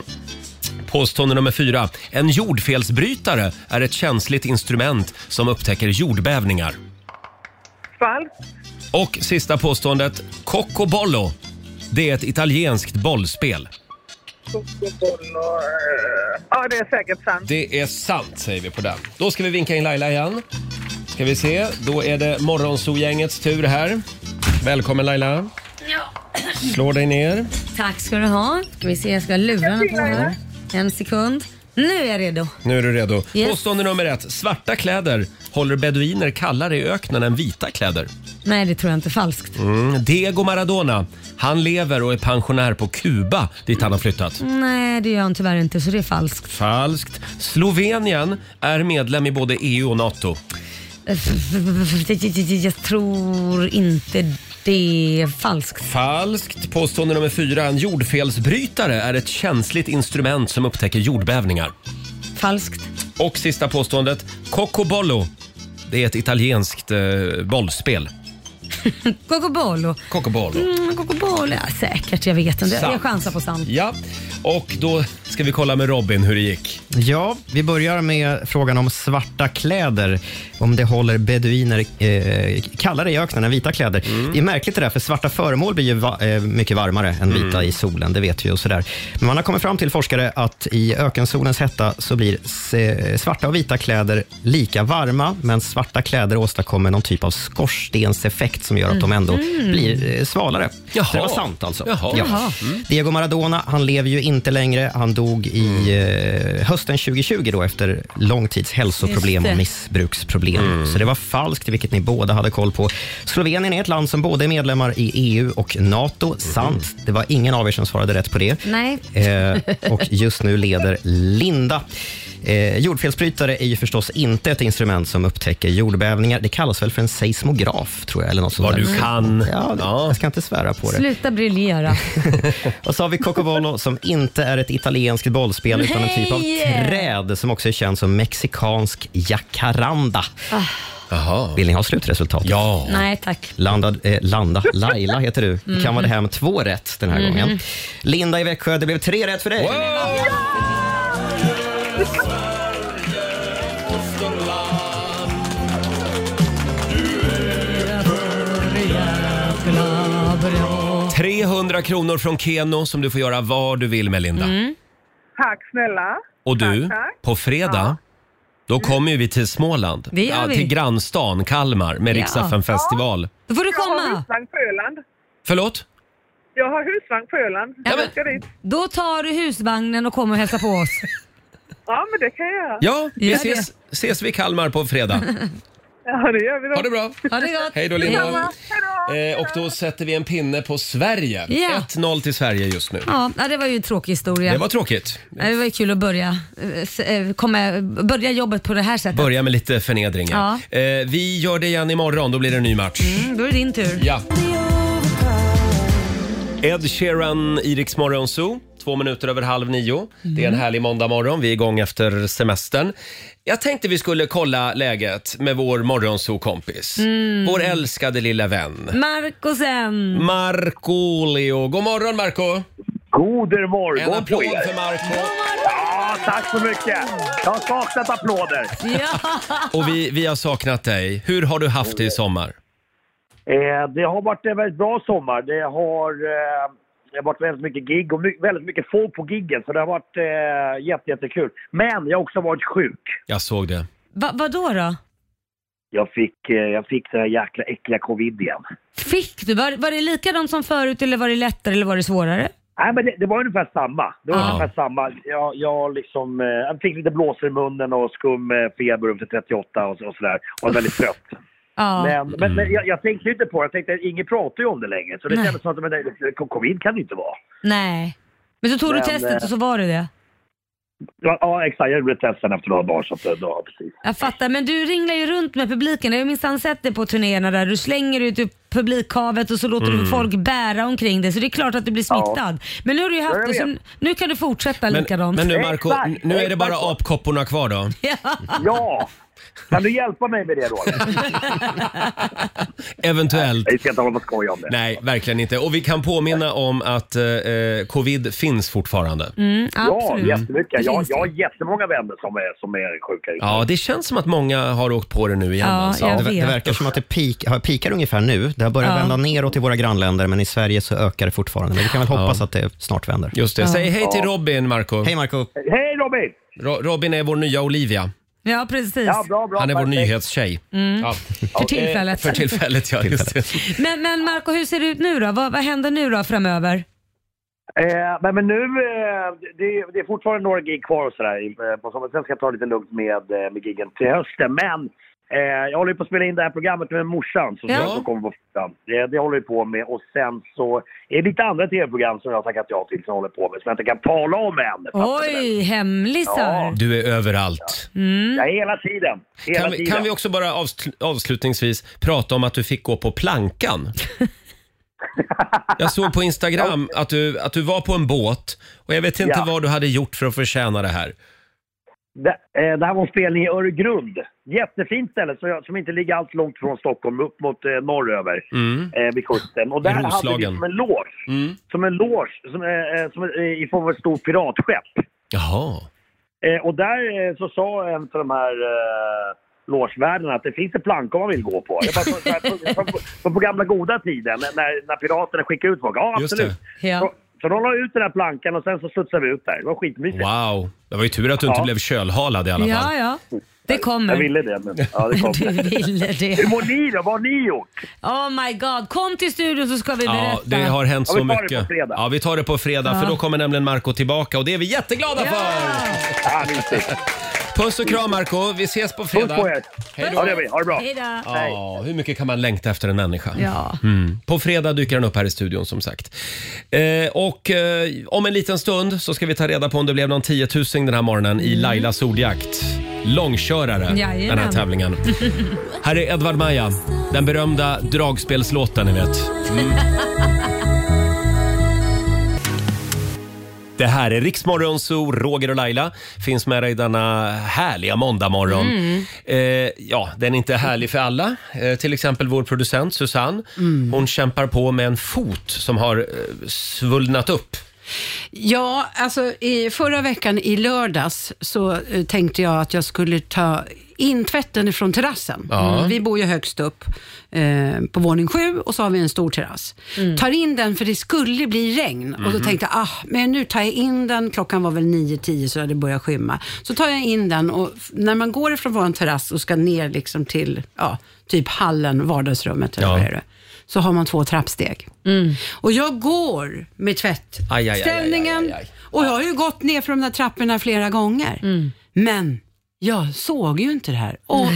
Speaker 1: Påstående nummer fyra. En jordfelsbrytare är ett känsligt instrument som upptäcker jordbävningar.
Speaker 14: Falskt.
Speaker 1: Och sista påståendet. Coccobollo. Det är ett italienskt bollspel.
Speaker 14: Kokoboll och... eh, Ja, det är säkert sant.
Speaker 1: Det är sant, säger vi på den. Då ska vi vinka in Laila igen. Ska vi se. Då är det Morgonzoo-gängets tur här. Välkommen Laila. Slår dig ner.
Speaker 2: Tack ska du ha. Ska vi se, jag ska ha lurarna på här. En sekund. Nu är jag redo.
Speaker 1: Nu är du redo.
Speaker 2: Yes.
Speaker 1: Påstående nummer ett. Svarta kläder håller beduiner kallare i öknen än vita kläder.
Speaker 2: Nej, det tror jag inte är falskt.
Speaker 1: Mm. Diego Maradona, han lever och är pensionär på Kuba dit han har flyttat.
Speaker 2: Nej, det gör han tyvärr inte, så det är falskt.
Speaker 1: Falskt. Slovenien är medlem i både EU och NATO.
Speaker 2: Jag tror inte det är falskt.
Speaker 1: Falskt. Påstående nummer fyra. En jordfelsbrytare är ett känsligt instrument som upptäcker jordbävningar.
Speaker 2: Falskt.
Speaker 1: Och sista påståendet. Coccobollo. Det är ett italienskt
Speaker 14: [LAUGHS]
Speaker 1: eh, bollspel.
Speaker 2: Cocobolo.
Speaker 1: Coccobollo.
Speaker 2: Mm, Cocobolo, ja, säkert. Jag vet inte. Jag
Speaker 1: Sant.
Speaker 2: chansar på sant.
Speaker 1: Ja, och då ska vi kolla med Robin hur det gick.
Speaker 5: Ja, vi börjar med frågan om svarta kläder. Om det håller beduiner eh, kallare i öknen än vita kläder.
Speaker 1: Mm.
Speaker 5: Det är märkligt det där, för svarta föremål blir ju va, eh, mycket varmare än vita
Speaker 1: Mm.
Speaker 5: i solen, det vet vi ju. Och sådär. Men man har kommit fram till, forskare, att i ökensolens hetta så blir se, svarta och vita kläder lika varma, men svarta kläder åstadkommer någon typ av skorstenseffekt som gör att de ändå
Speaker 11: Mhm.
Speaker 5: blir eh, svalare.
Speaker 11: Jaha.
Speaker 5: Så det var sant alltså.
Speaker 11: Jaha. Jaha. Mm.
Speaker 5: Diego Maradona, han lever ju inte längre. Han dog i eh, hösten 2020 då efter lång tids hälsoproblem
Speaker 11: Just det.
Speaker 5: och missbruksproblem. Så det var falskt, vilket ni båda hade koll på. Slovenien är ett land som både är medlemmar i EU och NATO. Sant. Det var ingen av er som svarade rätt på det.
Speaker 2: Nej.
Speaker 5: Eh, och just nu leder Linda. Eh, jordfelsbrytare är ju förstås inte ett instrument som upptäcker jordbävningar. Det kallas väl för en seismograf, tror jag. Eller något sånt
Speaker 1: Vad
Speaker 5: där.
Speaker 1: du kan.
Speaker 5: Ja, Jag ska inte svära på det.
Speaker 2: Sluta briljera.
Speaker 5: Och så har vi Cocobolo som inte är ett italienskt bollspel utan en typ av
Speaker 2: Nej!
Speaker 5: träd som också är känd som mexikansk jacaranda. Vill ni ha slutresultatet? Ja.
Speaker 2: Nej tack.
Speaker 5: Landad, eh, Landa, Laila heter du. Du
Speaker 2: Mm.
Speaker 5: kan vara hem två rätt den här
Speaker 2: Mhm.
Speaker 5: gången. Linda i Växjö, det blev tre rätt för dig.
Speaker 2: Bra.
Speaker 1: 300 kronor från Keno som du får göra vad du vill med, Linda.
Speaker 14: Mm. Tack snälla.
Speaker 1: Och du,
Speaker 14: Tack, tack.
Speaker 1: på fredag, då kommer ju vi till Småland.
Speaker 14: Det gör
Speaker 1: ja,
Speaker 14: vi.
Speaker 1: till grannstan Kalmar med
Speaker 14: Ja.
Speaker 1: Rix ja. festival
Speaker 2: Då får du
Speaker 14: komma. Jag har husvagn på Öland.
Speaker 1: Förlåt?
Speaker 14: Jag har husvagn på Öland. Jag ska dit.
Speaker 2: Då tar du husvagnen och kommer och hälsar på oss.
Speaker 14: Ja, men det kan jag göra.
Speaker 1: Ja, vi
Speaker 2: Gör
Speaker 1: ses, ses vi i Kalmar på
Speaker 2: [LAUGHS]
Speaker 1: fredag.
Speaker 14: Ja, det gör vi då.
Speaker 1: Ha det bra.
Speaker 2: Ha det gott.
Speaker 1: Hej då, Linda. Eh, och då sätter vi en pinne på Sverige.
Speaker 2: Ja.
Speaker 1: 1-0 till Sverige just nu.
Speaker 2: Ja, ja, det var ju en tråkig historia.
Speaker 1: Det var tråkigt.
Speaker 2: Ja, det var ju kul att börja, eh, s- eh, komma, börja jobbet på det här sättet.
Speaker 1: Börja med lite förnedringar. Eh, vi gör det igen imorgon, då blir det en ny match.
Speaker 2: Mm, då är det din tur.
Speaker 1: Ja. Ed Sheeran, Iriks morgonzoo. Två minuter över halv nio. Det är
Speaker 2: Mm.
Speaker 1: en härlig måndagmorgon. Vi är igång efter semestern. Jag tänkte vi skulle kolla läget med vår morgonzoo-kompis.
Speaker 2: Mm.
Speaker 1: Vår älskade lilla vän.
Speaker 2: Marco sen.
Speaker 1: Mm. Markoolio. God morgon Marco! God morgon En applåd
Speaker 11: på er.
Speaker 1: för Marco.
Speaker 11: Ja, tack så mycket. Jag har saknat applåder.
Speaker 1: Och vi, vi har saknat dig. Hur har du haft det i sommar?
Speaker 11: Eh, det har varit en väldigt bra sommar. Det har, eh, det har varit väldigt mycket gig och my- väldigt mycket folk på giggen. Så det har varit eh, jätte, jättekul. Men jag har också varit sjuk.
Speaker 1: Jag såg det.
Speaker 2: Va, vadå då?
Speaker 11: Jag fick, eh, jag fick det här jäkla äckliga covid igen.
Speaker 2: Fick du? Var, var det likadant som förut eller var det lättare eller var det svårare?
Speaker 11: Nej, men det, det var ungefär samma. Det var
Speaker 2: Ja.
Speaker 11: ungefär samma. Jag, jag, liksom, eh, jag fick lite blåsor i munnen och skum eh, feber upp till 38 och, så- och sådär. Och var väldigt trött. Men, men,
Speaker 1: Mm.
Speaker 10: Mm.
Speaker 11: men jag, jag tänkte ju inte på det. Jag tänkte att ingen pratar ju om det längre. Så det
Speaker 2: Nej.
Speaker 11: kändes som att men, det- covid kan det inte vara.
Speaker 2: Nej. Men så tog
Speaker 11: Men,
Speaker 2: du testet
Speaker 11: eh,
Speaker 2: och så var det det.
Speaker 11: Ja, ja exakt. Jag gjorde testen efter några dagar. Så att, eh, ja, precis.
Speaker 2: Jag fattar, men du ringlar ju runt med publiken. Jag har ju minsann sett dig på turnéerna där du slänger ut ur publikhavet och så låter du
Speaker 1: Mm.
Speaker 2: folk bära omkring dig. Så det är klart att du blir
Speaker 1: Ja.
Speaker 2: smittad. Men nu har du ju
Speaker 1: Ja,
Speaker 2: haft
Speaker 1: jag
Speaker 2: det, så
Speaker 1: vet.
Speaker 2: nu kan du fortsätta
Speaker 1: Men,
Speaker 2: likadant.
Speaker 1: men nu Marco, n- nu är det bara
Speaker 2: [LAUGHS] av.
Speaker 1: apkopporna kvar då.
Speaker 11: Ja! Kan du hjälpa mig med det då?
Speaker 1: Eventuellt.
Speaker 11: Vi ska inte hålla på och skoja om det.
Speaker 1: Nej, verkligen inte. Och vi kan påminna om att eh, eh, covid finns fortfarande.
Speaker 11: ja,
Speaker 1: absolut.
Speaker 11: jättemycket.
Speaker 1: Det
Speaker 11: Jag,
Speaker 1: finns
Speaker 11: jag har jättemånga vänner som är, som är sjuka.
Speaker 1: Ja, det känns som att många har åkt på det nu igen.
Speaker 11: Ja,
Speaker 1: alltså.
Speaker 11: jag
Speaker 5: Det, ver- det verkar som att det peak, har- peakar ungefär nu. Det har börjat
Speaker 1: Ja.
Speaker 5: vända neråt i våra grannländer, men i Sverige så ökar det fortfarande. Men vi kan väl hoppas att det snart vänder.
Speaker 1: Just det. Säg hej till Robin, Marco.
Speaker 5: Hej, Marco.
Speaker 11: Hej Robin!
Speaker 1: Ro- Robin är vår nya Olivia.
Speaker 2: Ja, precis.
Speaker 11: Ja, bra, bra.
Speaker 1: Han är vår nyhetstjej.
Speaker 2: Mm.
Speaker 1: Ja.
Speaker 2: För tillfället.
Speaker 1: Eh, För tillfället, ja. Just det.
Speaker 2: Men, men Marco, hur ser det ut nu då? Vad, vad händer nu då framöver?
Speaker 11: Eh, men, men nu, eh, det, det är fortfarande några gig kvar och sådär eh, på sommaren. Sen ska jag ta lite lugnt med, eh, med giggen till hösten. Men eh, jag håller ju på att spela in det här programmet med morsan som
Speaker 9: Ja.
Speaker 11: som kommer på fredag. Det, det håller vi på med. Och sen så är det lite andra tv-program som jag har tackat ja till som jag håller på med som jag inte kan tala om än.
Speaker 2: Oj, hemlisar.
Speaker 1: Du är överallt.
Speaker 2: Mm.
Speaker 11: Ja, hela tiden. Hela
Speaker 1: Kan vi,
Speaker 11: tiden.
Speaker 1: kan vi också bara avsl- avslutningsvis prata om att du fick gå på plankan? Jag såg
Speaker 11: [LAUGHS]
Speaker 1: på Instagram att du, att du var på en båt och jag vet inte
Speaker 11: Ja.
Speaker 1: vad du hade gjort för att förtjäna det här.
Speaker 11: Det, eh, det här var en spelning i Öregrund. Jättefint ställe så jag, som inte ligger allt långt från Stockholm, upp mot eh, norröver
Speaker 1: Mm.
Speaker 11: eh, vid kusten. Och där
Speaker 1: I
Speaker 11: hade vi
Speaker 1: Roslagen. Mm.
Speaker 11: som en loge, som en loge som, eh, eh, som, eh, i form av ett stort piratskepp.
Speaker 1: Jaha.
Speaker 11: Eh, och där eh, så sa en av de här eh, logevärdarna att det finns ett plank om man vill gå på. Jag bara, så, så här, på, på, på, på gamla goda tiden när, när piraterna skickade ut folk. Ja,
Speaker 1: Just
Speaker 11: absolut.
Speaker 2: det. Ja.
Speaker 11: Så, så de la ut den här plankan och sen så slutsade vi ut där. Det var skitmysigt.
Speaker 1: Wow. Det var ju tur att du inte blev kölhalad i alla fall.
Speaker 2: Ja, ja. Det kommer.
Speaker 11: Jag ville det, men ja, det
Speaker 2: [LAUGHS]
Speaker 11: kom.
Speaker 2: Du ville det.
Speaker 11: Hur mår ni då? Vad har ni gjort?
Speaker 2: Oh my god, kom till studion så ska vi berätta.
Speaker 1: Ja, det har hänt så mycket. Ja, vi tar det på fredag
Speaker 2: Ja.
Speaker 1: för då kommer nämligen Marco tillbaka och det är vi jätteglada för! Puss och kram Marco. vi ses på fredag.
Speaker 11: Puss på er.
Speaker 1: Hej då.
Speaker 11: Ja, det gör vi. Ha det bra.
Speaker 2: Hej då.
Speaker 1: Ja, hur mycket kan man längta efter en människa?
Speaker 2: Ja.
Speaker 1: Mm. På fredag dyker den upp här i studion som sagt. Eh, och eh, om en liten stund så ska vi ta reda på om det blev någon 10 000 den här morgonen i Lailas ordjakt. Långkörare,
Speaker 9: Mm. Jajamän.
Speaker 1: den
Speaker 9: [LAUGHS]
Speaker 1: här tävlingen. Här är Edvard Maja, den berömda dragspelslåten ni vet.
Speaker 9: Mm.
Speaker 1: Det här är Riksmorgon Zoo, Roger och Laila finns med dig denna härliga måndagmorgon.
Speaker 9: Mm.
Speaker 1: Eh, ja, den är inte härlig för alla. Eh, till exempel vår producent Susanne.
Speaker 8: Mm.
Speaker 1: Hon kämpar på med en fot som har eh, svullnat upp.
Speaker 8: Ja, alltså i förra veckan i lördags så eh, tänkte jag att jag skulle ta in tvätten ifrån terrassen.
Speaker 9: Ja.
Speaker 8: Mm, Vi bor ju högst upp eh, på våning sju och så har vi en stor terrass. Tar in den för det skulle bli regn och då
Speaker 9: Mm. Mhm.
Speaker 8: tänkte jag, ah, men nu tar jag in den. Klockan var väl 9-10 så hade det börjat skymma. Så tar jag in den och f- när man går ifrån vår terrass och ska ner liksom till ja, typ hallen, vardagsrummet eller
Speaker 9: Ja.
Speaker 8: vad är det, så har man två trappsteg. Och jag går med tvätt
Speaker 9: Aj, aj, aj,
Speaker 8: ställningen. Och jag har ju gått ner för de där trapporna flera gånger. Men jag såg ju inte det här och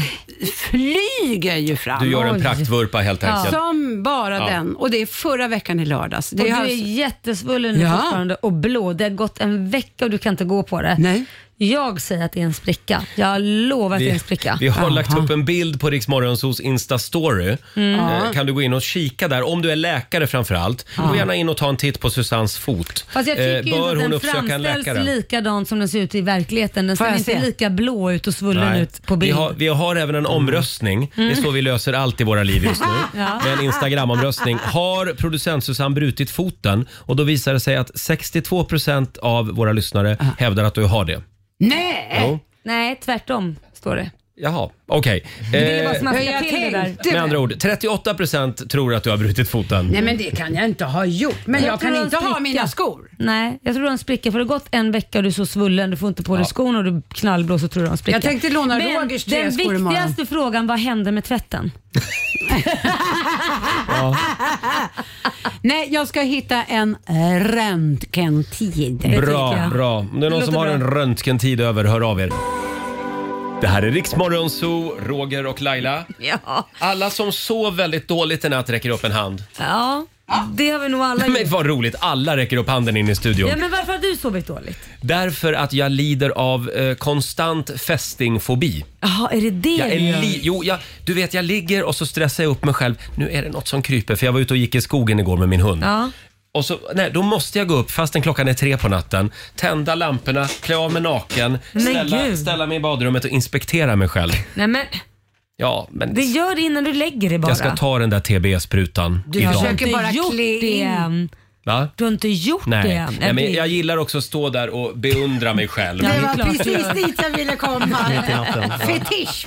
Speaker 8: flyger ju fram.
Speaker 1: Du gör en praktvurpa helt enkelt.
Speaker 8: Som bara
Speaker 1: Ja.
Speaker 8: den. Och det är förra veckan i lördags.
Speaker 2: och
Speaker 8: Det
Speaker 2: du
Speaker 8: har-
Speaker 2: är jättesvullen nu
Speaker 8: Ja.
Speaker 2: fortfarande och blå. Det har gått en vecka och du kan inte gå på det.
Speaker 8: Nej.
Speaker 2: Jag säger att det är en spricka. Jag lovar att det är en
Speaker 1: vi,
Speaker 2: spricka.
Speaker 1: vi har lagt upp en bild på Riksmorgonsos Insta-story.
Speaker 2: Mm.
Speaker 1: Eh,
Speaker 2: Ja.
Speaker 1: kan du gå in och kika där, om du är läkare framför allt. Gå
Speaker 2: Ja.
Speaker 1: gärna in och ta en titt på Susannes fot.
Speaker 2: Fast jag
Speaker 1: Eh,
Speaker 2: tycker ju inte
Speaker 1: bör
Speaker 2: att
Speaker 1: hon
Speaker 2: den
Speaker 1: uppsöka en läkare?
Speaker 2: framställs likadant som den ser ut i verkligheten. Den
Speaker 8: Får
Speaker 2: ser
Speaker 8: jag
Speaker 2: inte
Speaker 8: se?
Speaker 2: lika blå ut och svullen
Speaker 1: Nej.
Speaker 2: ut på bild.
Speaker 1: Vi har, vi har även en omröstning.
Speaker 2: Mm.
Speaker 1: Det är så vi löser allt i våra liv just
Speaker 2: [LAUGHS]
Speaker 1: nu.
Speaker 2: Ja.
Speaker 1: Med en Instagram-omröstning. Har producent Susanne brutit foten? Och då visar det sig att 62% av våra lyssnare hävdar att du har det.
Speaker 8: Nej!
Speaker 1: Jo.
Speaker 2: Nej, tvärtom står det.
Speaker 1: Jaha, okej. Eh,
Speaker 2: Du ville bara smaska
Speaker 8: jag
Speaker 2: till det där.
Speaker 8: tänkte-
Speaker 1: med andra ord, 38% tror att du har brutit foten.
Speaker 8: Nej men det kan jag inte ha gjort. Men jag,
Speaker 2: tror
Speaker 8: kan
Speaker 2: du
Speaker 8: inte
Speaker 2: har en
Speaker 8: ha
Speaker 2: spricka.
Speaker 8: mina skor.
Speaker 2: Nej, jag tror du har en spricka för det har gått en vecka och du är så svullen, du får inte på dig skorna och du knallblå så tror du har en spricka.
Speaker 8: Jag tänkte låna
Speaker 2: Men
Speaker 8: Rogers
Speaker 2: Den
Speaker 8: träskor imorgon.
Speaker 2: viktigaste frågan, vad hände med tvätten?
Speaker 8: Nej, jag ska hitta en röntgentid.
Speaker 1: Bra, bra. Om det är någon
Speaker 8: Det
Speaker 1: som har
Speaker 8: låter
Speaker 1: en röntgentid över, hör av er. Det här är Riksmorgon Zoo, Roger och Laila. Alla som sov väldigt dåligt i natt räcker upp en hand.
Speaker 2: Ja, det har vi nog alla
Speaker 1: [LAUGHS] Men vad roligt, alla räcker upp handen in i studion.
Speaker 2: Ja, men varför har du sovit dåligt?
Speaker 1: Därför att jag lider av eh, konstant fästingfobi.
Speaker 2: Jaha, är det det
Speaker 1: Jag
Speaker 2: du
Speaker 1: är
Speaker 2: gör?
Speaker 1: li- jo, jag, du vet, jag ligger och så stressar jag upp mig själv. Nu är det något som kryper, för jag var ute och gick i skogen igår med min hund.
Speaker 2: Ja.
Speaker 1: Och så, nej, då måste jag gå upp fastän klockan är tre på natten, tända lamporna, klä av mig naken,
Speaker 2: Men
Speaker 1: ställa,
Speaker 2: gud.
Speaker 1: ställa mig i badrummet och inspektera mig själv.
Speaker 2: Nej men,
Speaker 1: Ja, men
Speaker 2: det gör det innan du lägger dig bara.
Speaker 1: jag ska ta den där TBE-sprutan
Speaker 2: du har
Speaker 1: idag.
Speaker 2: inte
Speaker 8: bara
Speaker 2: gjort
Speaker 8: klä
Speaker 2: det
Speaker 8: in.
Speaker 2: än.
Speaker 1: Va?
Speaker 2: Du har inte gjort det
Speaker 1: Nej.
Speaker 2: än.
Speaker 1: nej, men
Speaker 2: det-
Speaker 1: jag gillar också att stå där och beundra mig själv.
Speaker 8: Det
Speaker 2: är
Speaker 8: var
Speaker 2: klart du
Speaker 8: precis
Speaker 2: gör.
Speaker 8: dit jag ville komma.
Speaker 1: [LAUGHS] Mitt i natten.
Speaker 8: Fetisch.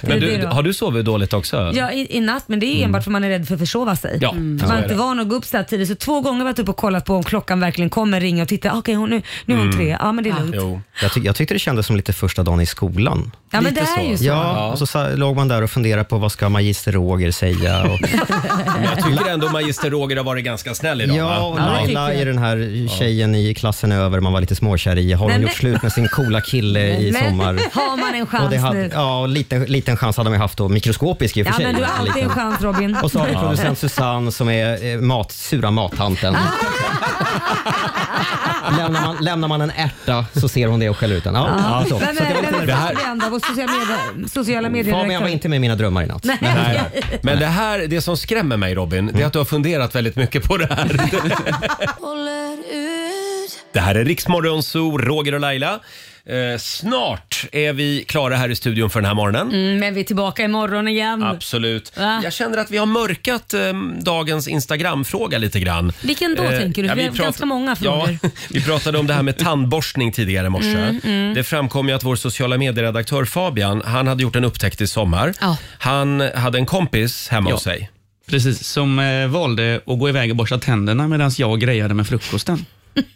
Speaker 1: Men
Speaker 2: det är
Speaker 1: du,
Speaker 2: det då.
Speaker 1: har du sovit dåligt också?
Speaker 2: Ja, i, i natt, men det
Speaker 5: Mm.
Speaker 2: är enbart för man är rädd för att försova sig.
Speaker 1: Ja,
Speaker 2: Mm.
Speaker 1: så
Speaker 2: Man
Speaker 1: är
Speaker 2: är inte
Speaker 1: det.
Speaker 2: van att gå upp så här tidigt. Så två gånger varit uppe och kollat på om klockan verkligen kommer, ringa och titta. Okej, hon- nu, nu är hon
Speaker 5: Mm.
Speaker 2: tre. Ja,
Speaker 1: Ah.
Speaker 2: men det är [LAUGHS] lugnt.
Speaker 5: Jag, tyck- jag tyckte det kändes som lite första dagen i skolan.
Speaker 2: Ja, men det är ju så.
Speaker 5: Ja, och så sa- låg man där och funderade på vad ska magister Roger säga. Och,
Speaker 1: Men [LAUGHS] jag tycker ändå magister Roger har varit ganska snäll idag.
Speaker 5: ja,
Speaker 1: va?
Speaker 5: och Laila är den här tjejen i klassen över man var lite småkär i. Har
Speaker 2: Men
Speaker 5: hon
Speaker 2: det-
Speaker 5: gjort slut med sin coola kille i
Speaker 2: Men
Speaker 5: sommar?
Speaker 2: [LAUGHS] har man en
Speaker 5: Och
Speaker 2: chans
Speaker 5: det hade,
Speaker 2: nu?
Speaker 5: ja, och liten, liten chans hade man ju haft då, mikroskopisk i och för
Speaker 2: Ja,
Speaker 5: sig.
Speaker 2: men du har alltid en
Speaker 5: Liten.
Speaker 2: chans Robin.
Speaker 5: Och så har vi producent Susanne som är eh, mat, sura mattanten. lämnar, man, lämnar man en ärta så ser hon det och skäller ut den. Ja,
Speaker 2: Ja.
Speaker 5: så.
Speaker 2: Vem
Speaker 5: Så det var
Speaker 2: är
Speaker 5: lite-
Speaker 2: vem är
Speaker 5: det här-
Speaker 2: propaganda? Vår sociala medier- sociala medier
Speaker 5: Fabian var inte med i mina drömmar i natt.
Speaker 2: Nej.
Speaker 1: Nej. Men det här, det som skrämmer mig Robin,
Speaker 5: Mm.
Speaker 1: det är att du har funderat väldigt mycket på
Speaker 2: [LAUGHS]
Speaker 1: det här. det här är Riksmorgon Zoo, Roger och Laila. Eh, snart är vi klara här i studion för den här morgonen.
Speaker 2: Mm, men vi är tillbaka imorgon igen.
Speaker 1: Absolut.
Speaker 2: Va?
Speaker 1: Jag känner att vi har mörkat eh, dagens Instagram-fråga lite grann. Eh,
Speaker 2: Vilken då, tänker du? För vi har ganska många frågor.
Speaker 1: Ja, [LAUGHS] vi pratade om det här med tandborstning tidigare i morse.
Speaker 2: Mm, mm.
Speaker 1: Det framkom ju att vår sociala medieredaktör Fabian, han hade gjort en upptäckt i sommar.
Speaker 2: Ja.
Speaker 1: Han hade en kompis hemma
Speaker 4: Ja.
Speaker 1: hos sig.
Speaker 4: Precis, som eh, valde att gå iväg och borsta tänderna medan jag grejade med frukosten.